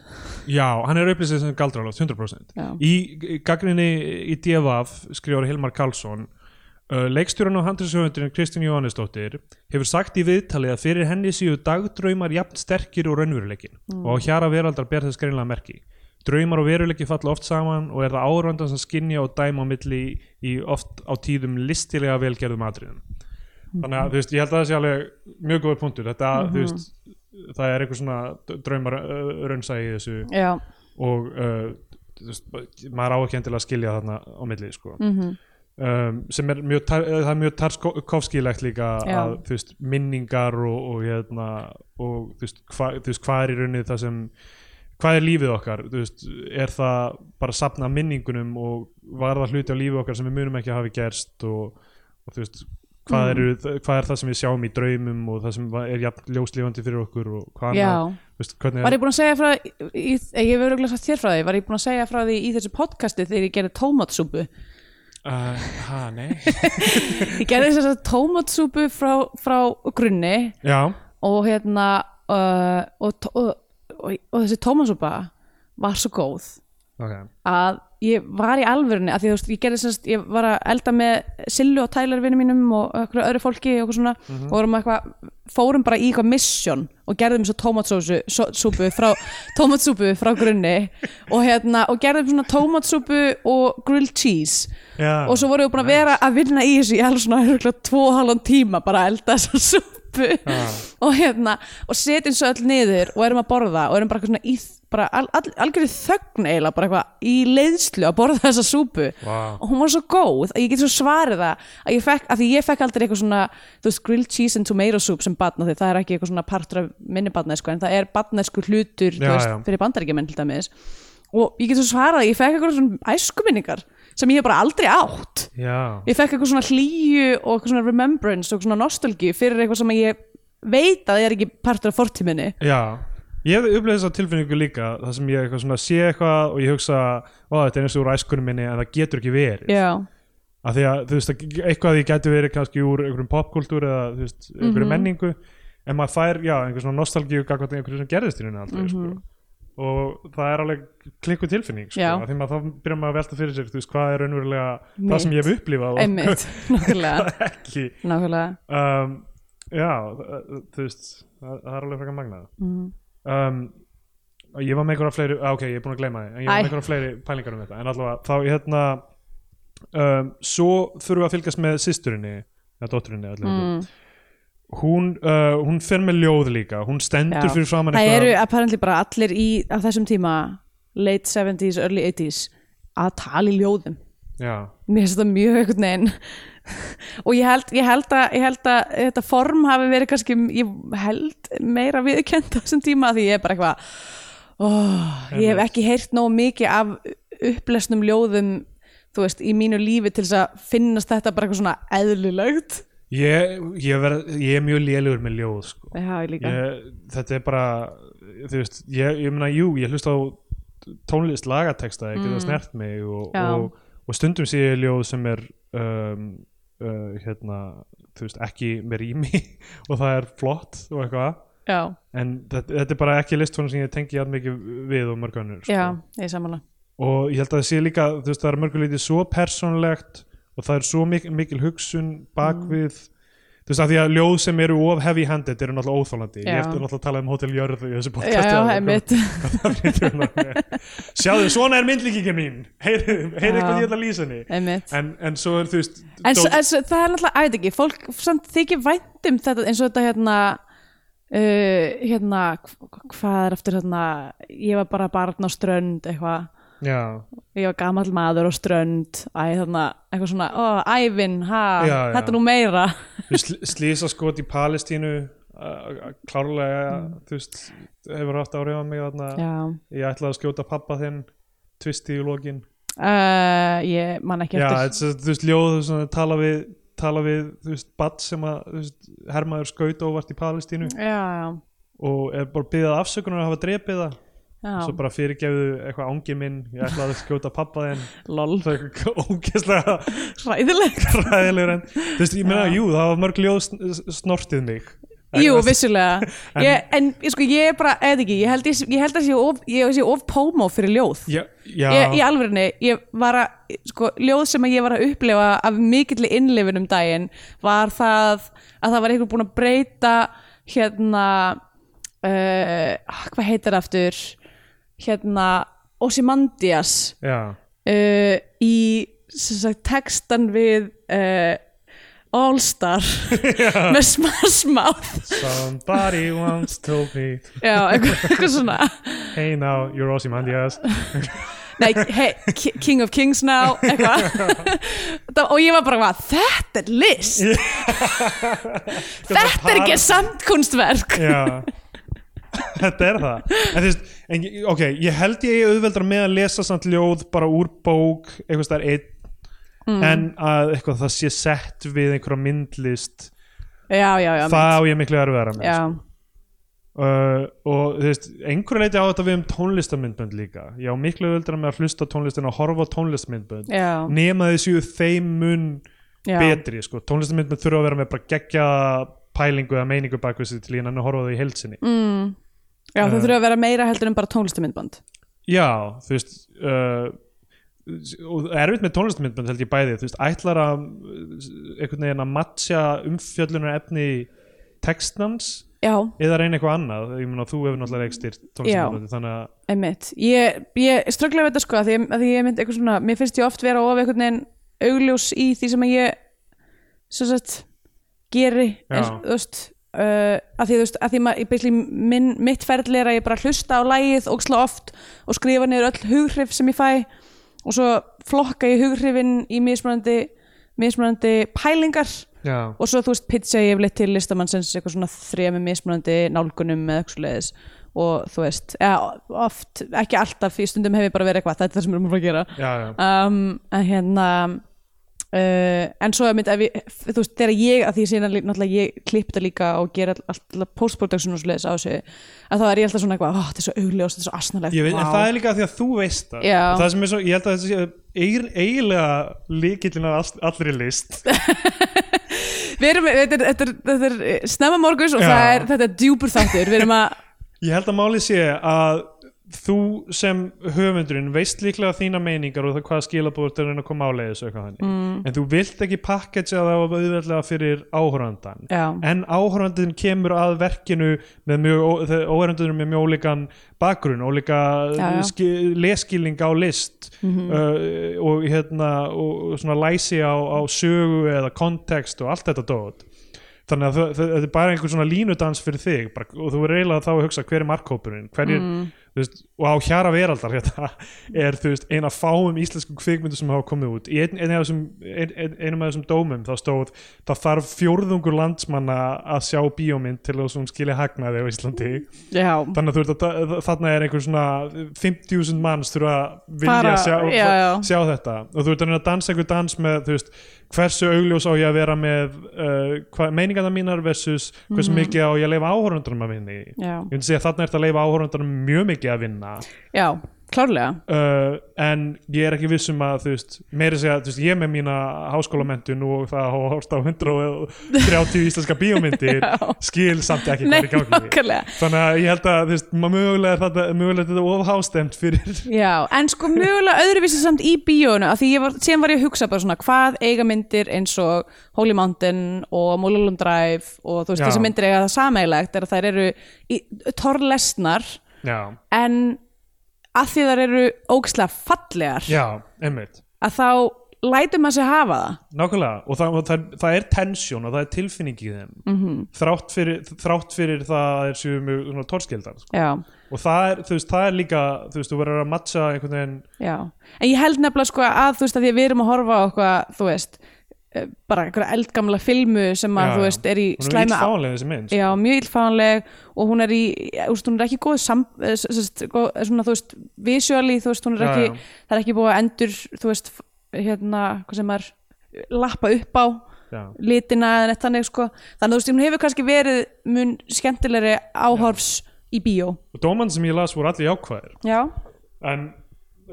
[SPEAKER 2] já, hann er upplýsið sem galdralótt, 100%
[SPEAKER 3] Já.
[SPEAKER 2] í gaggrinni í DFF skrifar Hilmar Karlsson uh, leikstjórun og handriðshöfundurinn Kristín Jóhannesdóttir hefur sagt í viðtalið að fyrir henni séu dagdraumar jafn sterkir og raunveruleikin
[SPEAKER 3] Mm.
[SPEAKER 2] og á hjara veraldar ber þess greinlega merki Draumar og veruleiki falla oft saman og er það áröndan sem skinja og dæma á milli í oft á tíðum listilega velgerðum atriðum.
[SPEAKER 3] Mm.
[SPEAKER 2] Þannig að þú veist, ég held að það sé alveg mjög góður punktur. Þetta,
[SPEAKER 3] Mhm.
[SPEAKER 2] þú veist, það er eitthvað svona d- draumar uh, raunsa í þessu
[SPEAKER 3] já,
[SPEAKER 2] og uh, þú veist, maður á ekki endilega að skilja þarna á milli sko.
[SPEAKER 3] mhm,
[SPEAKER 2] um, sem er mjög, tar, eh, það er mjög tarkovskilegt líka
[SPEAKER 3] Já.
[SPEAKER 2] að þú veist, minningar og, og, hérna, og þú veist, hva, þú veist, hvað er í rauninni það sem hvað er lífið okkar Þú veist, er það bara að sapna minningunum og var það hluti á lífið okkar sem við munum ekki að hafi gerst og, og þú veist
[SPEAKER 3] Mm.
[SPEAKER 2] Hvað, eru, hvað er það sem við sjáum í draumum og það sem va- er jafn ljóslifandi fyrir okkur og hvað
[SPEAKER 3] já
[SPEAKER 2] annað, þú veist, hvernig er
[SPEAKER 3] Var ég búin að segja frá því, í- ég hef örugglega sagt þér frá því, var ég búin að segja frá því í þessu podcasti þegar ég gerði tómatsúpu?
[SPEAKER 2] uh, ha, nei
[SPEAKER 3] Ég gerði þess að tómatsúpu frá, frá grunni
[SPEAKER 2] Já,
[SPEAKER 3] og hérna uh, og, tó- og, og, og þessi tómasúpa var svo góð
[SPEAKER 2] ok
[SPEAKER 3] að ég var í alvörunni að því þú veist, ég gerði sérst, ég var að elda með Sillu og Tyler vinnu mínum og einhverju öðru fólki og eitthvað svona og vorum eitthvað, fórum bara í eitthvað mission og gerðum svo tómatsósu svo- súpu frá, tómatsúpu frá grunni og hérna, og gerðum svona tómatsúpu og grilled cheese
[SPEAKER 2] Já,
[SPEAKER 3] og svo vorum við búin að vera að vinna í þessu ég held svona hörgla tvo og halvan tíma bara að elda þessa súpu og hérna, og setjum svo öll niður og erum að borða og erum bara eitthvað svona í bara al, al, algjörðu þögn eiginlega bara eitthvað í leiðslu að borða þessa súpu
[SPEAKER 2] Vá.
[SPEAKER 3] og hún var svo góð að ég get svo svarið það að ég fekk, að því ég fekk aldrei eitthvað svona þú veist, grilled cheese and tomato soup sem batna því það er ekki eitthvað svona partur af minni batnaðisku en það er batnaðisku hlutur þú
[SPEAKER 2] Já,
[SPEAKER 3] veist,
[SPEAKER 2] já.
[SPEAKER 3] fyrir bandaríkjumenn til dæmis og ég get svo svarað að ég fekk eitthvað svona æskuminningar sem ég hef bara aldrei átt
[SPEAKER 2] já,
[SPEAKER 3] ég fekk eitthvað svona hlýju og eitthvað svona remembrance og svona nostalgi fyrir eitthvað sem ég veit að er ekki partur af fortíminni
[SPEAKER 2] já Ég hef upplifað þessa tilfinningu líka þar sem ég eitthvað svona sé eitthvað og ég hugsa ó þetta er eins og úr æskunum minni en það getur ekki verið
[SPEAKER 3] já, Mhm.
[SPEAKER 2] af því að þú veist að- eitthvað að því getur verið kannski úr einhverjum popkultúr eða þú veist einhverjum menningu en maður fær, já, einhver svona nostalgíu gagvart einhverju sem gerðist í rauninni aldrei sko. og það er alveg klikku tilfinning sko,
[SPEAKER 3] Mhm. Já.
[SPEAKER 2] af því maður þá byrjar maður að velta fyrir sér þú veist, hvað er raunverulega það
[SPEAKER 3] Mitt.
[SPEAKER 2] sem ég hef upplifað og
[SPEAKER 3] einmitt, nákvæmlega
[SPEAKER 2] hvað ekki
[SPEAKER 3] nákvæmlega
[SPEAKER 2] um, já, það- þú veist það, það er alveg frekar magnað
[SPEAKER 3] Mhm.
[SPEAKER 2] um, ég var með einhverja fleiri ah, ok, ég er búin að gleyma því, en ég var
[SPEAKER 3] Æ.
[SPEAKER 2] með einhverja fleiri pælingar um þetta, en allavega þá hérna um, svo þurfum við að fylgjast með systurinni, eða dótturinni allir,
[SPEAKER 3] Mm.
[SPEAKER 2] hún, uh, hún fer með ljóð líka, hún stendur
[SPEAKER 3] Já.
[SPEAKER 2] fyrir framann
[SPEAKER 3] það eru apparently bara allir í á þessum tíma, late 70s, early 80s að tala í ljóðum
[SPEAKER 2] já,
[SPEAKER 3] mér finnst þetta mjög einhvern veginn og ég held, ég, held að, ég held að þetta form hafi verið kannski ég held meira viðkjönd á þessum tíma því ég er bara eitthvað oh, ég hef
[SPEAKER 2] Einmitt.
[SPEAKER 3] ekki heyrt nóg mikið af upplesnum ljóðum þú veist, í mínu lífi til þess að finnast þetta bara eitthvað svona eðlilegt
[SPEAKER 2] ég, ég, ver, ég er mjög lélugur með ljóð sko.
[SPEAKER 3] Já, ég líka
[SPEAKER 2] ég, þetta er bara þú veist, ég, ég meina jú, ég hlusta á tónlist lagatexta, ég geta snert mig og,
[SPEAKER 3] Mm. Já.
[SPEAKER 2] og, og stundum sé ég ljóð sem er um, uh, hérna, þú veist, ekki með rými og það er flott og eitthvað,
[SPEAKER 3] Já,
[SPEAKER 2] en þetta, þetta er bara ekki listfónum sem ég tengi jafn mikið við og mörg önnur sko.
[SPEAKER 3] já, ég er samanlega
[SPEAKER 2] og ég held að það sé líka þú veist, það er mörguleiti svo persónlegt og það er svo mikil, mikil hugsun
[SPEAKER 3] Mm.
[SPEAKER 2] bakvið þú veist að því að ljóð sem eru of heavy handed eru náttúrulega óþólandi ég
[SPEAKER 3] Já.
[SPEAKER 2] eftir náttúrulega að tala um Hotel Jörð í þessu
[SPEAKER 3] Já,
[SPEAKER 2] podcasti
[SPEAKER 3] já,
[SPEAKER 2] áður,
[SPEAKER 3] einmitt
[SPEAKER 2] hvað það flytur hún á mig. sjáðu, svona er myndlíkingin mín heyrðu heyrðu
[SPEAKER 3] Já.
[SPEAKER 2] hvað ég ætla að lýsa henni
[SPEAKER 3] Einmitt
[SPEAKER 2] en, en svo er þú veist
[SPEAKER 3] en, svo,
[SPEAKER 2] dót-
[SPEAKER 3] en svo, það er náttúrulega, að veit ekki fólk samt þykir vænt um þetta eins og þetta hérna uh, hérna, hv- hvað er aftur hérna ég var bara barn á strönd eitthvað,
[SPEAKER 2] já,
[SPEAKER 3] ég var gamall maður á strönd æ, þarna, eitthvað svona ó, ævin, ha,
[SPEAKER 2] Já, já.
[SPEAKER 3] þetta er nú meira
[SPEAKER 2] þú sl slýsa skot í Palestínu uh, klárlega þú veist, hefur haft áhrif á mig þarna,
[SPEAKER 3] Mm. já,
[SPEAKER 2] ég ætlaði að skjóta pappa þinn tvisti í lokin
[SPEAKER 3] uh, ég man ekki
[SPEAKER 2] Já,
[SPEAKER 3] eftir
[SPEAKER 2] þetta er, þú veist, ljóð svona, tala við, tala við, þú veist, badd sem að, þú veist, hermaður skaut óvart í Palestínu
[SPEAKER 3] já, já,
[SPEAKER 2] og er bara byggðað afsökunar að hafa drepið það
[SPEAKER 3] já,
[SPEAKER 2] svo bara fyrirgefðu eitthvað ángi minn ég ætlaði að skjóta pappa þinn
[SPEAKER 3] lol
[SPEAKER 2] það er eitthvað ógeðslega
[SPEAKER 3] ræðilegt,
[SPEAKER 2] ræðilegur en, þú veist, ég meina, jú, það var mörg ljóð sn- snortið mig
[SPEAKER 3] jú,
[SPEAKER 2] Þú veist,
[SPEAKER 3] vissulega ég, en ég sko, ég er bara, eða ekki ég held, ég, ég held að sé of, ég sé of pómó fyrir ljóð
[SPEAKER 2] Já, já,
[SPEAKER 3] ég, í alvörinni, ég var að sko, ljóð sem að ég var að upplifa af mikilli innlifin um daginn var það að það var einhver búinn að breyta hérna uh, hvað heitir það aftur hérna Osimandias
[SPEAKER 2] já,
[SPEAKER 3] uh, í sem sagt, textan við uh, All Star með Smash Mouth
[SPEAKER 2] somebody once told me
[SPEAKER 3] já, eitthvað, eitthvað svona
[SPEAKER 2] hey now, you're Ozymandias
[SPEAKER 3] Nei, hey, Ki- King of Kings now eitthvað Þá- og ég var bara hvað, þetta er list þetta er ekki samtkunstverk
[SPEAKER 2] Já Þetta er það en, þú veist, en, ég- Ok, ég held ég eigi auðveldar með að lesa samt ljóð bara úr bók eitthvað stær einn
[SPEAKER 3] Mm.
[SPEAKER 2] en að eitthvað það sé sett við einhverja myndlist
[SPEAKER 3] já, já, já,
[SPEAKER 2] það á ég miklu erfiðara með sko.
[SPEAKER 3] já,
[SPEAKER 2] uh, og þú veist, einhverju leiti á þetta við um tónlistamyndbönd líka ég á miklu auðveldara með að hlusta á tónlistin og horfa á tónlistmyndbönd
[SPEAKER 3] já,
[SPEAKER 2] nema þessu þeim mun
[SPEAKER 3] já.
[SPEAKER 2] betri sko. tónlistamyndbönd þurfa að vera með bara geggja pælingu eða meiningu bakvið sér til ég nenni að horfa á þau í heilsinni
[SPEAKER 3] Mm. já það
[SPEAKER 2] Eh.
[SPEAKER 3] þurfa að vera meira heldur en bara tónlistamindband
[SPEAKER 2] Já, þú veist uh, og erfitt með tónlistmyndbönd held ég bæði, þú veist, ætlar að uh, einhvern veginn að matja umfjöllunar efni textnans
[SPEAKER 3] já,
[SPEAKER 2] eða reyna eitthvað annað, ég meina þú hefur náttúrulega ekstyrt tónlistmyndbönd, þannig að
[SPEAKER 3] einmitt ég, ég strögglega við þetta sko að því, að því ég mynd eitthvað svona, mér finnst ég oft vera of einhvern veginn augljós í því sem að ég svo sagt geri
[SPEAKER 2] Já.
[SPEAKER 3] eins, þú veist uh, að því þú veist, að því maður, basically, minn, mitt ferli er að ég bara hlusta á lægið óksla oft og skrifa niður öll hughrif sem ég fæ og svo flokka ég hughrifin í mismunandi mismunandi pælingar
[SPEAKER 2] já,
[SPEAKER 3] og svo þú veist pitcha ég yfirleitt til listamannsins eitthvað svona þremi mismunandi nálgunum eða eitthvað svoleiðis og þú veist, eða oft, ekki alltaf í stundum hef ég bara verið eitthvað, þetta er það sem við erum að fara að gera
[SPEAKER 2] já, já,
[SPEAKER 3] um, en hérna Um, Uh, en svo er mynd, ef ég, þú veist, þegar ég að því síðan, lí- náttúrulega ég klippta líka og gera all- alltaf post-production og sliðis á þessu að þá er ég alltaf svona eitthvað, oh, þetta er svo augljóst, þetta er svo asnalegt
[SPEAKER 2] Ég veit, en
[SPEAKER 3] vá."
[SPEAKER 2] það er líka af því að þú veist það
[SPEAKER 3] Já.
[SPEAKER 2] það sem er svo, ég held að þetta sé eigin- eiginlega líkillin að allri list
[SPEAKER 3] Við erum, þetta er, þetta er, þetta er snemma morgus og
[SPEAKER 2] Já.
[SPEAKER 3] það er, þetta er djúpur þáttur við erum að,
[SPEAKER 2] Ég held að málið sé að þú sem höfundurinn veist líklega þína meiningar og það hvað skilabúður er að reyna að koma áleiðis og eitthvað þannig mm. en þú vilt ekki pakketja það og auðveldlega fyrir áhorfandan
[SPEAKER 3] já,
[SPEAKER 2] en áhorfandin kemur að verkinu með mjög, óhorfandin með mjög ólíkan bakgrunn, ólíka
[SPEAKER 3] Já, Mhm. já.
[SPEAKER 2] Ski, leskilning á list uh, og hérna og og svona læsi á, á sögu eða kontekst og allt þetta dót þannig að þau- þau- þetta er bara einhver svona línudans fyrir þig bara, og þú er eiginlega þá að hugsa hver er markkópurinn hverjir,
[SPEAKER 3] Mhm.
[SPEAKER 2] þú veist, og á hjara veraldar hérna, er þú veist eina fáum íslensku kvikmyndu sem hafa komið út í ein, ein, ein, ein, ein, einum af þessum dómum þá stóð, það þarf fjórðungur landsmanna að sjá bíómynd til þess að hún skilja hagnaði á Íslandi
[SPEAKER 3] já
[SPEAKER 2] þannig að þú ert að ta- þarna er einhver svona 50.000 manns þurfa að vilja
[SPEAKER 3] Fara-
[SPEAKER 2] sjá,
[SPEAKER 3] já, já.
[SPEAKER 2] sjá þetta og þú ert að reyna að dansa einhver dans með þú veist, hversu augljós á ég að vera með uh, hva, meiningarna mínar versus hversu
[SPEAKER 3] Mhm.
[SPEAKER 2] mikið á ég að leifa áhorundunum að vinni ég
[SPEAKER 3] já,
[SPEAKER 2] myndi segja að þarna ert að leifa áhorundunum mjög mikið að vinna
[SPEAKER 3] já, klárlega
[SPEAKER 2] uh, en ég er ekki viss um að þú veist, meiri segja, þú veist, ég með mína háskólamentun og það að hafa hort á 130 íslenska bíómyndir skil samt ekki hvað
[SPEAKER 3] Nei,
[SPEAKER 2] er í gangi
[SPEAKER 3] nákvæmlega
[SPEAKER 2] Þannig að ég held að þú veist, maður mögulega er þetta, mögulega er þetta ofhástemt fyrir
[SPEAKER 3] Já, en sko mjögulega öðruvísi samt í bíónu af því ég var, síðan var ég að hugsa bara svona hvað eiga myndir eins og Holy Mountain og Mulholland Drive og þú veist
[SPEAKER 2] Já.
[SPEAKER 3] þessi myndir eiga það sameigilegt er að þær eru í, torlesnar
[SPEAKER 2] Já,
[SPEAKER 3] en að því þær eru ógislega fallegar
[SPEAKER 2] já, einmitt
[SPEAKER 3] að þá lætur maður sig hafa það
[SPEAKER 2] Nákvæmlega, og það, og það, það er tensjón og það er tilfinning í þeim -hmm.
[SPEAKER 3] Mhm.
[SPEAKER 2] þrátt, fyrir, þrátt fyrir það er séu mjög torskildar sko.
[SPEAKER 3] Já,
[SPEAKER 2] og það er, þú veist, það er líka þú veist, þú verður að matcha einhvern veginn
[SPEAKER 3] já En ég held nefnilega sko að þú veist að því að við erum að horfa á eitthvað, þú veist eh, bara einhverja eldgamla filmu sem að
[SPEAKER 2] Já,
[SPEAKER 3] þú
[SPEAKER 2] já.
[SPEAKER 3] veist er í
[SPEAKER 2] hún er
[SPEAKER 3] slæma
[SPEAKER 2] ítfáanlega þessi mynd sko.
[SPEAKER 3] Já, mjög illfáanleg og hún er í, úst, hún er ekki góð, sam, eh, s- s- s- góð svona, þú veist, visuali, þú veist, hún er
[SPEAKER 2] Já,
[SPEAKER 3] ekki,
[SPEAKER 2] já.
[SPEAKER 3] það er ekki búið að endur, þú veist, f- hérna, hvað sem er, lappa upp á
[SPEAKER 2] Já.
[SPEAKER 3] litina en eitt þannig, sko. Þannig, þú veist, hún hefur kannski verið mun skemmtilegri áhorfs í bíó.
[SPEAKER 2] og dóman sem ég las voru allir jákvæðir
[SPEAKER 3] Já,
[SPEAKER 2] en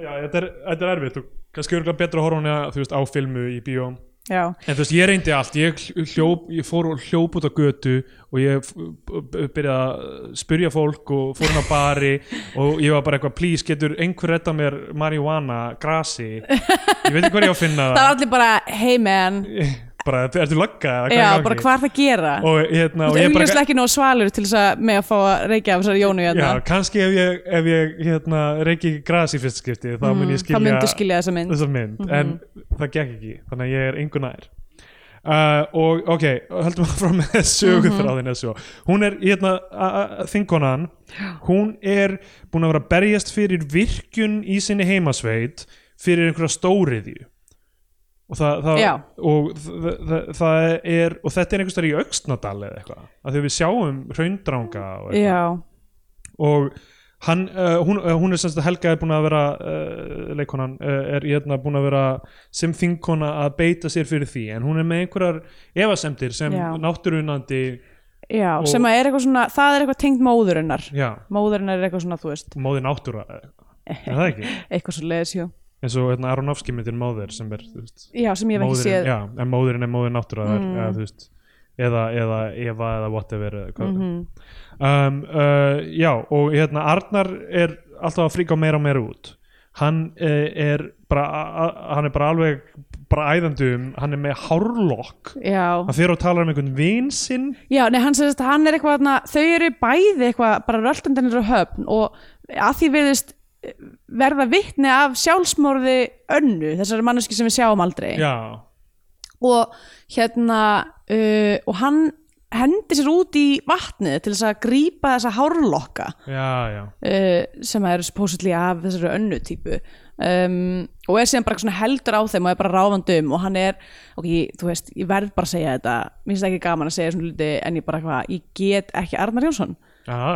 [SPEAKER 2] já, þetta, er, þetta er erfitt og kannski örgulega betra að horfa hún eða, þú veist, á filmu í bíóm
[SPEAKER 3] já,
[SPEAKER 2] En þú veist, ég reyndi allt, ég, hl- hljóp, ég fór og hljóp út á götu og ég f- b- byrjaði að spyrja fólk og fór hann á bari og ég var bara eitthvað, please, getur einhver retta mér marihuana, grasi, ég veit ekki hvað ég á að finna
[SPEAKER 3] það er allir bara, hey man,
[SPEAKER 2] bara, ertu lagga?
[SPEAKER 3] já, bara hvað er það að gera?
[SPEAKER 2] Og, hérna,
[SPEAKER 3] Þú
[SPEAKER 2] og
[SPEAKER 3] veist,
[SPEAKER 2] ég bara,
[SPEAKER 3] augljóslega ekki nóg svalur til þess að með að fá að reykja af þessari jónu
[SPEAKER 2] já,
[SPEAKER 3] hérna.
[SPEAKER 2] kannski ef ég, ef ég hérna, reyki grasi fyrst skipti, þá mun ég
[SPEAKER 3] Það
[SPEAKER 2] skilja,
[SPEAKER 3] myndu Mm, skilja þessa mynd. Mhm.
[SPEAKER 2] þessa mynd en það gekk ekki, þannig að ég er engu nær uh, og ok höldum að frá með
[SPEAKER 3] Mhm.
[SPEAKER 2] sögutráðin mm -hmm. hún er, hérna, þinkonan hún er búin að vera að berjast fyrir virkjun í sinni heimasveit fyrir einhverja stóriðju og það, það,
[SPEAKER 3] Já.
[SPEAKER 2] og það, það, það er og þetta er einhvers þar í auksnadal eða eitthvað að því við sjáum hraundranga og eitthvað
[SPEAKER 3] Já,
[SPEAKER 2] og hann, uh, hún, uh, hún er semst að Helga er búin að vera uh, leikonan uh, er hérna búin að vera sem þingkona að beita sér fyrir því en hún er með einhverjar efasemdir sem
[SPEAKER 3] Já.
[SPEAKER 2] náttúrunandi
[SPEAKER 3] Já, sem að er eitthvað svona, það er eitthvað tengt móðurinnar
[SPEAKER 2] já,
[SPEAKER 3] Móðurinnar er eitthvað svona, þú veist,
[SPEAKER 2] móði náttúra eða eitthvað. er það ekki?
[SPEAKER 3] eitthvað svo leiðis, já
[SPEAKER 2] eins og hérna, Aronofsky myndir móðir sem er þú veist,
[SPEAKER 3] Já, sem ég hef ekki
[SPEAKER 2] móðirin,
[SPEAKER 3] séð
[SPEAKER 2] já, en móðurinn er móðir náttúra mm. eða, þú veist, eða, eða Eva eða whatever eða hvað
[SPEAKER 3] Mhm.
[SPEAKER 2] mm um, uh, já, og hérna Arnar er alltaf að fríka meira og meira út hann uh, er bara a- a- hann er bara alveg bara æðandi um, hann er með hárlokk
[SPEAKER 3] Já,
[SPEAKER 2] hann fyrir og talar um einhvern vin sinn
[SPEAKER 3] já, nei, hann segist að hann er eitthvað þarna, þau eru bæði eitthvað, bara röltandinn eru höfn og að því virðist eh, verða vitni af sjálfsmorði önnu, þessari manneski sem við sjáum aldrei
[SPEAKER 2] já,
[SPEAKER 3] og hérna uh, og hann hendi sér út í vatnið til þess að grípa þessa hárlokka
[SPEAKER 2] já, já
[SPEAKER 3] uh, sem eru supposedly af þessari önnu típu um, og er síðan bara svona heldur á þeim og er bara ráfandi um og hann er, ok, ég, þú veist, ég verð bara að segja þetta mér finnst ekki gaman að segja svona hluti en ég bara hvað, ég get ekki Arnar Jónsson
[SPEAKER 2] Aha.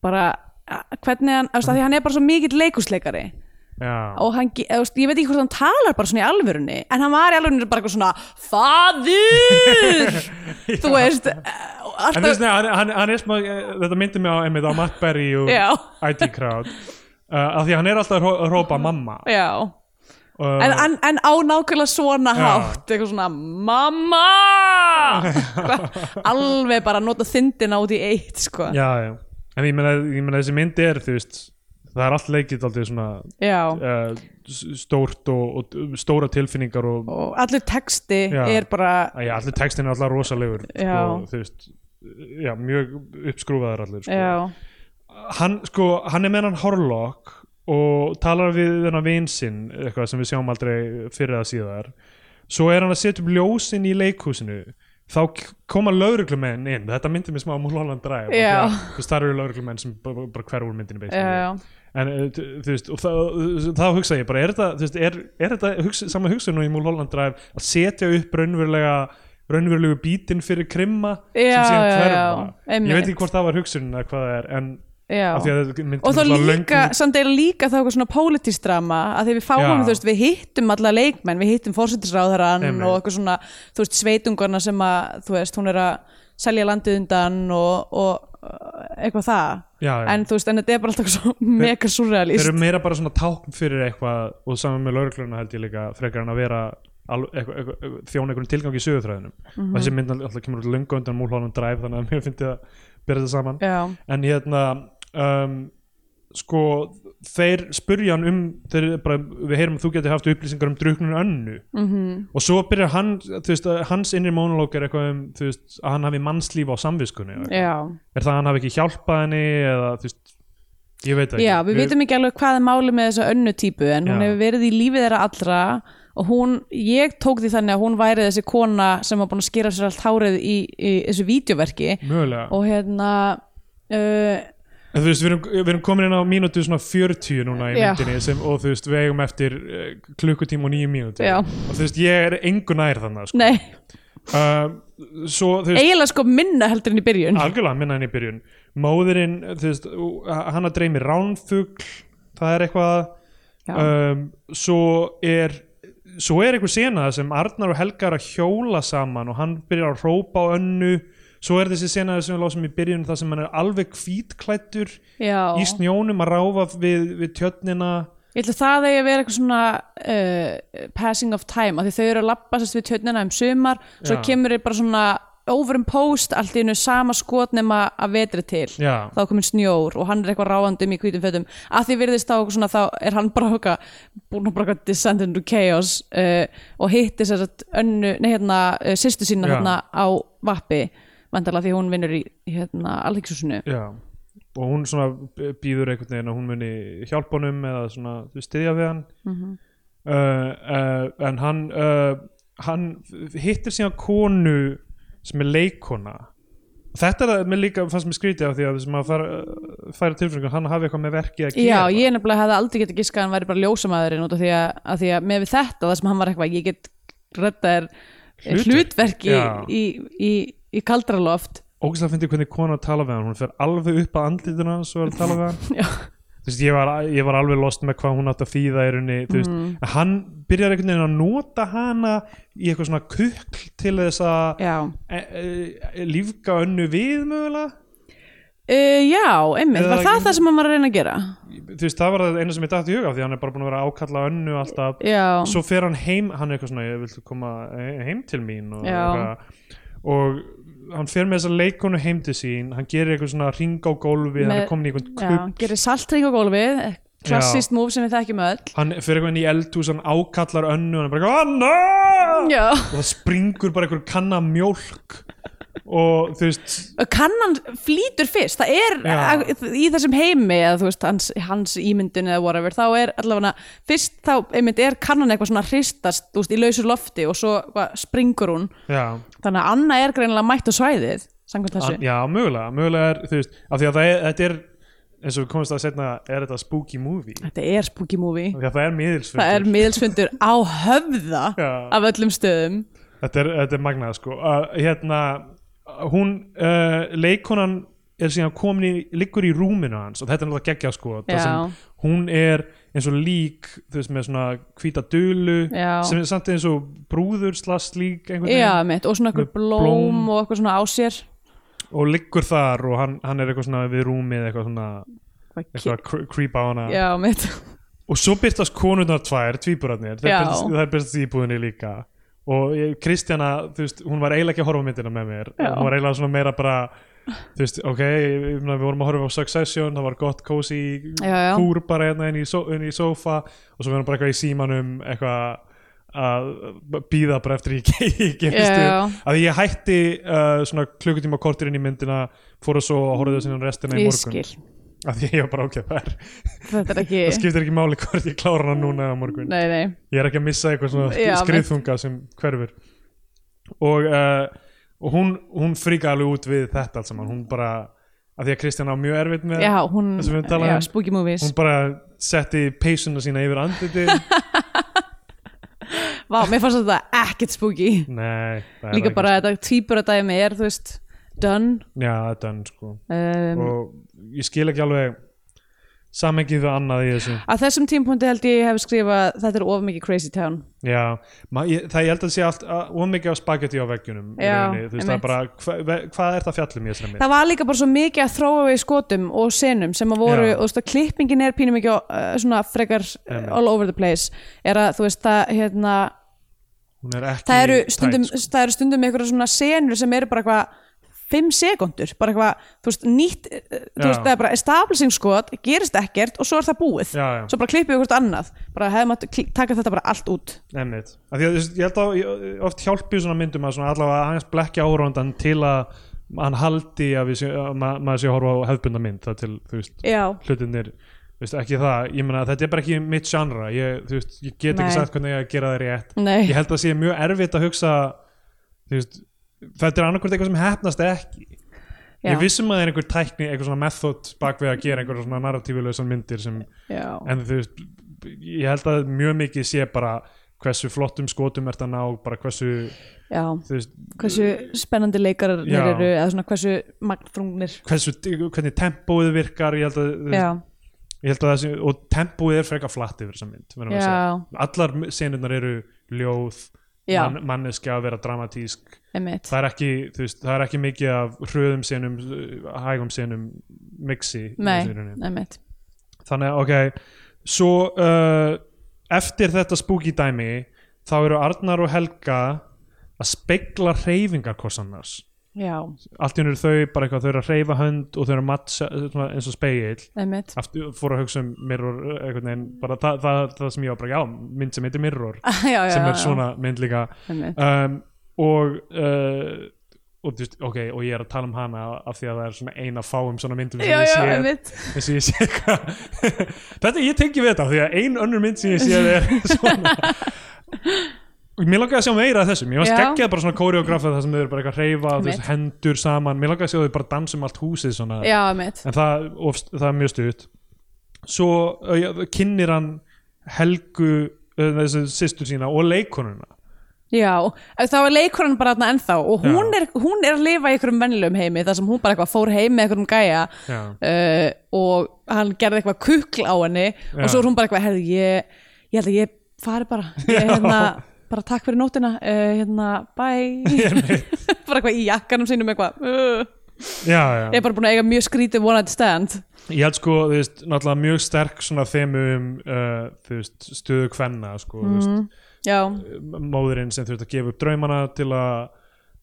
[SPEAKER 3] bara, a- hvernig hann, þú veist, af því hann er bara svo mikill leikusleikari
[SPEAKER 2] Já.
[SPEAKER 3] og hann, ge- eða, þú veist, ég veit ekki hvort hann talar bara svona í alvörunni en hann var í alvörunni bara eitthvað svona faður þú veist eh,
[SPEAKER 2] En þess
[SPEAKER 3] alltaf,
[SPEAKER 2] vegna, hann, hann, hann er smá, eh, þetta myndi mig á, einmitt, á Matt Berry og
[SPEAKER 3] Já.
[SPEAKER 2] ID Crowd uh, af því að hann er alltaf að hró- að hrópa mamma
[SPEAKER 3] já
[SPEAKER 2] uh,
[SPEAKER 3] en, en, en á nákvæmlega svona
[SPEAKER 2] Já.
[SPEAKER 3] hátt eitthvað svona mamma alveg bara nota þyndin út í eitt sko
[SPEAKER 2] já, já. en ég meina, ég meina þessi myndi er þú veist, það er allt leikið alltaf svona
[SPEAKER 3] Já.
[SPEAKER 2] uh, stórt og, og stóra tilfinningar og
[SPEAKER 3] og allur texti
[SPEAKER 2] Já.
[SPEAKER 3] er bara
[SPEAKER 2] já, allir textin er alltaf rosalegur
[SPEAKER 3] Já.
[SPEAKER 2] sko, þú veist, já, mjög uppskrúfaðar allir sko.
[SPEAKER 3] já,
[SPEAKER 2] hann, sko, hann er með hann Horlock og talar við þennan vin sinn eitthvað sem við sjáum aldrei fyrir að síðar svo er hann að setja upp ljósin í leikhúsinu þá k- koma lauruglumenn inn þetta myndi mig smá á Mulholland Drive
[SPEAKER 3] Já.
[SPEAKER 2] það eru lauruglumenn sem bara, bara hverfur myndinu
[SPEAKER 3] já, já.
[SPEAKER 2] en uh, þú þú veist og það, þá hugsa ég bara er þetta, þú veist, er, er þetta hugsa, sama hugsun og í Mulholland Drive að setja upp raunverulega raunverulegu bítinn fyrir krimma
[SPEAKER 3] Já,
[SPEAKER 2] sem síðan
[SPEAKER 3] já,
[SPEAKER 2] hverfa
[SPEAKER 3] já,
[SPEAKER 2] ég veit
[SPEAKER 3] einmitt.
[SPEAKER 2] ekki hvort það var hugsunin eða hvað það er en
[SPEAKER 3] Já.
[SPEAKER 2] af því að þetta myndi
[SPEAKER 3] og þá
[SPEAKER 2] náttúrulega
[SPEAKER 3] líka,
[SPEAKER 2] löng-
[SPEAKER 3] samt eða líka þá eitthvað svona pólitístrama að því við fáum,
[SPEAKER 2] Já.
[SPEAKER 3] þú veist, við hittum alla leikmenn við hittum fórsetisráðarann
[SPEAKER 2] Einmitt.
[SPEAKER 3] og eitthvað svona, þú veist, sveitungarna sem að þú veist, hún er að selja landið undan og, og uh, eitthvað það,
[SPEAKER 2] já, já.
[SPEAKER 3] en þú veist, en þetta er bara alltaf svo mega
[SPEAKER 2] þeir
[SPEAKER 3] surrealist
[SPEAKER 2] eru meira bara svona tákn fyrir eitthvað og saman með laurugluna held ég líka frekar en að vera al- eitthvað- eitthvað- eitthvað- þjóna einhverjum tilgang í sögutræðinum
[SPEAKER 3] Mhm.
[SPEAKER 2] og þessi mynd alltaf kemur út löngu undan múlhólanum dræf þannig að mér finnst ég að byrja þetta saman
[SPEAKER 3] já,
[SPEAKER 2] en hérna um, sko þeir spurja hann um þeir bara, við heyrum að þú getur haft upplýsingar um druknun önnu
[SPEAKER 3] Mhm.
[SPEAKER 2] -hmm. og svo byrjar hann þú veist, að hans innri monolog er eitthvað um þú veist, að hann hafi mannslíf á samviskunni eða eitthvað.
[SPEAKER 3] já,
[SPEAKER 2] er það að hann hafi ekki hjálpað henni eða þú veist ég veit það
[SPEAKER 3] já
[SPEAKER 2] ekki
[SPEAKER 3] við vitum ekki alveg hvað er máli með þessa önnu típu en hún
[SPEAKER 2] Já.
[SPEAKER 3] hefur verið í lífið þeirra allra og hún, ég tók því þannig að hún væri þessi kona sem var búin að skera af sér allt hárið í, í þessu vídeoverki
[SPEAKER 2] mögulega
[SPEAKER 3] og hérna uh,
[SPEAKER 2] En þú veist, við erum, við erum komin inn á mínútu svona 40 núna í
[SPEAKER 3] Já.
[SPEAKER 2] myndinni sem, og þú veist, við eigum eftir uh, klukkutíma og nýju mínútu
[SPEAKER 3] Já.
[SPEAKER 2] og þú veist, ég er engu nær þannig sko.
[SPEAKER 3] nei,
[SPEAKER 2] uh, svo, þú veist,
[SPEAKER 3] eiginlega sko minna heldur en í byrjun
[SPEAKER 2] algjörlega minna henni í byrjun móðurinn, þú veist, ú- hana dreymir ránfugl, það er eitthvað
[SPEAKER 3] Já.
[SPEAKER 2] um, svo er svo er einhver sena sem Arnar og Helga er að hjóla saman og hann byrjar að hrópa á önnu svo er þessi sena sem við lásum í byrjun það sem hann er alveg hvítklættur
[SPEAKER 3] já,
[SPEAKER 2] í snjónum að ráfa við, við tjötnina
[SPEAKER 3] ég ætla það eigi að vera eitthvað svona uh, passing of time, af því þau eru að labba sérst við tjötnina um sumar, svo
[SPEAKER 2] Já.
[SPEAKER 3] kemur þeir bara svona overimposed allt í einu sama skot nema að vetri til
[SPEAKER 2] Já.
[SPEAKER 3] þá er komin snjór og hann er eitthvað ráðandi um í hvítum fötum að því virðist þá eitthvað svona þá er hann bara eitthvað búin að bara eitthvað descend into chaos uh, og hitti sér að önnu, nei hérna uh, sýstu sína
[SPEAKER 2] Já.
[SPEAKER 3] hérna á vappi vandalega því hún vinnur í hérna alþingshúsinu
[SPEAKER 2] Já. og hún svona b- býður einhvern veginn að hún muni hjálpa honum eða svona þú veist, styðja við hann
[SPEAKER 3] Mhm.
[SPEAKER 2] uh, uh, en hann uh, hann hittir síðan konu sem er leikona þetta er það mér líka fannst mér skrítið af því að þessum að fara, færa tilfengur hann hafi eitthvað með verkið að
[SPEAKER 3] Já,
[SPEAKER 2] gera
[SPEAKER 3] ég nefnilega hefði aldrei getið giskað að hann væri bara ljósamaðurinn út af því að, að því að með við þetta, það sem hann var eitthvað, ég get redda er
[SPEAKER 2] Hlutverk.
[SPEAKER 3] hlutverki
[SPEAKER 2] Já.
[SPEAKER 3] í, í, í kaldraloft
[SPEAKER 2] ógæslega fyndi hvernig kona tala við hann hún fer alveg upp að andlítina svo er að tala við hann
[SPEAKER 3] Já,
[SPEAKER 2] Þú veist, ég, var, ég var alveg lost með hvað hún átt að þýða í rauninni, þú veist,
[SPEAKER 3] Mm.
[SPEAKER 2] en hann byrjar einhvern veginn að nota hana í eitthvað svona kukl til þess að
[SPEAKER 3] já,
[SPEAKER 2] e, e, lífga önnu við mögulega
[SPEAKER 3] uh, já einmitt,
[SPEAKER 2] Eða-
[SPEAKER 3] var það það sem hann var að reyna að gera?
[SPEAKER 2] þú veist, það var það eina sem ég dætti í huga því hann er bara búin að vera að ákalla önnu alltaf
[SPEAKER 3] Já,
[SPEAKER 2] svo fer hann heim, hann er eitthvað svona ég vil koma heim til mín og,
[SPEAKER 3] Já.
[SPEAKER 2] eitthvað. og hann fer með þessa leikonu heim til sín hann gerir eitthvað svona ring á gólfi hann
[SPEAKER 3] Með-
[SPEAKER 2] er komin í einhvern
[SPEAKER 3] já,
[SPEAKER 2] kukl
[SPEAKER 3] gerir saltring á gólfið, klassist move sem við þekkjum öll
[SPEAKER 2] hann fer eitthvað inn í eldhús, hann ákallar önnu hann er bara, Anna!
[SPEAKER 3] Já,
[SPEAKER 2] og það springur bara einhver kanna af mjólk og þú veist
[SPEAKER 3] kannan flýtur fyrst það er
[SPEAKER 2] Já.
[SPEAKER 3] í þessum heimi eða þú veist hans, hans ímyndun eða whatever þá er allavega fyrst þá einmitt er kannan eitthvað svona hristast þú veist í lausu lofti og svo hvað, springur hún
[SPEAKER 2] já,
[SPEAKER 3] þannig að Anna er greinilega mætt á svæðið samkvæmt þessu
[SPEAKER 2] an, já mögulega, mögulega er þú veist, af því að það er, þetta er eins og við komumst að setna, er þetta spooky movie af
[SPEAKER 3] þetta er spooky movie
[SPEAKER 2] því að það er miðilsfundur
[SPEAKER 3] það er miðelsfundur á höfða
[SPEAKER 2] Já.
[SPEAKER 3] af öllum stöðum
[SPEAKER 2] þetta, er, þetta er magnað sko uh, hérna, hún uh, leikonan eh, er síðan komin í, liggur í rúminu hans og þetta er náttúrulega geggja sko það sem
[SPEAKER 3] já,
[SPEAKER 2] hún er eins og lík þú veist með svona hvíta dulu
[SPEAKER 3] Já.
[SPEAKER 2] sem er samt eins og brúður slast lík einhvern
[SPEAKER 3] já,
[SPEAKER 2] veginn
[SPEAKER 3] mitt og svona
[SPEAKER 2] Með
[SPEAKER 3] eitthvað blóm,
[SPEAKER 2] blóm.
[SPEAKER 3] og eitthvað svona á sér
[SPEAKER 2] og liggur þar og hann, hann er eitthvað svona við rúmið eitthvað svona
[SPEAKER 3] Eitthvað
[SPEAKER 2] eitthvað að cre- creep á hana
[SPEAKER 3] ki- já, mitt
[SPEAKER 2] og svo byrtast konurnar tvær, tvíburarnir
[SPEAKER 3] Já.
[SPEAKER 2] það byrtast í íbúðinni líka og ég- Kristjana, þú veist, hún var eiginlega ekki að horfa á myndina með mér,
[SPEAKER 3] Já.
[SPEAKER 2] hún var eiginlega svona meira bara þú veist, ok, ég meina, við vorum að horfa á Succession, það var gott cozy
[SPEAKER 3] Já, já.
[SPEAKER 2] kúr bara hérna inn í, so, inn í sofa og svo verðum bara eitthvað í símanum eitthvað að býða bara eftir ég gerist
[SPEAKER 3] Já, já.
[SPEAKER 2] að ég hætti uh, svona klukkutíma kortir inn í myndina fór að svo að horfa þessi restina í
[SPEAKER 3] ég
[SPEAKER 2] morgun
[SPEAKER 3] skil,
[SPEAKER 2] að ég var bara ok, það er
[SPEAKER 3] þetta er ekki
[SPEAKER 2] það skiptir ekki máli hvort ég klára hana núna á morgun
[SPEAKER 3] nei, nei,
[SPEAKER 2] ég er ekki að missa eitthvað svona
[SPEAKER 3] Já,
[SPEAKER 2] skriðþunga sem hverfur og, uh, og hún, hún fríka alveg út við þetta allt saman hún bara, að því að Kristján á mjög erfitt með
[SPEAKER 3] já, hún
[SPEAKER 2] það sem við talaðum
[SPEAKER 3] já,
[SPEAKER 2] um.
[SPEAKER 3] spooky movies,
[SPEAKER 2] hún bara setti peysuna sína yfir andliti
[SPEAKER 3] vá, mér fannst þetta ekkert spooky,
[SPEAKER 2] nei, það er
[SPEAKER 3] líka
[SPEAKER 2] ekki-
[SPEAKER 3] bara þetta týpur að dæmi er, þú veist, done
[SPEAKER 2] já, þetta er sko
[SPEAKER 3] um,
[SPEAKER 2] og ég skil ekki alveg samengið við annað í þessu
[SPEAKER 3] að þessum tímpunkti held ég hef skrifað þetta er of mikið crazy town
[SPEAKER 2] Já, ma, ég, það ég held að sé allt að- of mikið á spagetti á veggjunum í
[SPEAKER 3] Já,
[SPEAKER 2] rauninni. þú veist það er
[SPEAKER 3] einmitt.
[SPEAKER 2] bara, hva, ve- hvað er það fjallum í þessari mynd?
[SPEAKER 3] það var líka bara svo mikið að þróa við skotum og senum sem að voru,
[SPEAKER 2] Já.
[SPEAKER 3] og þú veist að klippingin er pínum ekki uh, svona frekar uh,
[SPEAKER 2] Einmitt.
[SPEAKER 3] all over the place er að þú veist það hérna,
[SPEAKER 2] Hún er ekki
[SPEAKER 3] það eru
[SPEAKER 2] tæt,
[SPEAKER 3] stundum,
[SPEAKER 2] sko.
[SPEAKER 3] það eru stundum einhverja svona senur sem eru bara eitthvað 5 sekundur, bara eitthvað, þú veist, nýtt uh, þú
[SPEAKER 2] Já.
[SPEAKER 3] veist, það er bara establishing skot gerist ekkert og svo er það búið
[SPEAKER 2] Já, já.
[SPEAKER 3] svo bara klippið við hvort annað, bara hefðum að taka þetta bara allt út
[SPEAKER 2] Einmitt. Af því að, þú veist, ég held að ég- oft hjálpi svona myndum að svona allavega hans blekja áhróndan til að hann haldi að, við sé, að ma maður sé að horfa á hefðbunda mynd það til, þú veist,
[SPEAKER 3] já,
[SPEAKER 2] hlutinir þú veist, ekki það, ég meina þetta er bara ekki mitt genre, ég, þú veist, ég get
[SPEAKER 3] Nei.
[SPEAKER 2] ekki sagt hvernig ég á að gera það rétt
[SPEAKER 3] nei,
[SPEAKER 2] ég held að sé mjög erfitt að hugsa þú veist, þetta er annarkvæmt eitthvað sem hefnast eða ekki
[SPEAKER 3] já,
[SPEAKER 2] ég vissum að það er einhver tækni, einhver svona method bak við að gera einhver svona narratífulausan myndir sem,
[SPEAKER 3] já.
[SPEAKER 2] en þú veist ég held að mjög mikið sé bara hversu flottum skotum ert að ná bara hversu,
[SPEAKER 3] já.
[SPEAKER 2] þú veist,
[SPEAKER 3] hversu spennandi leikarar
[SPEAKER 2] Já.
[SPEAKER 3] eru eða svona hversu magnfrungnir
[SPEAKER 2] hversu hvernig tempóið virkar, ég held að, þú veist,
[SPEAKER 3] já,
[SPEAKER 2] ég held að það sé, og tempóið er frekar flatt yfir þessa mynd, verðum við að segja
[SPEAKER 3] já,
[SPEAKER 2] allar senurnar eru ljóð
[SPEAKER 3] Já.
[SPEAKER 2] man, manneskja að vera dramatísk
[SPEAKER 3] einmitt
[SPEAKER 2] það er ekki, þú veist, það er ekki mikið af hröðum senum, uh, hægum senum mixi í
[SPEAKER 3] nei,
[SPEAKER 2] þessu rauninni.
[SPEAKER 3] einmitt
[SPEAKER 2] þannig að ok svo uh, eftir þetta spooky dæmi þá eru Arnar og Helga að spegla hreyfingar hvors annars
[SPEAKER 3] já,
[SPEAKER 2] allt í hennu eru þau bara eitthvað, þau eru að hreyfa hönd og þau eru að matcha svona eins og spegill
[SPEAKER 3] einmitt
[SPEAKER 2] aftur fór að hugsa um mirror einhvern veginn, bara það, það, það sem ég var bara já, mynd sem heitir mirror
[SPEAKER 3] já, já,
[SPEAKER 2] sem
[SPEAKER 3] já,
[SPEAKER 2] er svona mynd líka
[SPEAKER 3] einmitt.
[SPEAKER 2] um, og uh, og, þú veist, okay, og ég er að tala um hana af því að það er svona eina fáum svona myndum sem
[SPEAKER 3] já,
[SPEAKER 2] ég
[SPEAKER 3] já,
[SPEAKER 2] sé,
[SPEAKER 3] einmitt
[SPEAKER 2] eins og ég sé eitthvað þetta ég tengi við þetta af því að ein önnur mynd sem ég sé er svona Og Mér langaði að sjá meira af þessu, mér varst
[SPEAKER 3] Já.
[SPEAKER 2] geggjað bara svona koreografað það sem þau eru bara eitthvað að hreyfa þú veist,
[SPEAKER 3] Einmitt.
[SPEAKER 2] hendur saman, mér langaði að sjá þau bara dansa um allt húsið svona
[SPEAKER 3] já, einmitt
[SPEAKER 2] en það, of, það er mjög stuðt svo uh, ja, kynnir hann Helgu uh, þessu systur sína og leikonuna
[SPEAKER 3] já, þá er leikonan bara þarna ennþá og hún
[SPEAKER 2] Já.
[SPEAKER 3] er, hún er að lifa í einhverjum vennilegum heimi þar sem hún bara eitthvað fór heim með einhverjum gæja
[SPEAKER 2] Já.
[SPEAKER 3] uh, og hann gerði eitthvað kukl á henni
[SPEAKER 2] Já.
[SPEAKER 3] og svo er hún bara eitthvað, herði, ég ég held að ég fari bara ég, hérna, bara takk fyrir nótina uh, hérna, bye bara eitthvað í jakkanum sínum eitthvað uh,
[SPEAKER 2] já, já.
[SPEAKER 3] ég er bara búin að eiga mjög skrítið one night stand
[SPEAKER 2] Ég held sko, þú veist, náttúrulega mjög sterk svona þemu um, uh, þú veist, stöðu kvenna, sko,
[SPEAKER 3] Mhm.
[SPEAKER 2] mm.
[SPEAKER 3] já,
[SPEAKER 2] veist, móðurinn sem þurft að gefa upp draumana til að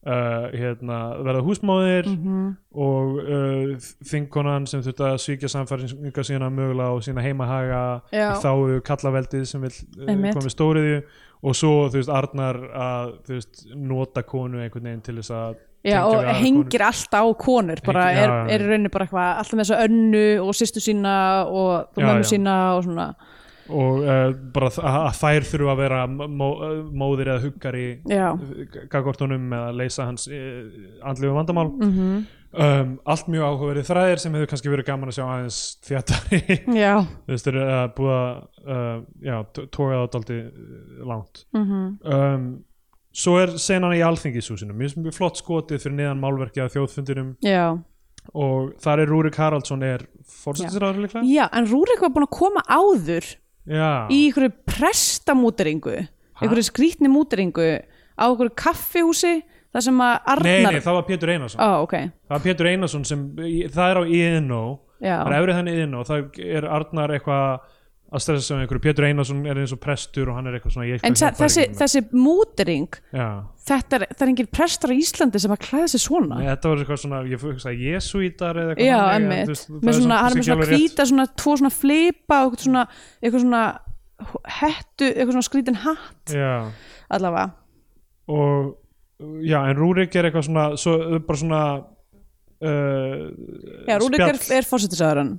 [SPEAKER 2] uh, hérna, verða húsmóðir
[SPEAKER 3] Mhm.
[SPEAKER 2] og uh, þingonan sem þurft að svíkja samfæringa sína mögulega og sína heimahaga
[SPEAKER 3] Já.
[SPEAKER 2] í þáu kallaveldið sem vil uh,
[SPEAKER 3] Einmitt.
[SPEAKER 2] komið stóriðju og svo, þú veist, Arnar að, þú veist, nota konu einhvern veginn til þess að
[SPEAKER 3] já
[SPEAKER 2] tengja við
[SPEAKER 3] og
[SPEAKER 2] aðra konu.
[SPEAKER 3] hengir alltaf á konur bara
[SPEAKER 2] Hengir-
[SPEAKER 3] er,
[SPEAKER 2] já, já.
[SPEAKER 3] er í rauninni bara eitthvað alltaf með þessu önnu og sýstu sína og
[SPEAKER 2] Já,
[SPEAKER 3] mömmu
[SPEAKER 2] já.
[SPEAKER 3] sína og svona
[SPEAKER 2] og uh, bara þ- að að þær þurfa að vera mó, móðir eða huggari
[SPEAKER 3] já,
[SPEAKER 2] gagvart honum eða leysa hans uh, andlegu vandamál -hmm.
[SPEAKER 3] Mhm.
[SPEAKER 2] um, allt mjög áhugaverið þræðir sem hefur kannski verið gaman að sjá aðeins þjáttari
[SPEAKER 3] já,
[SPEAKER 2] þú veist, þeir eru að búa uh, já, t- toga það daldi langt mm
[SPEAKER 3] Mhm.
[SPEAKER 2] -hmm. um, svo er senan í alþingishúsinu mjög, mjög flott skotið fyrir neðan málverkið að þjóðfundinum
[SPEAKER 3] já
[SPEAKER 2] og þar er Rúrik Haraldsson er fórsættisráður líklega
[SPEAKER 3] Já, en Rúrik var búin að koma áður
[SPEAKER 2] Já,
[SPEAKER 3] í einhverju prestamúteringu einhverju skrítni múteringu á einhverju kaffihúsi þar sem að
[SPEAKER 2] nei,
[SPEAKER 3] Arnar
[SPEAKER 2] nei, það var Pétur Einarsson
[SPEAKER 3] Ó, ok,
[SPEAKER 2] Það var Pétur Einarsson sem, í- það er á INO
[SPEAKER 3] Já.
[SPEAKER 2] Það er efrið þannig INO, það er Arnar eitthvað að stressa sem einhverju Pétur Einarsson er eins og prestur og hann er eitthvað svona í eitthvað
[SPEAKER 3] en
[SPEAKER 2] sem
[SPEAKER 3] sa-
[SPEAKER 2] fari
[SPEAKER 3] þessi,
[SPEAKER 2] ekki með.
[SPEAKER 3] þessi mútering
[SPEAKER 2] Já,
[SPEAKER 3] þetta er, það er engin prestar á Íslandi sem að klæða sig svona
[SPEAKER 2] Nei, þetta var eitthvað svona, ég hugsaði jesúítar eða eitthvað
[SPEAKER 3] Já,
[SPEAKER 2] þannig, en þú
[SPEAKER 3] emmitt,
[SPEAKER 2] veist, það
[SPEAKER 3] með
[SPEAKER 2] er
[SPEAKER 3] svona,
[SPEAKER 2] samt
[SPEAKER 3] hann er með
[SPEAKER 2] kannski
[SPEAKER 3] svona
[SPEAKER 2] ekki alveg rétt.
[SPEAKER 3] hvíta svona, tvo svona flipa og eitthvað svona, eitthvað svona hettu, eitthvað svona skrítin hatt
[SPEAKER 2] Já,
[SPEAKER 3] allavega,
[SPEAKER 2] og já, en Rúrik er eitthvað svona, svo, bara svona uh,
[SPEAKER 3] já, Rúrik er,
[SPEAKER 2] spjall-
[SPEAKER 3] er fórsetisæðurinn,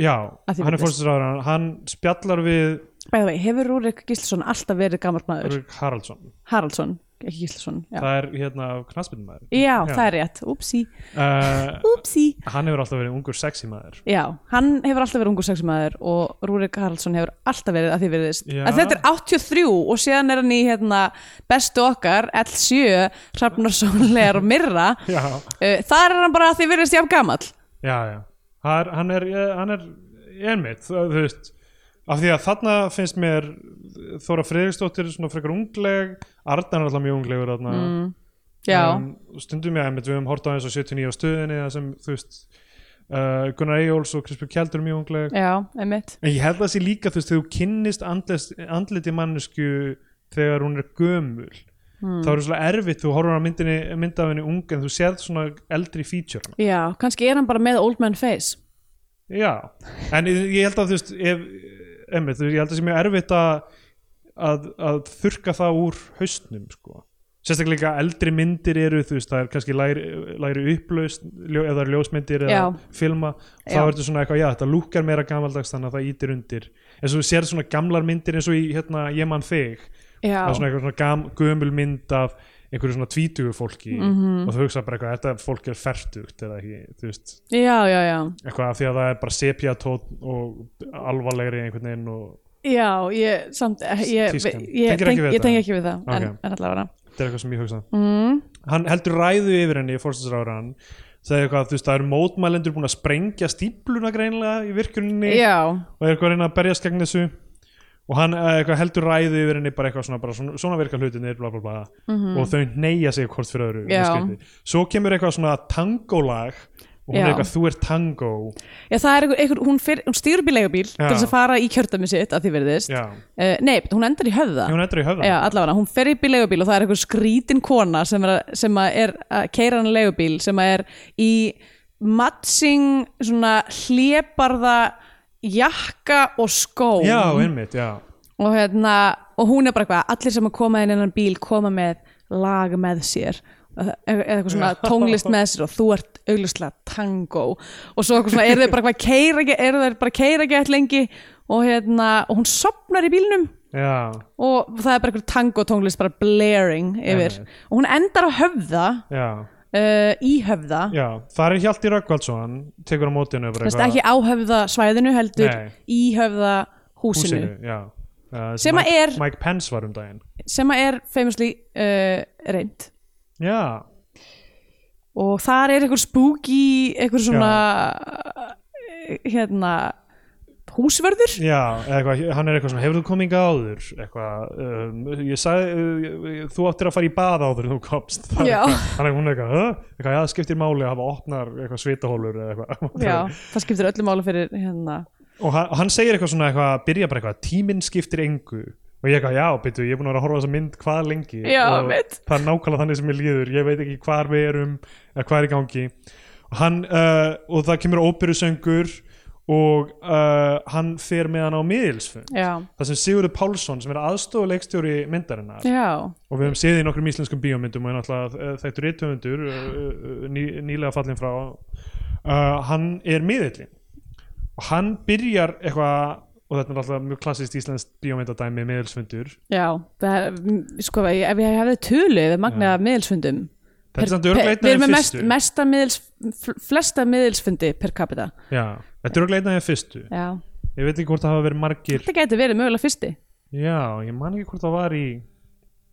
[SPEAKER 2] já,
[SPEAKER 3] Að því
[SPEAKER 2] hann er
[SPEAKER 3] virðist.
[SPEAKER 2] fórstisáður hann spjallar við
[SPEAKER 3] bæða vei, hefur Rúrik Gíslason alltaf verið gammal maður,
[SPEAKER 2] Rúrik Haraldsson
[SPEAKER 3] Haraldsson, ekki Gíslason já,
[SPEAKER 2] það er hérna knassbyndumæður
[SPEAKER 3] já, það er rétt, úpsi
[SPEAKER 2] uh,
[SPEAKER 3] úpsi,
[SPEAKER 2] hann hefur alltaf verið ungur sexy maður
[SPEAKER 3] já, hann hefur alltaf verið ungu sexmaður og Rúrik Haraldsson hefur alltaf verið að því veriðist,
[SPEAKER 2] Já.
[SPEAKER 3] en þetta er 83 og síðan er hann í hérna, bestu okkar, L7 Hrafnarsson, Lear og Mirra
[SPEAKER 2] já,
[SPEAKER 3] Uh, þar er hann bara að því virðist jafn gamall
[SPEAKER 2] já, já Það er- hann er, eh, hann er einmitt, það- þú veist af því að þarna finnst mér Þóra Friðriksdóttir er svona frekar ungleg Arnar er alltaf mjög unglegur þarna
[SPEAKER 3] Mm, Já,
[SPEAKER 2] um, stundum ég einmitt, við höfum hort á eins og 79 á stöðinni það sem þú veist uh, Gunnar Eyjóls og Krispjör Kjeldur mjög ungleg
[SPEAKER 3] já, einmitt
[SPEAKER 2] en ég held að það sé líka þú veist þegar þú kynnist andlist, andliti mannesku þegar hún er gömul
[SPEAKER 3] Mm.
[SPEAKER 2] þá er svona erfitt, þú horfur á myndinni mynda af henni ung en þú sérð svona eldri feature
[SPEAKER 3] Já, kannski er hann bara með old man face
[SPEAKER 2] já, en ég ég held að þú veist ef, einmitt, þú veist, ég held að það sé mjög erfitt að, að, að þurka það úr haustnum sko Sérstaklega eldri myndir eru, þú veist, það er kannski læri, læri upplaust, ljó, ef það eru ljósmyndir eða
[SPEAKER 3] Já.
[SPEAKER 2] filma, þá
[SPEAKER 3] Já.
[SPEAKER 2] ertu svona eitthvað, já, þetta lúkkar meira gamaldags þannig að það ítir undir. En svo þú sér svona gamlar myndir eins og í, hérna, ég mann þig,
[SPEAKER 3] Já,
[SPEAKER 2] það er svona eitthvað svona gam, gömul mynd af einhverju svona tvítugu fólki
[SPEAKER 3] Mhm.
[SPEAKER 2] og þú hugsa bara eitthvað, þetta fólk er fertugt eða ekki, þú veist,
[SPEAKER 3] já, já, já
[SPEAKER 2] eitthvað af því að það er bara sepjatótt og alvarlegri einhvern veginn og
[SPEAKER 3] Já, ég, samt, eh, ég, ég,
[SPEAKER 2] Tískan. Tengir
[SPEAKER 3] ég,
[SPEAKER 2] ekki
[SPEAKER 3] tenk-
[SPEAKER 2] við
[SPEAKER 3] ég
[SPEAKER 2] þetta?
[SPEAKER 3] tengi ekki við það en,
[SPEAKER 2] Ok.
[SPEAKER 3] en allavega
[SPEAKER 2] þetta er eitthvað sem ég hugsa
[SPEAKER 3] mm,
[SPEAKER 2] hann heldur ræðu yfir henni, fórstinsráðurann segði eitthvað, þú veist, það eru mótmælendur búin að sprengja stípluna greinlega í virkuninni
[SPEAKER 3] Já,
[SPEAKER 2] og er eitthvað að reyna að berjast gegn þessu og hann eh, eitthvað, heldur ræðu yfir henni bara eitthvað svona, bara svona, svona virka hlutinir bla, bla, bla, og þau neyja sig hvort fyrir öðru
[SPEAKER 3] Mhm. Já.
[SPEAKER 2] mjög skrítið. svo kemur eitthvað svona tangólag og hún
[SPEAKER 3] Já.
[SPEAKER 2] er eitthvað þú er tangó
[SPEAKER 3] já, það er einhver, einhver hún, fyr, hún stýr upp í leigubíl til
[SPEAKER 2] Já.
[SPEAKER 3] þess að fara í kjördæmi sitt að því verðist uh,
[SPEAKER 2] Já.
[SPEAKER 3] Nei, hún endar í höfða
[SPEAKER 2] hún endur í höfðan
[SPEAKER 3] Já, allavega, hún fer upp í leigubíl og það er einhver skrítin kona sem er, að- sem að er að keira hann leigubíl sem að er í matching svona hlébarða jakka og skó
[SPEAKER 2] já einmitt, já
[SPEAKER 3] og, hérna, og hún er bara eitthvað allir sem að koma inn innan bíl koma með lag með sér eða eða eitthvað svona tónlist með sér og þú ert auglustlega tango og svo eitthvað svona, eru þeir bara eitthvað að keyra ekki- eru þeir bara að keira gett lengi og, hérna, og hún sopnar í bílnum
[SPEAKER 2] já,
[SPEAKER 3] og það er bara einhver tango tónlist bara blaring yfir
[SPEAKER 2] Einmitt.
[SPEAKER 3] og hún endar á höfða
[SPEAKER 2] já,
[SPEAKER 3] uh, í höfða
[SPEAKER 2] já það er Hjalti Röggvaldsson tekur á mótinu bara
[SPEAKER 3] Vist, ekki á höfða svæðinu heldur
[SPEAKER 2] Nei.
[SPEAKER 3] í höfða húsinu,
[SPEAKER 2] húsinu já. Uh,
[SPEAKER 3] Sem að
[SPEAKER 2] Mike,
[SPEAKER 3] er-
[SPEAKER 2] Mike Pence var um daginn
[SPEAKER 3] sem að er famously uh, reynd
[SPEAKER 2] já,
[SPEAKER 3] og þar er einhver spooky einhver svona eh, hérna húsvörður
[SPEAKER 2] Já, eða eitthvað, hann er eitthvað svona, hefur þú komið hingað áður? Eitthvað, um, ég sagði, uh, þú áttir að fara í bað áður en þú komst. Það er
[SPEAKER 3] Já.
[SPEAKER 2] eitthvað- Hann er hún er eitthvað, "Huh?" eitthvað, já, það skiptir máli að hafa opnar eitthvað svitahólur eða eitthvað.
[SPEAKER 3] Já, það skiptir öllu mála fyrir hérna
[SPEAKER 2] Og hann, og hann segir eitthvað svona, eitthvað, byrja bara eitthvað, tíminn skiptir engu. Og ég eitthvað, já, byrju, ég er búin að vera að horfa á þessa mynd hvað lengi.
[SPEAKER 3] Já,
[SPEAKER 2] og
[SPEAKER 3] mitt.
[SPEAKER 2] Það er nákvæmlega þannig sem ég líður, ég veit ekki hvar við erum, eða hvað er í gangi. Og Hann, uh, og það kemur óperusöngur og uh, hann fer með hann á miðilsfund
[SPEAKER 3] Já,
[SPEAKER 2] þar sem Sigurður Pálsson sem er aðstofu leikstjóri myndarinnar
[SPEAKER 3] já,
[SPEAKER 2] og við höfum séð í nokkrum íslenskum bíómyndum og er náttúrulega eh, þekktur rithöfundur eh, eh, ný, nýlega fallin frá uh, hann er miðillin og hann byrjar eitthvað og þetta er náttúrulega mjög klassist íslensk bíómyndadæmi miðilsfundur
[SPEAKER 3] já það er, mm, sko, ef ég hefði tölu við magnaða miðilsfundum
[SPEAKER 2] þetta er samt
[SPEAKER 3] Per-
[SPEAKER 2] örugglega
[SPEAKER 3] per-
[SPEAKER 2] einn
[SPEAKER 3] Við
[SPEAKER 2] af þeim
[SPEAKER 3] erum með mest,
[SPEAKER 2] fyrstu
[SPEAKER 3] mesta miðils, fl- flesta miðilsfundi per capita
[SPEAKER 2] Já, þetta er örgleitna þeim fyrstu
[SPEAKER 3] Já.
[SPEAKER 2] ég veit ekki hvort það hafa verið margir
[SPEAKER 3] Þetta gæti verið mögulega fyrsti
[SPEAKER 2] já, ég man ekki hvort það var í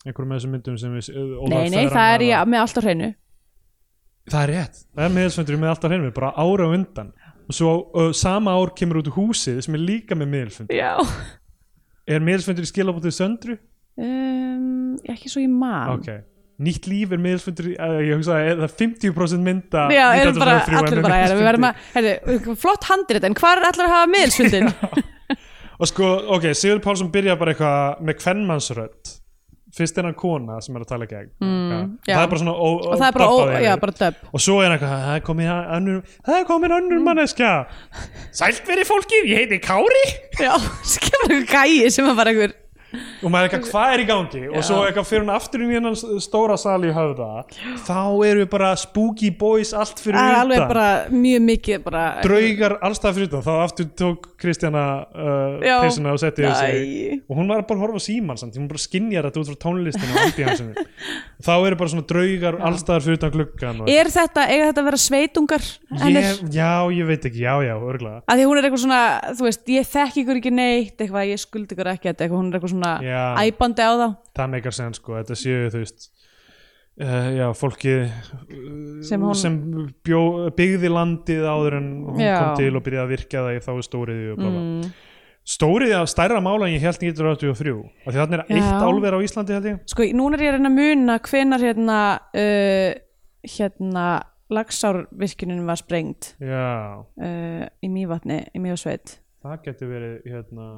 [SPEAKER 2] einhverjum af þessum myndum sem við eh,
[SPEAKER 3] Nei, nei, það er ég með allt á hreinu
[SPEAKER 2] það er rétt, það er miðelsfundur með alltaf hreinum, bara ára undan og svo uh, sama ár kemur út húsið sem er líka með miðelsfund
[SPEAKER 3] já
[SPEAKER 2] er miðelsfundur í skilabótið söndru?
[SPEAKER 3] um, ekki svo ég man
[SPEAKER 2] ok, nýtt líf er miðelsfundur í- eh, ég hugsa að er það 50% mynda
[SPEAKER 3] já, erum bara, allir bara er, við verðum að, herri, flott handrit en hvað er allir að hafa miðelsfundin
[SPEAKER 2] og sko, ok, Sigur Pálsson byrja bara eitthvað með kvennmannsrödd fyrst er hann kona sem er að tala gegn mm,
[SPEAKER 3] já.
[SPEAKER 2] það er bara svona ó, ó,
[SPEAKER 3] og það er bara, ó,
[SPEAKER 2] doppað yfir.
[SPEAKER 3] já, bara döp
[SPEAKER 2] og svo er eitthvað, það er komin önnur, það er komin
[SPEAKER 3] Mm.
[SPEAKER 2] önnur manneskja sælt verið fólkið, ég heiti Kári
[SPEAKER 3] já, sem kemur einhver gæi sem er bara einhver
[SPEAKER 2] og maður er eitthvað, hvað er í gangi og svo eitthvað fyrir hún aftur í hennan stóra sali í höfða, þá eru bara spooky boys allt fyrir
[SPEAKER 3] það er alveg
[SPEAKER 2] utan
[SPEAKER 3] bara mjög mikið bara
[SPEAKER 2] draugar allstað fyrir utan, þá aftur tók Kristjana uh,
[SPEAKER 3] Já.
[SPEAKER 2] peysuna og setti yfir sig
[SPEAKER 3] Æ.
[SPEAKER 2] og hún var bara að horfa á síman samt, hún bara skinjar þetta út frá tónlistinu og ambíansinu þá eru bara svona draugar allstaðar fyrir utan gluggan og...
[SPEAKER 3] er þetta, eiga þetta að vera sveitungar hennir?
[SPEAKER 2] ég, já, ég veit ekki, já, já, örglega
[SPEAKER 3] að því hún er eitthvað svona, þú veist, ég þekki ykkur ekki neitt eitthvað, ég skuldi ykkur ekki eitthvað, hún er eitthvað svona
[SPEAKER 2] Já.
[SPEAKER 3] æpandi á þá
[SPEAKER 2] það meikar sen sko, þetta séu þú veist uh, já, fólkið
[SPEAKER 3] Sem hún-
[SPEAKER 2] sem bjó, byggði landið áður en hún
[SPEAKER 3] Já.
[SPEAKER 2] kom til og byrjaði að virka það í þá stóriði og bara mm. stóriði að stærra mála en ég held 1983 af því þannig er
[SPEAKER 3] Já.
[SPEAKER 2] eitt álver á Íslandi held ég
[SPEAKER 3] sko, núna er ég að reyna að muna hvenar hérna uh, hérna lagsárvirkinin var sprengt
[SPEAKER 2] já,
[SPEAKER 3] uh, í Mývatni, í Mývatnsveit
[SPEAKER 2] það getur verið hérna,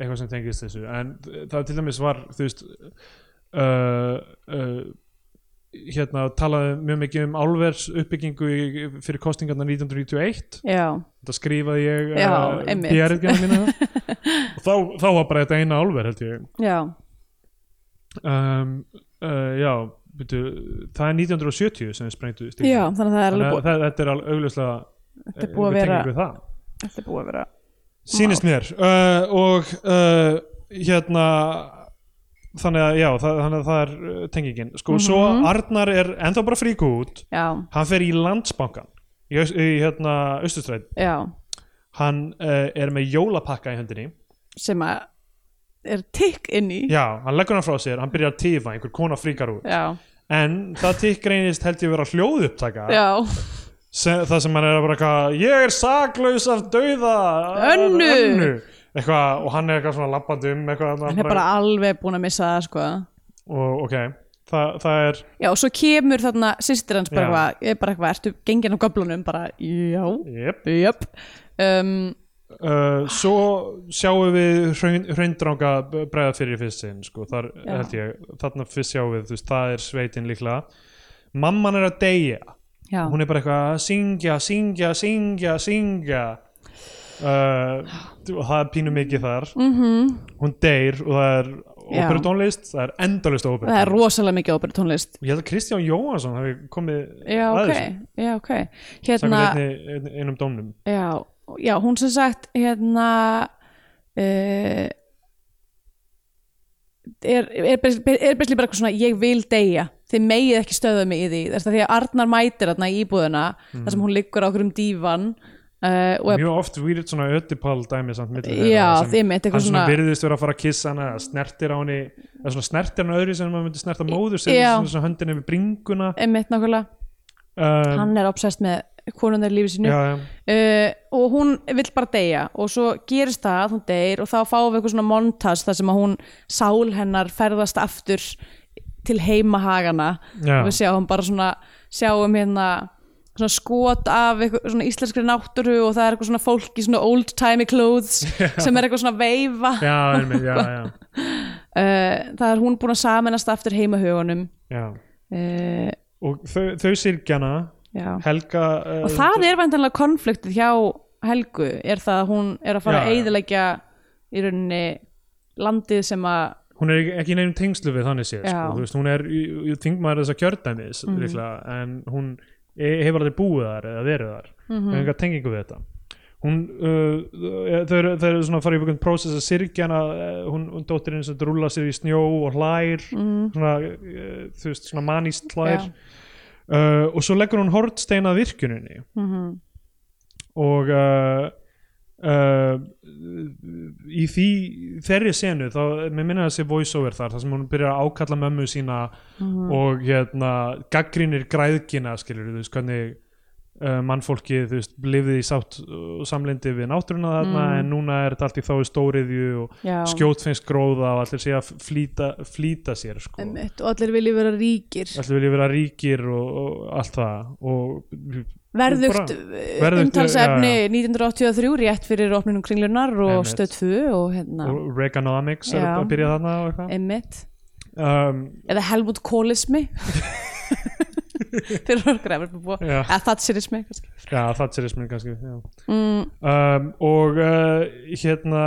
[SPEAKER 2] eitthvað sem tengist þessu en það til dæmis var þú veist uh, uh, hérna talaði mjög mikið um álvers uppbyggingu í, fyrir kostingarna 1991
[SPEAKER 3] já,
[SPEAKER 2] þetta skrifaði ég
[SPEAKER 3] Já,
[SPEAKER 2] eh,
[SPEAKER 3] einmitt.
[SPEAKER 2] BR-gerðina mína og þá, þá var bara þetta eina álver held ég
[SPEAKER 3] já,
[SPEAKER 2] um, uh, já, byrju, það er 1970 sem við sprengtu stíl
[SPEAKER 3] já þannig að það er alveg búið,
[SPEAKER 2] þetta er alveg augljóslega
[SPEAKER 3] þetta er búið að vera
[SPEAKER 2] vera
[SPEAKER 3] þetta er búið að vera
[SPEAKER 2] sýnist mér uh, og uh, hérna þannig að já, það, þannig að það er uh, tengingin sko,
[SPEAKER 3] Mhm.
[SPEAKER 2] svo Arnar er ennþá bara fríku út
[SPEAKER 3] já,
[SPEAKER 2] hann fer í landsbankan í, Aus- í hérna Östustræt
[SPEAKER 3] já,
[SPEAKER 2] hann uh, er með jólapakka í höndinni
[SPEAKER 3] sem að er tikk inn í
[SPEAKER 2] Já, hann leggur hann frá sér, hann byrjar að tifa einhver kona fríkar út,
[SPEAKER 3] já,
[SPEAKER 2] en það tikk reynist held ég vera hljóðupptaka
[SPEAKER 3] já.
[SPEAKER 2] sem, það sem hann er að bara eitthvað ég er saklaus af dauða
[SPEAKER 3] Önnu."
[SPEAKER 2] eitthvað, og hann er eitthvað svona labbandi um eitthvað,
[SPEAKER 3] hann er bara alveg búin að missa það sko
[SPEAKER 2] og ok, það, það er
[SPEAKER 3] Já, og svo kemur þarna sýstir hans bara
[SPEAKER 2] Já.
[SPEAKER 3] eitthvað, er bara eitthvað, ertu gengin á göflunum bara, já,
[SPEAKER 2] yep.
[SPEAKER 3] jöp um,
[SPEAKER 2] uh, svo sjáum við hraun- hraundranga bregða fyrir í fyrst sinn sko, þar
[SPEAKER 3] Já.
[SPEAKER 2] held ég, þarna fyrst sjáum við þú veist, það er sveitin líklega mamman er að deyja
[SPEAKER 3] Já,
[SPEAKER 2] hún er bara eitthvað að syngja, syngja, syngja, syngja uh, og það er pínu mikið þar -hmm. hún deyr og það er
[SPEAKER 3] Mhm. Já.
[SPEAKER 2] óperutónlist, það er endalist óperutónlist
[SPEAKER 3] það er rosalega mikið óperu tónlist
[SPEAKER 2] ég held að Kristján Jóhansson hefði komið
[SPEAKER 3] Já,
[SPEAKER 2] að
[SPEAKER 3] ok,
[SPEAKER 2] þessu
[SPEAKER 3] já, ok
[SPEAKER 2] sagði
[SPEAKER 3] Hérna,
[SPEAKER 2] einni, einni, einum dómnum
[SPEAKER 3] já, já, hún sem sagt hérna uh, er, er, bes- er besli bara eitthvað svona ég vil deyja, þið megið ekki stöða mig í því þess að því að Arnar mætir þarna í íbúðuna þar sem hún liggur á okkur um dívan uh, og er
[SPEAKER 2] Mm. mjög oft výrit svona öttipál dæmi samt milli þeirra
[SPEAKER 3] Já,
[SPEAKER 2] sem-
[SPEAKER 3] einmitt, eitthvað
[SPEAKER 2] hann svona
[SPEAKER 3] svona-
[SPEAKER 2] virðist vera að fara að kissa hana snertir á henni, eða svona snertir hann öðru sem maður myndi snerta móður sem
[SPEAKER 3] Já.
[SPEAKER 2] svona, svona höndin yfir bringuna
[SPEAKER 3] einmitt nákvæmlega
[SPEAKER 2] um,
[SPEAKER 3] hann er obsessed með konunar lífi sinu
[SPEAKER 2] já,
[SPEAKER 3] uh, og hún vill bara deyja og svo gerist það að hún deyr og þá fáum við eitthvað svona montas þar sem að hún sál hennar ferðast aftur til heimahagana
[SPEAKER 2] Já.
[SPEAKER 3] og við sjáum bara svona sjáum hérna svona skot af eitthvað, svona íslenskri náttúru og það er eitthvað svona fólk í svona old timey clothes sem er eitthvað svona veifa
[SPEAKER 2] já, einmitt, já, já,
[SPEAKER 3] uh, það er hún búin að saminast aftur heimahögunum
[SPEAKER 2] já.
[SPEAKER 3] uh,
[SPEAKER 2] og þau, þau sirkjana
[SPEAKER 3] já
[SPEAKER 2] Helga uh,
[SPEAKER 3] og það er vantanlega konfliktið hjá Helgu er það að hún er að
[SPEAKER 2] Já,
[SPEAKER 3] fara að
[SPEAKER 2] já.
[SPEAKER 3] eyðileggja í rauninni landið sem að
[SPEAKER 2] hún er ekki- ekki í neinum tengslu við þannig séð
[SPEAKER 3] Já. Mhm.
[SPEAKER 2] sko. Þú veist, hún er í- í- þingmaður þessa kjördæmis mm. líklega, en hún e hefur aldrei búið þar eða verið þar mm
[SPEAKER 3] Mhm.
[SPEAKER 2] -hmm. enga tengingu við þetta hún, uh, þau, eru, þau eru svona að fara í einhvern prósess að sirkjana uh, hún, hún dóttirinn sem rúla sér í snjó og hlær svona, uh, þú veist, svona manist hlær
[SPEAKER 3] Mhm. Já.
[SPEAKER 2] uh, og svo leggur hún hortsteina virkjuninni
[SPEAKER 3] Mhm.
[SPEAKER 2] og uh, uh, í því þeirri senu þá, mér minna þessi voice over þar þar sem hún byrjar að ákalla mömmu sína
[SPEAKER 3] mhm. Mm.
[SPEAKER 2] og hérna gaggrinir græðkina skilur þú veist hvernig uh, mannfólki þú veist lifið í sátt og samlindi við náttúruna þarna
[SPEAKER 3] Mm.
[SPEAKER 2] en núna er þetta allt í þá stóriðju og
[SPEAKER 3] já,
[SPEAKER 2] skjótfinnsk gróða og allir sé að flýta, flýta sér sko
[SPEAKER 3] Einmitt, og allir vilji vera ríkir
[SPEAKER 2] allir vilja vera ríkir og, og allt það og
[SPEAKER 3] verðugt,
[SPEAKER 2] verðugt,
[SPEAKER 3] verðugt umtalsefni 1983 rétt fyrir opninum kringlunar og
[SPEAKER 2] Einmitt.
[SPEAKER 3] stöð 2 og hérna
[SPEAKER 2] og Reaganomics er
[SPEAKER 3] Já.
[SPEAKER 2] að byrja þarna og eitthvað
[SPEAKER 3] Emmitt,
[SPEAKER 2] um,
[SPEAKER 3] eða Helmut Kólismi fyrir okkur að verða búa
[SPEAKER 2] já,
[SPEAKER 3] eða Thatcherismi kannski
[SPEAKER 2] já, thatcherismin kannski já.
[SPEAKER 3] mm,
[SPEAKER 2] um, og uh, hérna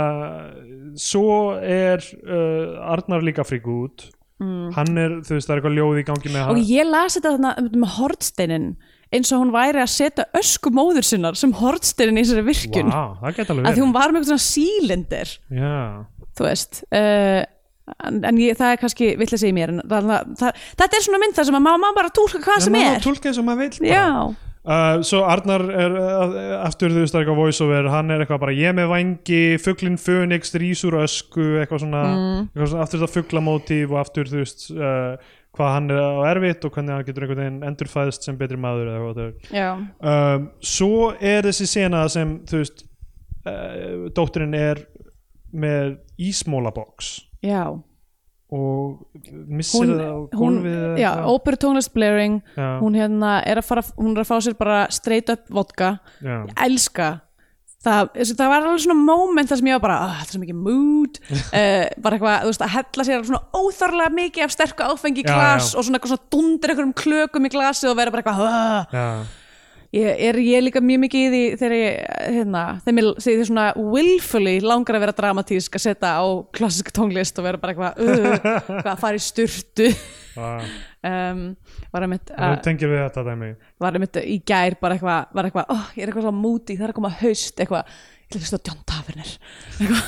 [SPEAKER 2] svo er uh, Arnar líka frík út
[SPEAKER 3] mm.
[SPEAKER 2] hann er, þú veist, það er eitthvað ljóð í gangi með
[SPEAKER 3] og
[SPEAKER 2] hann
[SPEAKER 3] ég las þetta þarna um- um hortsteinin eins og hún væri að setja ösku móður sinnar sem hortsteinin í þessari virkun
[SPEAKER 2] Vá, það geta alveg
[SPEAKER 3] að því
[SPEAKER 2] verið
[SPEAKER 3] hún var með eitthvað svona sílendir
[SPEAKER 2] já,
[SPEAKER 3] þú veist uh, en, en ég, það er kannski vill að segja mér en, það, það, þetta er svona mynd þar sem að maður má bara túlka hvað
[SPEAKER 2] Já,
[SPEAKER 3] sem
[SPEAKER 2] maður má
[SPEAKER 3] er
[SPEAKER 2] túlka eins og maður vill bara.
[SPEAKER 3] já,
[SPEAKER 2] Uh, svo Arnar er uh, aftur þú veist það er eitthvað voiceover, hann er eitthvað bara ég með vangi, fugglinn fönix, rísur ösku, eitthvað svona,
[SPEAKER 3] Mm.
[SPEAKER 2] eitthvað svona aftur þetta fugglamótíf og aftur þú veist uh, hvað hann er á erfitt og hvernig hann getur einhvern veginn endurfæðst sem betri maður eða hvað það er.
[SPEAKER 3] já,
[SPEAKER 2] Um, svo er þessi sena sem þú veist uh, dóttirinn er með ísmólaboks
[SPEAKER 3] já
[SPEAKER 2] og missir
[SPEAKER 3] hún,
[SPEAKER 2] það á
[SPEAKER 3] hún
[SPEAKER 2] gólfið eða
[SPEAKER 3] já,
[SPEAKER 2] eitthvað.
[SPEAKER 3] óperu tónlist blaring
[SPEAKER 2] Já,
[SPEAKER 3] hún hérna er að fara hún er að fá sér bara straight up vodka
[SPEAKER 2] já.
[SPEAKER 3] Ég elska það, þessi- það var alveg svona moment þar sem ég var bara, "Ah, þetta er svo mikið mood uh, bara eitthvað, þú veist, að hella sér svona óþarlega mikið af sterku áfengi í
[SPEAKER 2] Já,
[SPEAKER 3] glas
[SPEAKER 2] já.
[SPEAKER 3] og svona, eitthvað svona dundir einhverjum klökum í glasi og vera bara eitthvað "Ah."
[SPEAKER 2] Já.
[SPEAKER 3] ég, er ég líka mjög mikið í því þegar ég, hérna, þegar mér þegar ég svona willfully langar að vera dramatísk að setja á klassisk tónlist og vera bara eitthvað, uh, eitthvað að fara í styrtu
[SPEAKER 2] Já.
[SPEAKER 3] um, var að mitt
[SPEAKER 2] Þú tengir við þetta dæmi
[SPEAKER 3] var einmitt í gær bara eitthvað, var eitthvað, oh, ég er eitthvað svona múti, það er að koma haust, eitthvað, ég hlusta á John Taverner, eitthvað,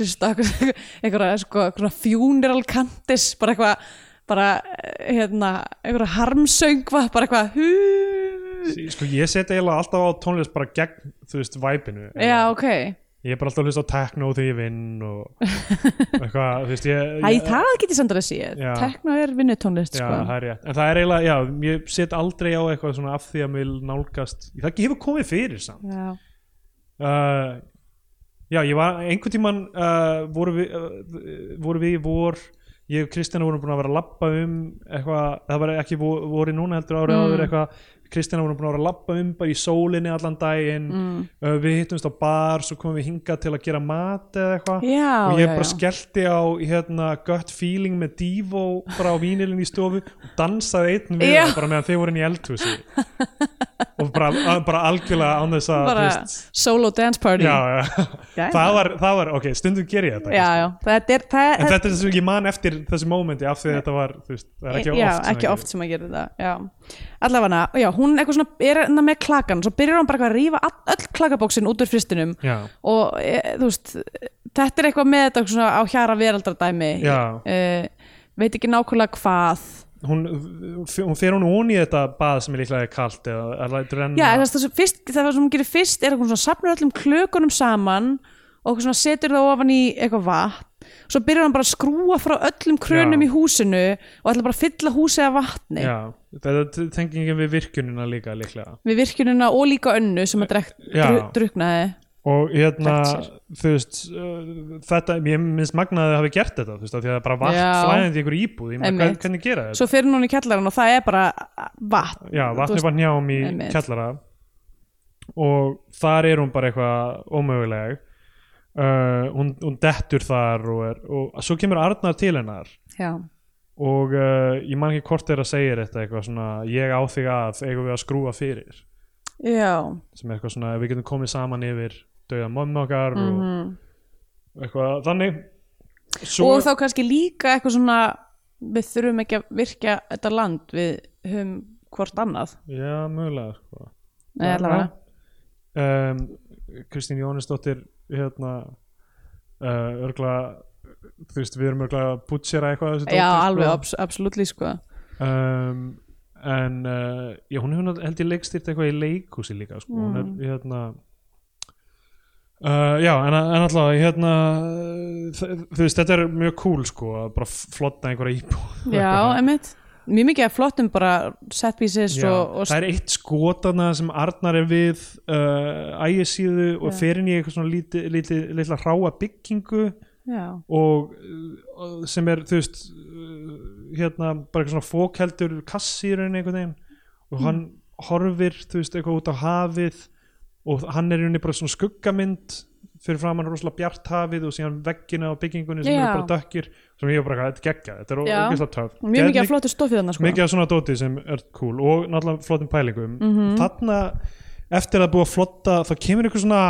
[SPEAKER 3] hlusta á eitthvað, eitthvað, sko, eitthvað funeral cantis, bara eitthvað, bara, eh, hérna, eitthvað harmsöngva, bara eitthvað, hú,
[SPEAKER 2] Sko ég seti eiginlega alltaf á tónlist bara gegn þú veist væpinu
[SPEAKER 3] já, ok,
[SPEAKER 2] Ég er bara alltaf að hlusta á techno þegar ég vinn og eitthvað þú veist ég,
[SPEAKER 3] hæ,
[SPEAKER 2] ég
[SPEAKER 3] það get ég samt að séð,
[SPEAKER 2] Já.
[SPEAKER 3] tekno er vinnutónlist,
[SPEAKER 2] Já,
[SPEAKER 3] sko,
[SPEAKER 2] það er rétt En það er eiginlega, já, ég set aldrei á eitthvað svona af því að mér nálgast Það hefur komið fyrir samt
[SPEAKER 3] já,
[SPEAKER 2] uh, Já, ég var einhvern tímann uh, voru, við, uh, voru við í vor ég og Kristjana vorum búin að vera að labba um eitthvað, það var ekki vor, vori núna heldur árið
[SPEAKER 3] Mm.
[SPEAKER 2] áður eitthvað Kristjana vorum búin að vera að labba um bara í sólinni allan daginn
[SPEAKER 3] Mm.
[SPEAKER 2] uh, við hittumst á bar, svo komum við hingað til að gera mat eða eitthvað
[SPEAKER 3] já,
[SPEAKER 2] og ég
[SPEAKER 3] já,
[SPEAKER 2] bara
[SPEAKER 3] já,
[SPEAKER 2] skellti á hérna, gut feeling með Divo bara á vínilin í stofu og dansaði einn við
[SPEAKER 3] Já.
[SPEAKER 2] það bara meðan þeir voru inn í eldhúsi og bara, að- bara algjörlega án þess að þú
[SPEAKER 3] bara
[SPEAKER 2] veist,
[SPEAKER 3] solo dance party,
[SPEAKER 2] já, já.
[SPEAKER 3] Jæja.
[SPEAKER 2] það var, það var, ok, stundum ger ég þetta
[SPEAKER 3] já, já, þetta er, það,
[SPEAKER 2] en þetta er þess að ég man eftir þessu mómenti af því að þetta var, þú veist, það er ekki
[SPEAKER 3] Eh, já,
[SPEAKER 2] oft sem
[SPEAKER 3] ekki
[SPEAKER 2] það
[SPEAKER 3] oft sem að gera það já. allavega, já, hún eitthvað svona er hérna með klakan, svo byrjar hún bara eitthvað að rífa all, öll klakabóksin út úr fristinum
[SPEAKER 2] gerist. já,
[SPEAKER 3] og e, þú veist, þetta er eitthvað með þetta svona á hjara veraldardæmi
[SPEAKER 2] Já.
[SPEAKER 3] uh, veit ekki nákvæmlega hvað
[SPEAKER 2] hún, hún fer hún ón í þetta bað sem er líklega er kalt eða er lætur enn
[SPEAKER 3] já, það, það, sem fyrst, það sem hún gerir fyrst er eitthvað svona safnur öllum klökunum saman og eitthvað svona setur það ofan í eitthvað vatn svo byrjar hann bara að skrúa frá öllum krönum
[SPEAKER 2] Já.
[SPEAKER 3] í húsinu og ætla bara að fylla húsið af vatni
[SPEAKER 2] já, þetta er tengingin við virkjunina líka líklega
[SPEAKER 3] við virkjunina og líka önnu sem að drek,
[SPEAKER 2] Eh, Já.
[SPEAKER 3] dru, druknaði
[SPEAKER 2] og hérna,
[SPEAKER 3] Lagt sér.
[SPEAKER 2] þú veist uh, þetta, ég minnst magnaði að hafi gert þetta þú veist, af því að það er bara vatn
[SPEAKER 3] Já.
[SPEAKER 2] flæðandi í einhverju íbúð, ég meina,
[SPEAKER 3] Einmitt.
[SPEAKER 2] hvern- hvernig gera þetta
[SPEAKER 3] svo fyrir hún í kjallaran og það er bara vatn
[SPEAKER 2] já,
[SPEAKER 3] Þú
[SPEAKER 2] vatnið
[SPEAKER 3] veist,
[SPEAKER 2] var njám í
[SPEAKER 3] Einmitt.
[SPEAKER 2] kjallara og þar er hún bara eitthvað ómöguleg uh, hún, hún dettur þar og, er, og svo kemur Arnar til hennar
[SPEAKER 3] já,
[SPEAKER 2] og uh, ég man ekki hvort þeirra segir þetta eitthvað svona, ég á þig að eigum við að skrúa fyrir
[SPEAKER 3] já.
[SPEAKER 2] sem er eitthvað svona, við getum komið saman yfir dauða mömmu okkar
[SPEAKER 3] mhm.
[SPEAKER 2] og eitthvað þannig svo,
[SPEAKER 3] og þá kannski líka eitthvað svona við þurfum ekki að virkja þetta land við höfum hvort annað
[SPEAKER 2] já, mögulega sko.
[SPEAKER 3] Nei,
[SPEAKER 2] Já,
[SPEAKER 3] allavega.
[SPEAKER 2] já. um, Kristín Jónisdóttir hérna uh, örgla þú veist, við erum örgla að butchera eitthvað af þessu
[SPEAKER 3] já,
[SPEAKER 2] dóti,
[SPEAKER 3] alveg, abs absolutt sko.
[SPEAKER 2] sko. um, en uh,
[SPEAKER 3] Mm.
[SPEAKER 2] já, hún hefur nátt- held ég leikstýrt eitthvað í leikhúsi líka sko. hún er hérna Uh, já, en, en alltaf hérna, uh, þ- þú veist, þetta er mjög cool sko, að bara flotta einhverja íbú
[SPEAKER 3] Já, einmitt Mjög mikið af flottum bara set pieces og, og
[SPEAKER 2] það er eitt skotana sem Arnar er við uh, ægisíðu og
[SPEAKER 3] Já.
[SPEAKER 2] fer inn í eitthvað svona lítið, lítið, litla hráa byggingu
[SPEAKER 3] já,
[SPEAKER 2] og uh, sem er þú veist uh, hérna bara eitthvað svona fókeldur kassi í rauninni einhvern veginn og hann
[SPEAKER 3] Mm.
[SPEAKER 2] horfir þú veist eitthvað út á hafið og hann er í rauninni bara svona skuggamynd fyrir fram hann rosalega bjart hafið og síðan veggina á byggingunni sem
[SPEAKER 3] Já.
[SPEAKER 2] eru bara dökkir sem ég er bara eitthvað, þetta geggja, þetta er
[SPEAKER 3] Já.
[SPEAKER 2] ógeðslega töf
[SPEAKER 3] mjög mikið af flottu stofið þarna sko
[SPEAKER 2] mikið af svona dóti sem er cool og náttúrulega flottum pælingum
[SPEAKER 3] Mhm.
[SPEAKER 2] þarna eftir að búa að flotta þá kemur einhver svona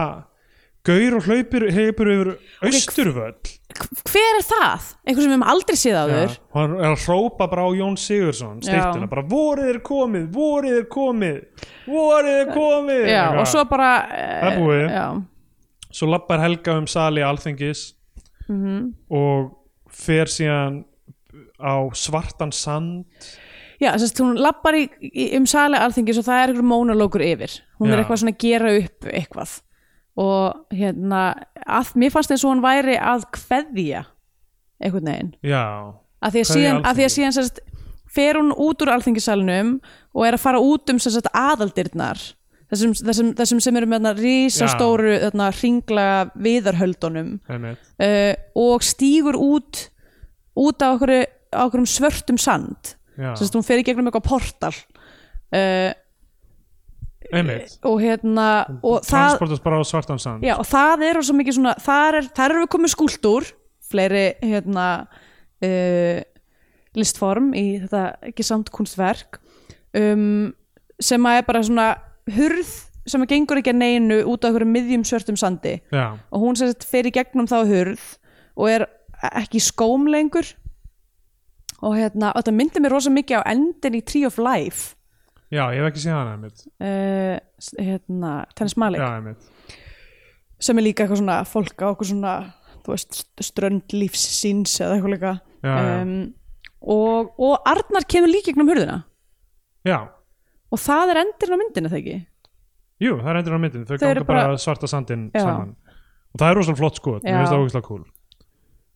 [SPEAKER 2] gaur og hlaupir hlaupir yfir austurvöll
[SPEAKER 3] K- Hver er það? Einhver sem við hefum aldrei séð áður
[SPEAKER 2] og hann er að hrópa bara á Jón Sigurðsson styrtuna,
[SPEAKER 3] Já.
[SPEAKER 2] bara vorið er komið vorið er komið vorið er komið
[SPEAKER 3] Já,
[SPEAKER 2] Eitthvað.
[SPEAKER 3] og svo bara
[SPEAKER 2] Það
[SPEAKER 3] eh,
[SPEAKER 2] er búið.
[SPEAKER 3] Já,
[SPEAKER 2] svo lappar Helga um sali alþingis
[SPEAKER 3] Mhm.
[SPEAKER 2] og fer síðan á svartan sand
[SPEAKER 3] já sérst, hún lappar í, í, um sali alþingis og það er einhver mónalókur yfir Hún
[SPEAKER 2] Já.
[SPEAKER 3] er eitthvað svona að gera upp eitthvað og hérna að, mér fannst eins og hún væri að kveðja einhvern veginn
[SPEAKER 2] já,
[SPEAKER 3] að því að
[SPEAKER 2] Kveðja
[SPEAKER 3] síðan, að því að
[SPEAKER 2] Alþingis.
[SPEAKER 3] síðan sérst, fer hún út úr alþingisalunum og er að fara út um sérst, aðaldirnar þessum, þessum, þessum sem eru með þarna rísastóru þarna, hringla viðarhöldunum
[SPEAKER 2] einmitt
[SPEAKER 3] uh, og stígur út út á okkur, á okkur um svörtum sand
[SPEAKER 2] já,
[SPEAKER 3] sérst, hún fer í gegnum eitthvað portal uh,
[SPEAKER 2] einmitt
[SPEAKER 3] og hérna og það,
[SPEAKER 2] transportast bara á svartan sand
[SPEAKER 3] já, og það er svo mikið svona, þar, er, þar eru við komið skúltúr fleiri hérna uh, listform í þetta ekki samt kunstverk um, sem að er bara svona hurð sem að gengur ekki að neinu út af einhverjum miðjum svörtum sandi
[SPEAKER 2] já,
[SPEAKER 3] og hún sem sagt fer í gegnum þá hurð og er ekki í skóm lengur og hérna, og þetta myndi mér rosa mikið á endin í Tree of Life
[SPEAKER 2] já, ég hef ekki séð hana einmitt
[SPEAKER 3] uh, hérna, Tennis Malik
[SPEAKER 2] já, einmitt
[SPEAKER 3] sem er líka eitthvað svona fólk á okkur svona þú veist, strönd lífsins eða eitthvað líka
[SPEAKER 2] Já, já.
[SPEAKER 3] Um, og, og Arnar kemur líka gegnum hurðina
[SPEAKER 2] já,
[SPEAKER 3] og það er endurinn á myndinu þegar ekki
[SPEAKER 2] jú, það er endur á myndin þau
[SPEAKER 3] Þau eru
[SPEAKER 2] ganga bara
[SPEAKER 3] bara-
[SPEAKER 2] svarta sandin
[SPEAKER 3] Já.
[SPEAKER 2] saman og það er rosalega flott sko, mér
[SPEAKER 3] Já. Mm.
[SPEAKER 2] finnst það ógeðslega cool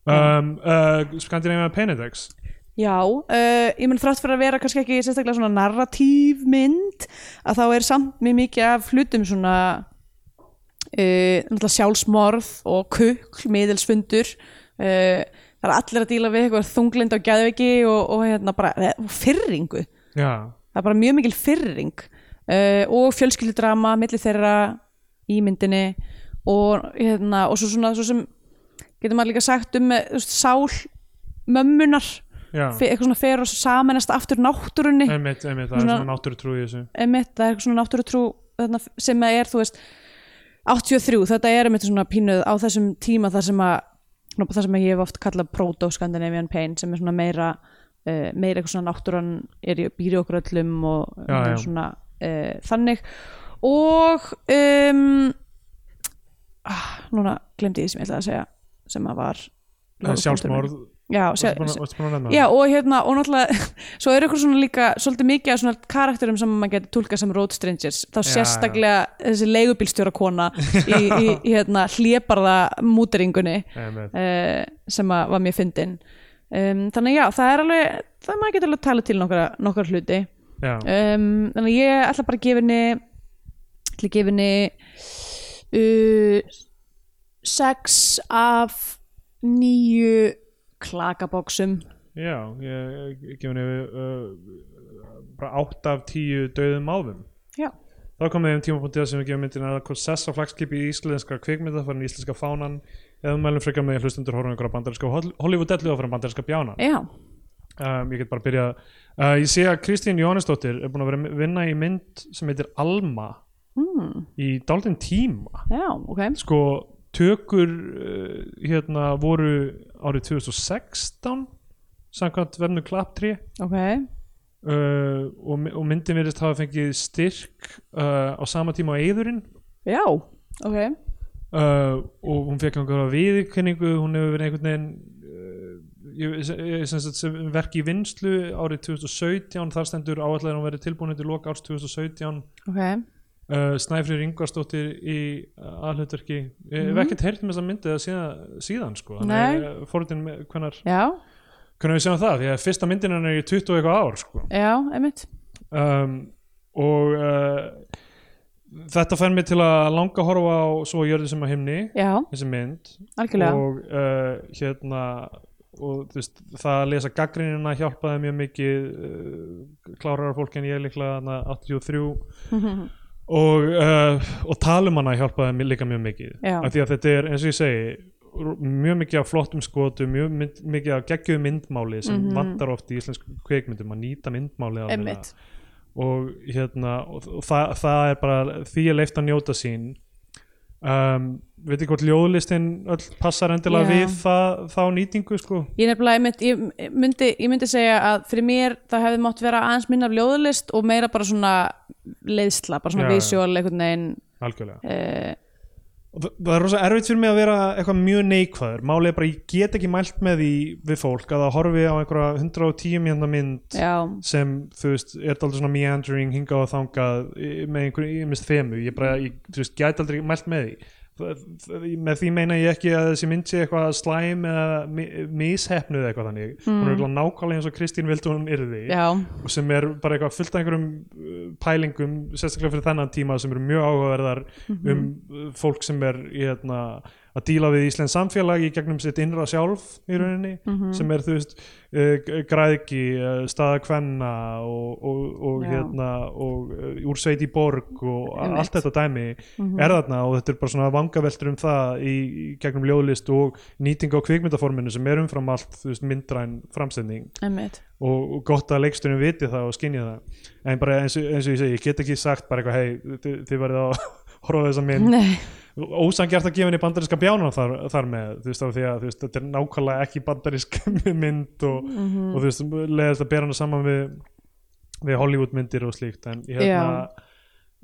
[SPEAKER 2] um, uh, Scandinavian Penedex
[SPEAKER 3] Já, uh, ég menn þrátt fyrir að vera kannski ekki sérstaklega svona narratív mynd að þá er samt mjög mikið af hlutum svona uh, náttúrulega sjálfsmorð og kukl, miðilsfundur uh, það er allir að díla við eitthvað þunglind á gæðveiki og, og hérna bara eh, og fyrringu,
[SPEAKER 2] já,
[SPEAKER 3] það er bara mjög mikil fyrring uh, og fjölskyldudrama milli þeirra í myndinni og hérna og svo svona svo sem getur maður líka sagt um eh, þú veist, sál mömmunar
[SPEAKER 2] já,
[SPEAKER 3] fe- eitthvað svona fer og samennast aftur náttúrunni
[SPEAKER 2] einmitt, einmitt það er
[SPEAKER 3] Svona-
[SPEAKER 2] svona náttúru trú í þessu
[SPEAKER 3] einmitt, það er eitthvað svona náttúrutrú þarna, sem að er, þú veist 83, þetta er einmitt svona pínuð á þessum tíma þar sem að svona það sem að ég hef oft kallað proto-Scandinavian pain sem er svona meira uh, meira eitthvað svona náttúran er í býri okkur öllum og
[SPEAKER 2] Já,
[SPEAKER 3] og
[SPEAKER 2] já.
[SPEAKER 3] svona uh, þannig og um, ah, núna glemdi ég því sem ég ætlaði að segja sem að var
[SPEAKER 2] Það er sjálfsmorð,
[SPEAKER 3] já,
[SPEAKER 2] varstu
[SPEAKER 3] sjá,
[SPEAKER 2] búin að- varstu búin að nefna
[SPEAKER 3] Já
[SPEAKER 2] það?
[SPEAKER 3] og hérna og náttúrulega svo er eitthvað svona líka svolítið mikið af svona karakterum sem maður getur tólkað sem road strangers þá
[SPEAKER 2] Já,
[SPEAKER 3] sérstaklega þessi leigubílstjóra kona í, í, í hérna hlébarða múteringunni
[SPEAKER 2] Einmitt.
[SPEAKER 3] uh, sem að var mjög fyndin um, þannig já það er alveg það maður getur alveg að tala til nokkra, nokkra hluti
[SPEAKER 2] já,
[SPEAKER 3] um, þannig að ég ætla bara að gefa henni ætla að gefa henni uh, sex af nýju klakaboksum
[SPEAKER 2] já, ég ég gef henni uh, bara 8 af 10 döðum álfum
[SPEAKER 3] Já.
[SPEAKER 2] Þá komum við um tímapunktið sem við gefum myndin að hvort sess á flagskipi í íslenska kvikmynda farin í íslenska fánan eða við mælum frekar með því að hlustundur horfum ykkur á bandarinska Hollywood-dellu og farin bandarinska bjánan
[SPEAKER 3] Já,
[SPEAKER 2] um, Ég get bara byrjað uh, Ég sé að Kristín Jónesdóttir er búin að vera að vinna í mynd sem heitir Alma
[SPEAKER 3] mm,
[SPEAKER 2] í dálítinn tíma
[SPEAKER 3] já, ok
[SPEAKER 2] Sko, tökur uh, hérna voru árið 2016 samkvæmt verðnu klapptrið
[SPEAKER 3] Ok,
[SPEAKER 2] uh, og, my- og myndin verðist hafa fengið styrk uh, á sama tíma á Eyðurinn
[SPEAKER 3] já, ok
[SPEAKER 2] uh, og hún fekk einhverja viðkynningu hún hefur verið einhvern veginn uh, ég, ég, sem, sagt, sem verk í vinslu árið 2017 þar stendur áallega að hún verið tilbúin til lok árs 2017
[SPEAKER 3] Ok,
[SPEAKER 2] uh, Snæfrið Ringvarsdóttir í aðhlutverki ég hef ekkert heyrt með þess að myndið síðan, síðan sko,
[SPEAKER 3] Nei.
[SPEAKER 2] fóruðin hvernar,
[SPEAKER 3] já,
[SPEAKER 2] hvernar við sjáum það því að fyrsta myndin hennar er í 20 og eitthvað ár sko.
[SPEAKER 3] já, einmitt
[SPEAKER 2] um, og uh, þetta fær mig til að langa að horfa á svo jörðu sem að himni
[SPEAKER 3] já,
[SPEAKER 2] þessi mynd
[SPEAKER 3] algjörlega,
[SPEAKER 2] og uh, hérna og þú veist, það að lesa gaggrinina hjálpaði mjög mikið uh, klárar fólk en ég líklega þarna 83 og, uh, og talum hana hjálpaði mér líka mjög mikið
[SPEAKER 3] Já.
[SPEAKER 2] af því að þetta er eins og ég segi r- mjög mikið af flottum skotum mjög mynd, mikið af geggjöðu myndmáli sem
[SPEAKER 3] Mhm.
[SPEAKER 2] vantar oft í íslensku kveikmyndum að nýta myndmáli almennilega.
[SPEAKER 3] einmitt
[SPEAKER 2] og hérna og, og það, það er bara því er leift að njóta sín um, veit ekki hvort ljóðlistin öll passar endilega
[SPEAKER 3] Já.
[SPEAKER 2] við það, þá nýtingu sko
[SPEAKER 3] Ég nefnilega, ég myndi, ég, myndi, ég myndi segja að fyrir mér það hefði mátt vera aðeins minna af ljóðalist og meira bara svona leiðsla, bara svona
[SPEAKER 2] Já, já.
[SPEAKER 3] vísjól einhvern veginn
[SPEAKER 2] algjörlega
[SPEAKER 3] uh,
[SPEAKER 2] Og það það er rosa erfitt fyrir mig að vera eitthvað mjög neikvæður málið er bara ég get ekki mælt með því við fólk að það horfi á einhverja 110 mjönda mynd
[SPEAKER 3] já,
[SPEAKER 2] sem þú veist er þetta aldrei svona meandering hingað og þangað í- með einhverju ímist þemu ég bara, ég, þú veist, gæti aldrei mælt með því Það- það- með því meina ég ekki að þessi mynd sé eitthvað slæm eða mi- mishefnuð eða eitthvað þannig hún er eitthvað nákvæmlega eins og Kristín vildi hún yrði
[SPEAKER 3] já,
[SPEAKER 2] og sem er bara eitthvað fullt af einhverjum uh, pælingum, sérstaklega fyrir þennan tíma sem eru mjög áhugaverðar
[SPEAKER 3] Mhm.
[SPEAKER 2] um uh, fólk sem er hérna, að díla við Íslands samfélag í gegnum sitt innra sjálf
[SPEAKER 3] Mhm.
[SPEAKER 2] í rauninni sem er þú veist uh, g- græðgi, uh, staða kvenna og, og, og
[SPEAKER 3] Já.
[SPEAKER 2] hérna og uh, úr sveit í borg og a-
[SPEAKER 3] Einmitt. Mhm.
[SPEAKER 2] allt þetta dæmi er þarna og þetta er bara svona vangaveltur um það í, í gegnum ljóðlist og nýting á kvikmyndaforminu sem er umfram allt þú veist, myndræn framstending
[SPEAKER 3] einmitt
[SPEAKER 2] og og gott að leikstunum viti það og skinni það en bara eins og, eins og ég segi, ég get ekki sagt bara eitthvað, hei, þið, þið verðið að horfa á þessa mynd,
[SPEAKER 3] Nei,
[SPEAKER 2] ósangjart að gefa henni bandarinska bjána þar, þar með þú veist, af því að þú veist, þetta er nákvæmlega ekki bandarinsk mynd og,
[SPEAKER 3] Mhm.
[SPEAKER 2] og þú veist, leiðast að bera hana saman við við Hollywood myndir og slíkt en ég
[SPEAKER 3] Já.
[SPEAKER 2] hérna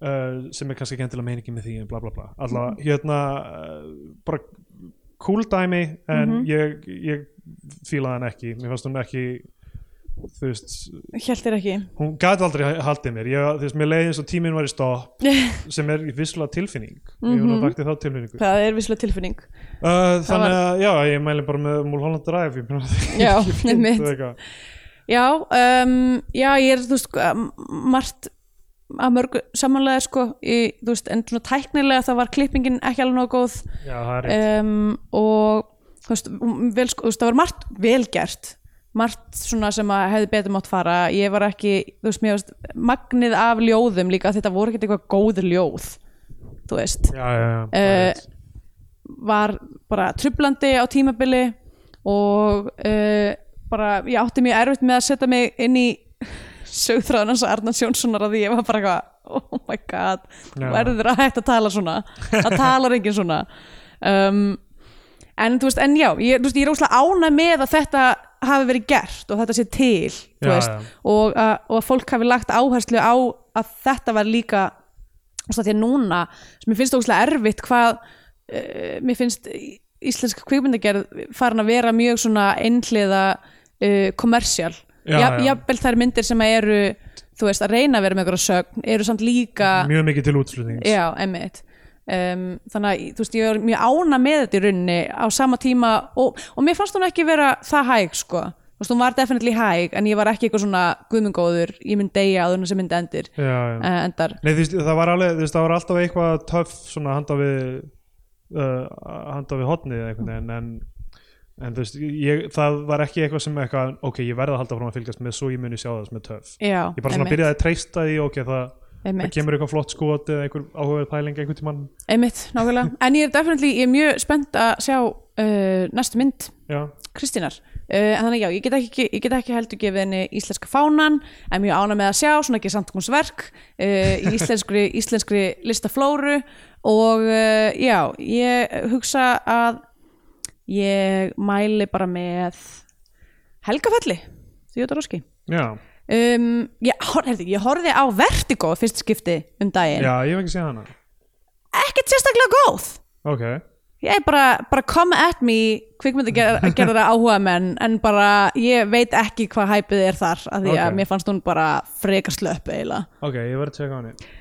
[SPEAKER 2] Uh, sem er kannski ekki endilega meiningi með því en bla bla bla
[SPEAKER 3] Mhm.
[SPEAKER 2] allavega, hérna uh, bara cool dæmi en
[SPEAKER 3] Mhm.
[SPEAKER 2] ég, ég fílaði hann ekki, mér fannst hún ekki þú veist,
[SPEAKER 3] hjælt þér ekki
[SPEAKER 2] hún gæti aldrei haldið mér ég, þú veist, mér leiði eins og tíminn var í stopp sem er visslega tilfinning ég hún að vakti þá tilfinningu
[SPEAKER 3] Mhm. Það er visslega tilfinning
[SPEAKER 2] uh,
[SPEAKER 3] var-
[SPEAKER 2] þannig að, já, ég mæli bara með Mulholland Drive, ég meina það
[SPEAKER 3] Já,
[SPEAKER 2] er
[SPEAKER 3] einmitt
[SPEAKER 2] eitthvað.
[SPEAKER 3] Já, um, já, ég er, þú veist, m- margt að mörgu samanlega, sko, í, þú veist, en svona tæknilega það var klippingin ekki alveg nóg góð
[SPEAKER 2] já, það er rétt
[SPEAKER 3] um, og þú veist, m- vel, sko, þú veist, það var margt vel gert margt svona sem að hefði betur mátt fara ég var ekki, þú veist, mér veist magnið af ljóðum líka, þetta voru ekki eitthvað góð ljóð, þú veist
[SPEAKER 2] já, já, já, það er
[SPEAKER 3] eh,
[SPEAKER 2] rétt.
[SPEAKER 3] var bara trublandi á tímabili og uh, bara, ég átti mjög erfitt með að setja mig inn í sögþráðan hans Arnars Jónssonar að því ég var bara eitthvað, oh my god
[SPEAKER 2] Já.
[SPEAKER 3] verður að hætta að tala svona það talar enginn svona um, en þú veist, en já ég, þú veist, ég er óslega ánæg með að þetta hafi verið gert og þetta sé til þú
[SPEAKER 2] Já,
[SPEAKER 3] veist,
[SPEAKER 2] já.
[SPEAKER 3] Og, að, og að fólk hafi lagt áherslu á að þetta var líka þú veist, af því að núna, sem mér finnst ógustlega erfitt hvað uh, mér finnst í- íslensk kvikmyndagerð farin að vera mjög svona einhliða uh, kommersial
[SPEAKER 2] Já,
[SPEAKER 3] Jaf-
[SPEAKER 2] já.
[SPEAKER 3] jafnvel þær myndir sem að eru þú veist, að reyna að vera með einhverja sögn eru samt líka
[SPEAKER 2] mjög mikið til útflutnings
[SPEAKER 3] Já, emmitt um, Þannig að þú veist, ég er mjög ána með þetta í rauninni á sama tíma og, og mér fannst hún ekki vera það hæg sko. Þú veist, hún var definitely hæg en ég var ekki eitthvað svona guðmengóður ég mynd deyja áður en þessi mynd endir
[SPEAKER 2] já, já.
[SPEAKER 3] uh, endar
[SPEAKER 2] Nei, þú veist, það var alveg, þú veist, það var alltaf eitthvað töff svona handa við uh, handa við hotnið eða einhvern veginn en, en þú veist, ég, það var ekki eitthvað sem eitthvað, ok, ég verða að halda frá að fylgjast með svo ég muni sjá það sem er töff
[SPEAKER 3] Já,
[SPEAKER 2] ég bara svona
[SPEAKER 3] einmitt,
[SPEAKER 2] byrjaði að treysta því, ok, það, það
[SPEAKER 3] einmitt,
[SPEAKER 2] kemur eitthvað flott skot eða einhver áhugaverð pæling einhvern tímann
[SPEAKER 3] einmitt, nákvæmlega En ég er definitely, ég er mjög spennt að sjá uh, næstu mynd
[SPEAKER 2] já,
[SPEAKER 3] Kristínar uh, en þannig já, ég get, ekki, ég get ekki heldur gefið henni íslenska fánan en mjög ána með að sjá, svona ekki samtgómsverk uh, í íslenskri, íslenskri listaflóru og uh, já, ég hugsa að ég mæli bara með helgafelli því þetta roski
[SPEAKER 2] já,
[SPEAKER 3] um, ég, hor, herði, ég horfði á Vertigo fyrst skipti um daginn
[SPEAKER 2] já, ég hef ekki séð hana
[SPEAKER 3] ekkert sérstaklega góð
[SPEAKER 2] ok,
[SPEAKER 3] Ég er bara, bara come at me kvikmyndagerðara áhuga menn en bara ég veit ekki hvað hæpið er þar af því að
[SPEAKER 2] Ok.
[SPEAKER 3] mér fannst hún bara frekar slöpp eiginlega.
[SPEAKER 2] ok, ég verð að tjekka á henni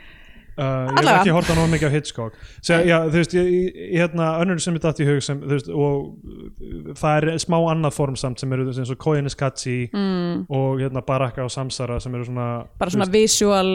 [SPEAKER 2] Uh, ég hef
[SPEAKER 3] Allavega.
[SPEAKER 2] ekki horta nóg mikið á Hitchcock Sér, já, þú veist, ég, ég, hérna, önnur sem ég datt í hug sem, þú veist, og uh, það er smá annað form samt sem eru þú veist, eins og Koyeniskatsi mm. og hérna, Baraka og Samsara sem eru svona
[SPEAKER 3] bara svona visual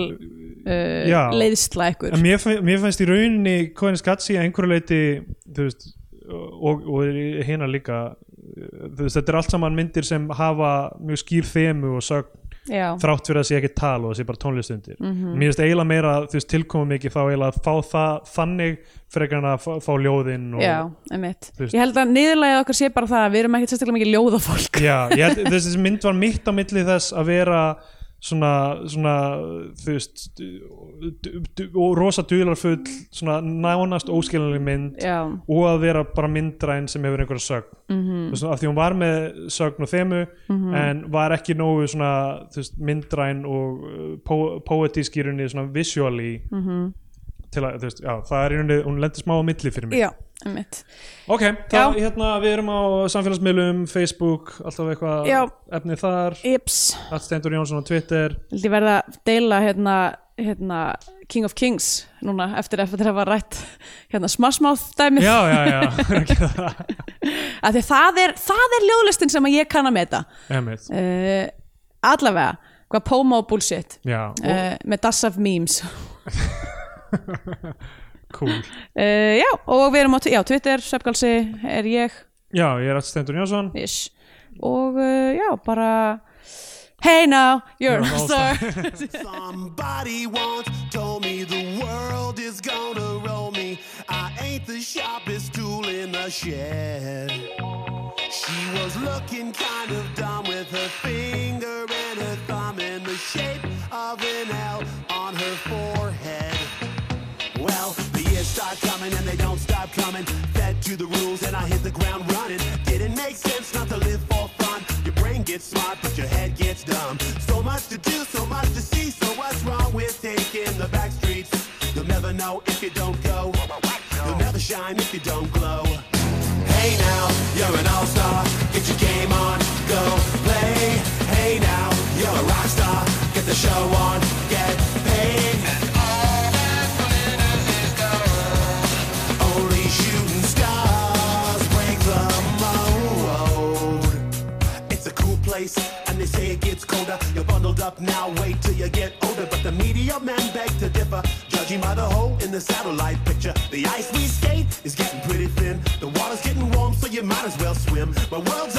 [SPEAKER 3] uh,
[SPEAKER 2] Já.
[SPEAKER 3] leiðsla ykkur
[SPEAKER 2] En mér, fin- mér finnst í rauninni Koyeniskatsi að einhverju leiti þú veist, og, og hérna líka uh, þú veist, þetta er allt saman myndir sem hafa mjög skýr þemu og sögn
[SPEAKER 3] já,
[SPEAKER 2] þrátt fyrir að það sé ekki tal og það sé bara tónlist undir mér finnst eiginlega meira þú veist tilkomum mikið þá eiginlega að fá það þannig frekar en að fá, fá ljóðin og,
[SPEAKER 3] já, emitt
[SPEAKER 2] Þú veist-
[SPEAKER 3] ég held að niðurlæðið okkar sé bara það að við erum ekkert sérstaklega mikið ljóðafólk
[SPEAKER 2] Já, ég, held- þessi þessi mynd var mitt á milli þess að vera svona, svona þú veist du- du- du- og rosa dularfull svona nánast óskiljanleg mynd
[SPEAKER 3] já,
[SPEAKER 2] og að vera bara myndræn sem hefur einhverja sögn
[SPEAKER 3] Mhm.
[SPEAKER 2] mm -hmm. af því hún var með sögn og þemu en var ekki nógu svona, þú veist, myndræn og uh, po poetísk í rauninni svona visually
[SPEAKER 3] Mhm.
[SPEAKER 2] til að, þú veist, já, það er í rauninni hún lendir smá á milli fyrir mig
[SPEAKER 3] já, emitt
[SPEAKER 2] ok, það, hérna, við erum á samfélagsmiðlum, Facebook, alltaf eitthvað
[SPEAKER 3] Já.
[SPEAKER 2] efni þar,
[SPEAKER 3] Ips,
[SPEAKER 2] allt Steindur Jónsson á Twitter
[SPEAKER 3] held ég verða að deila hérna, hérna King of Kings núna eftir eftir að hafa rætt hérna Smash Mouth dæmið
[SPEAKER 2] já, já, já, ekki það
[SPEAKER 3] af því það er, það er ljóðlistin sem ég kann að meta
[SPEAKER 2] Einmitt.
[SPEAKER 3] uh, allavega hvað Pomo bullshit
[SPEAKER 2] já, og
[SPEAKER 3] uh, með Das of Memes
[SPEAKER 2] cool
[SPEAKER 3] Uh, já, og við erum á Twi- já, Twitter, Svefgalsi er ég
[SPEAKER 2] já, ég er allt Steindur Jónsson
[SPEAKER 3] ish. og uh, já, bara Hey now, you're
[SPEAKER 2] You're an
[SPEAKER 3] a star
[SPEAKER 4] Somebody once told me the world is gonna roll me. I ain't the sharpest tool in the shed. She was looking kind of dumb with her finger and her thumb in the shape of an L on her forehead. Well, the years start coming and they don't stop coming. Fed to the rules and I hit the ground running. Didn't make sense not to live for fun. Your brain gets smart, but your head gets dumb. So much to do, so much to see. So what's wrong with taking the back streets? You'll never know if you don't go. You'll never shine if you don't glow. Hey now, you're an all-star. Get your game on, go play. Hey now, you're a rock star. Get the show on, get paid. Only shooting stars break the mold. It's a cool place, and they say it gets colder. You're bundled up now, wait till you get older. But the media men beg to differ, judging by the hole in the satellite picture. The ice we skate is getting pretty thin. The water's getting warm, so you might as well swim. My world's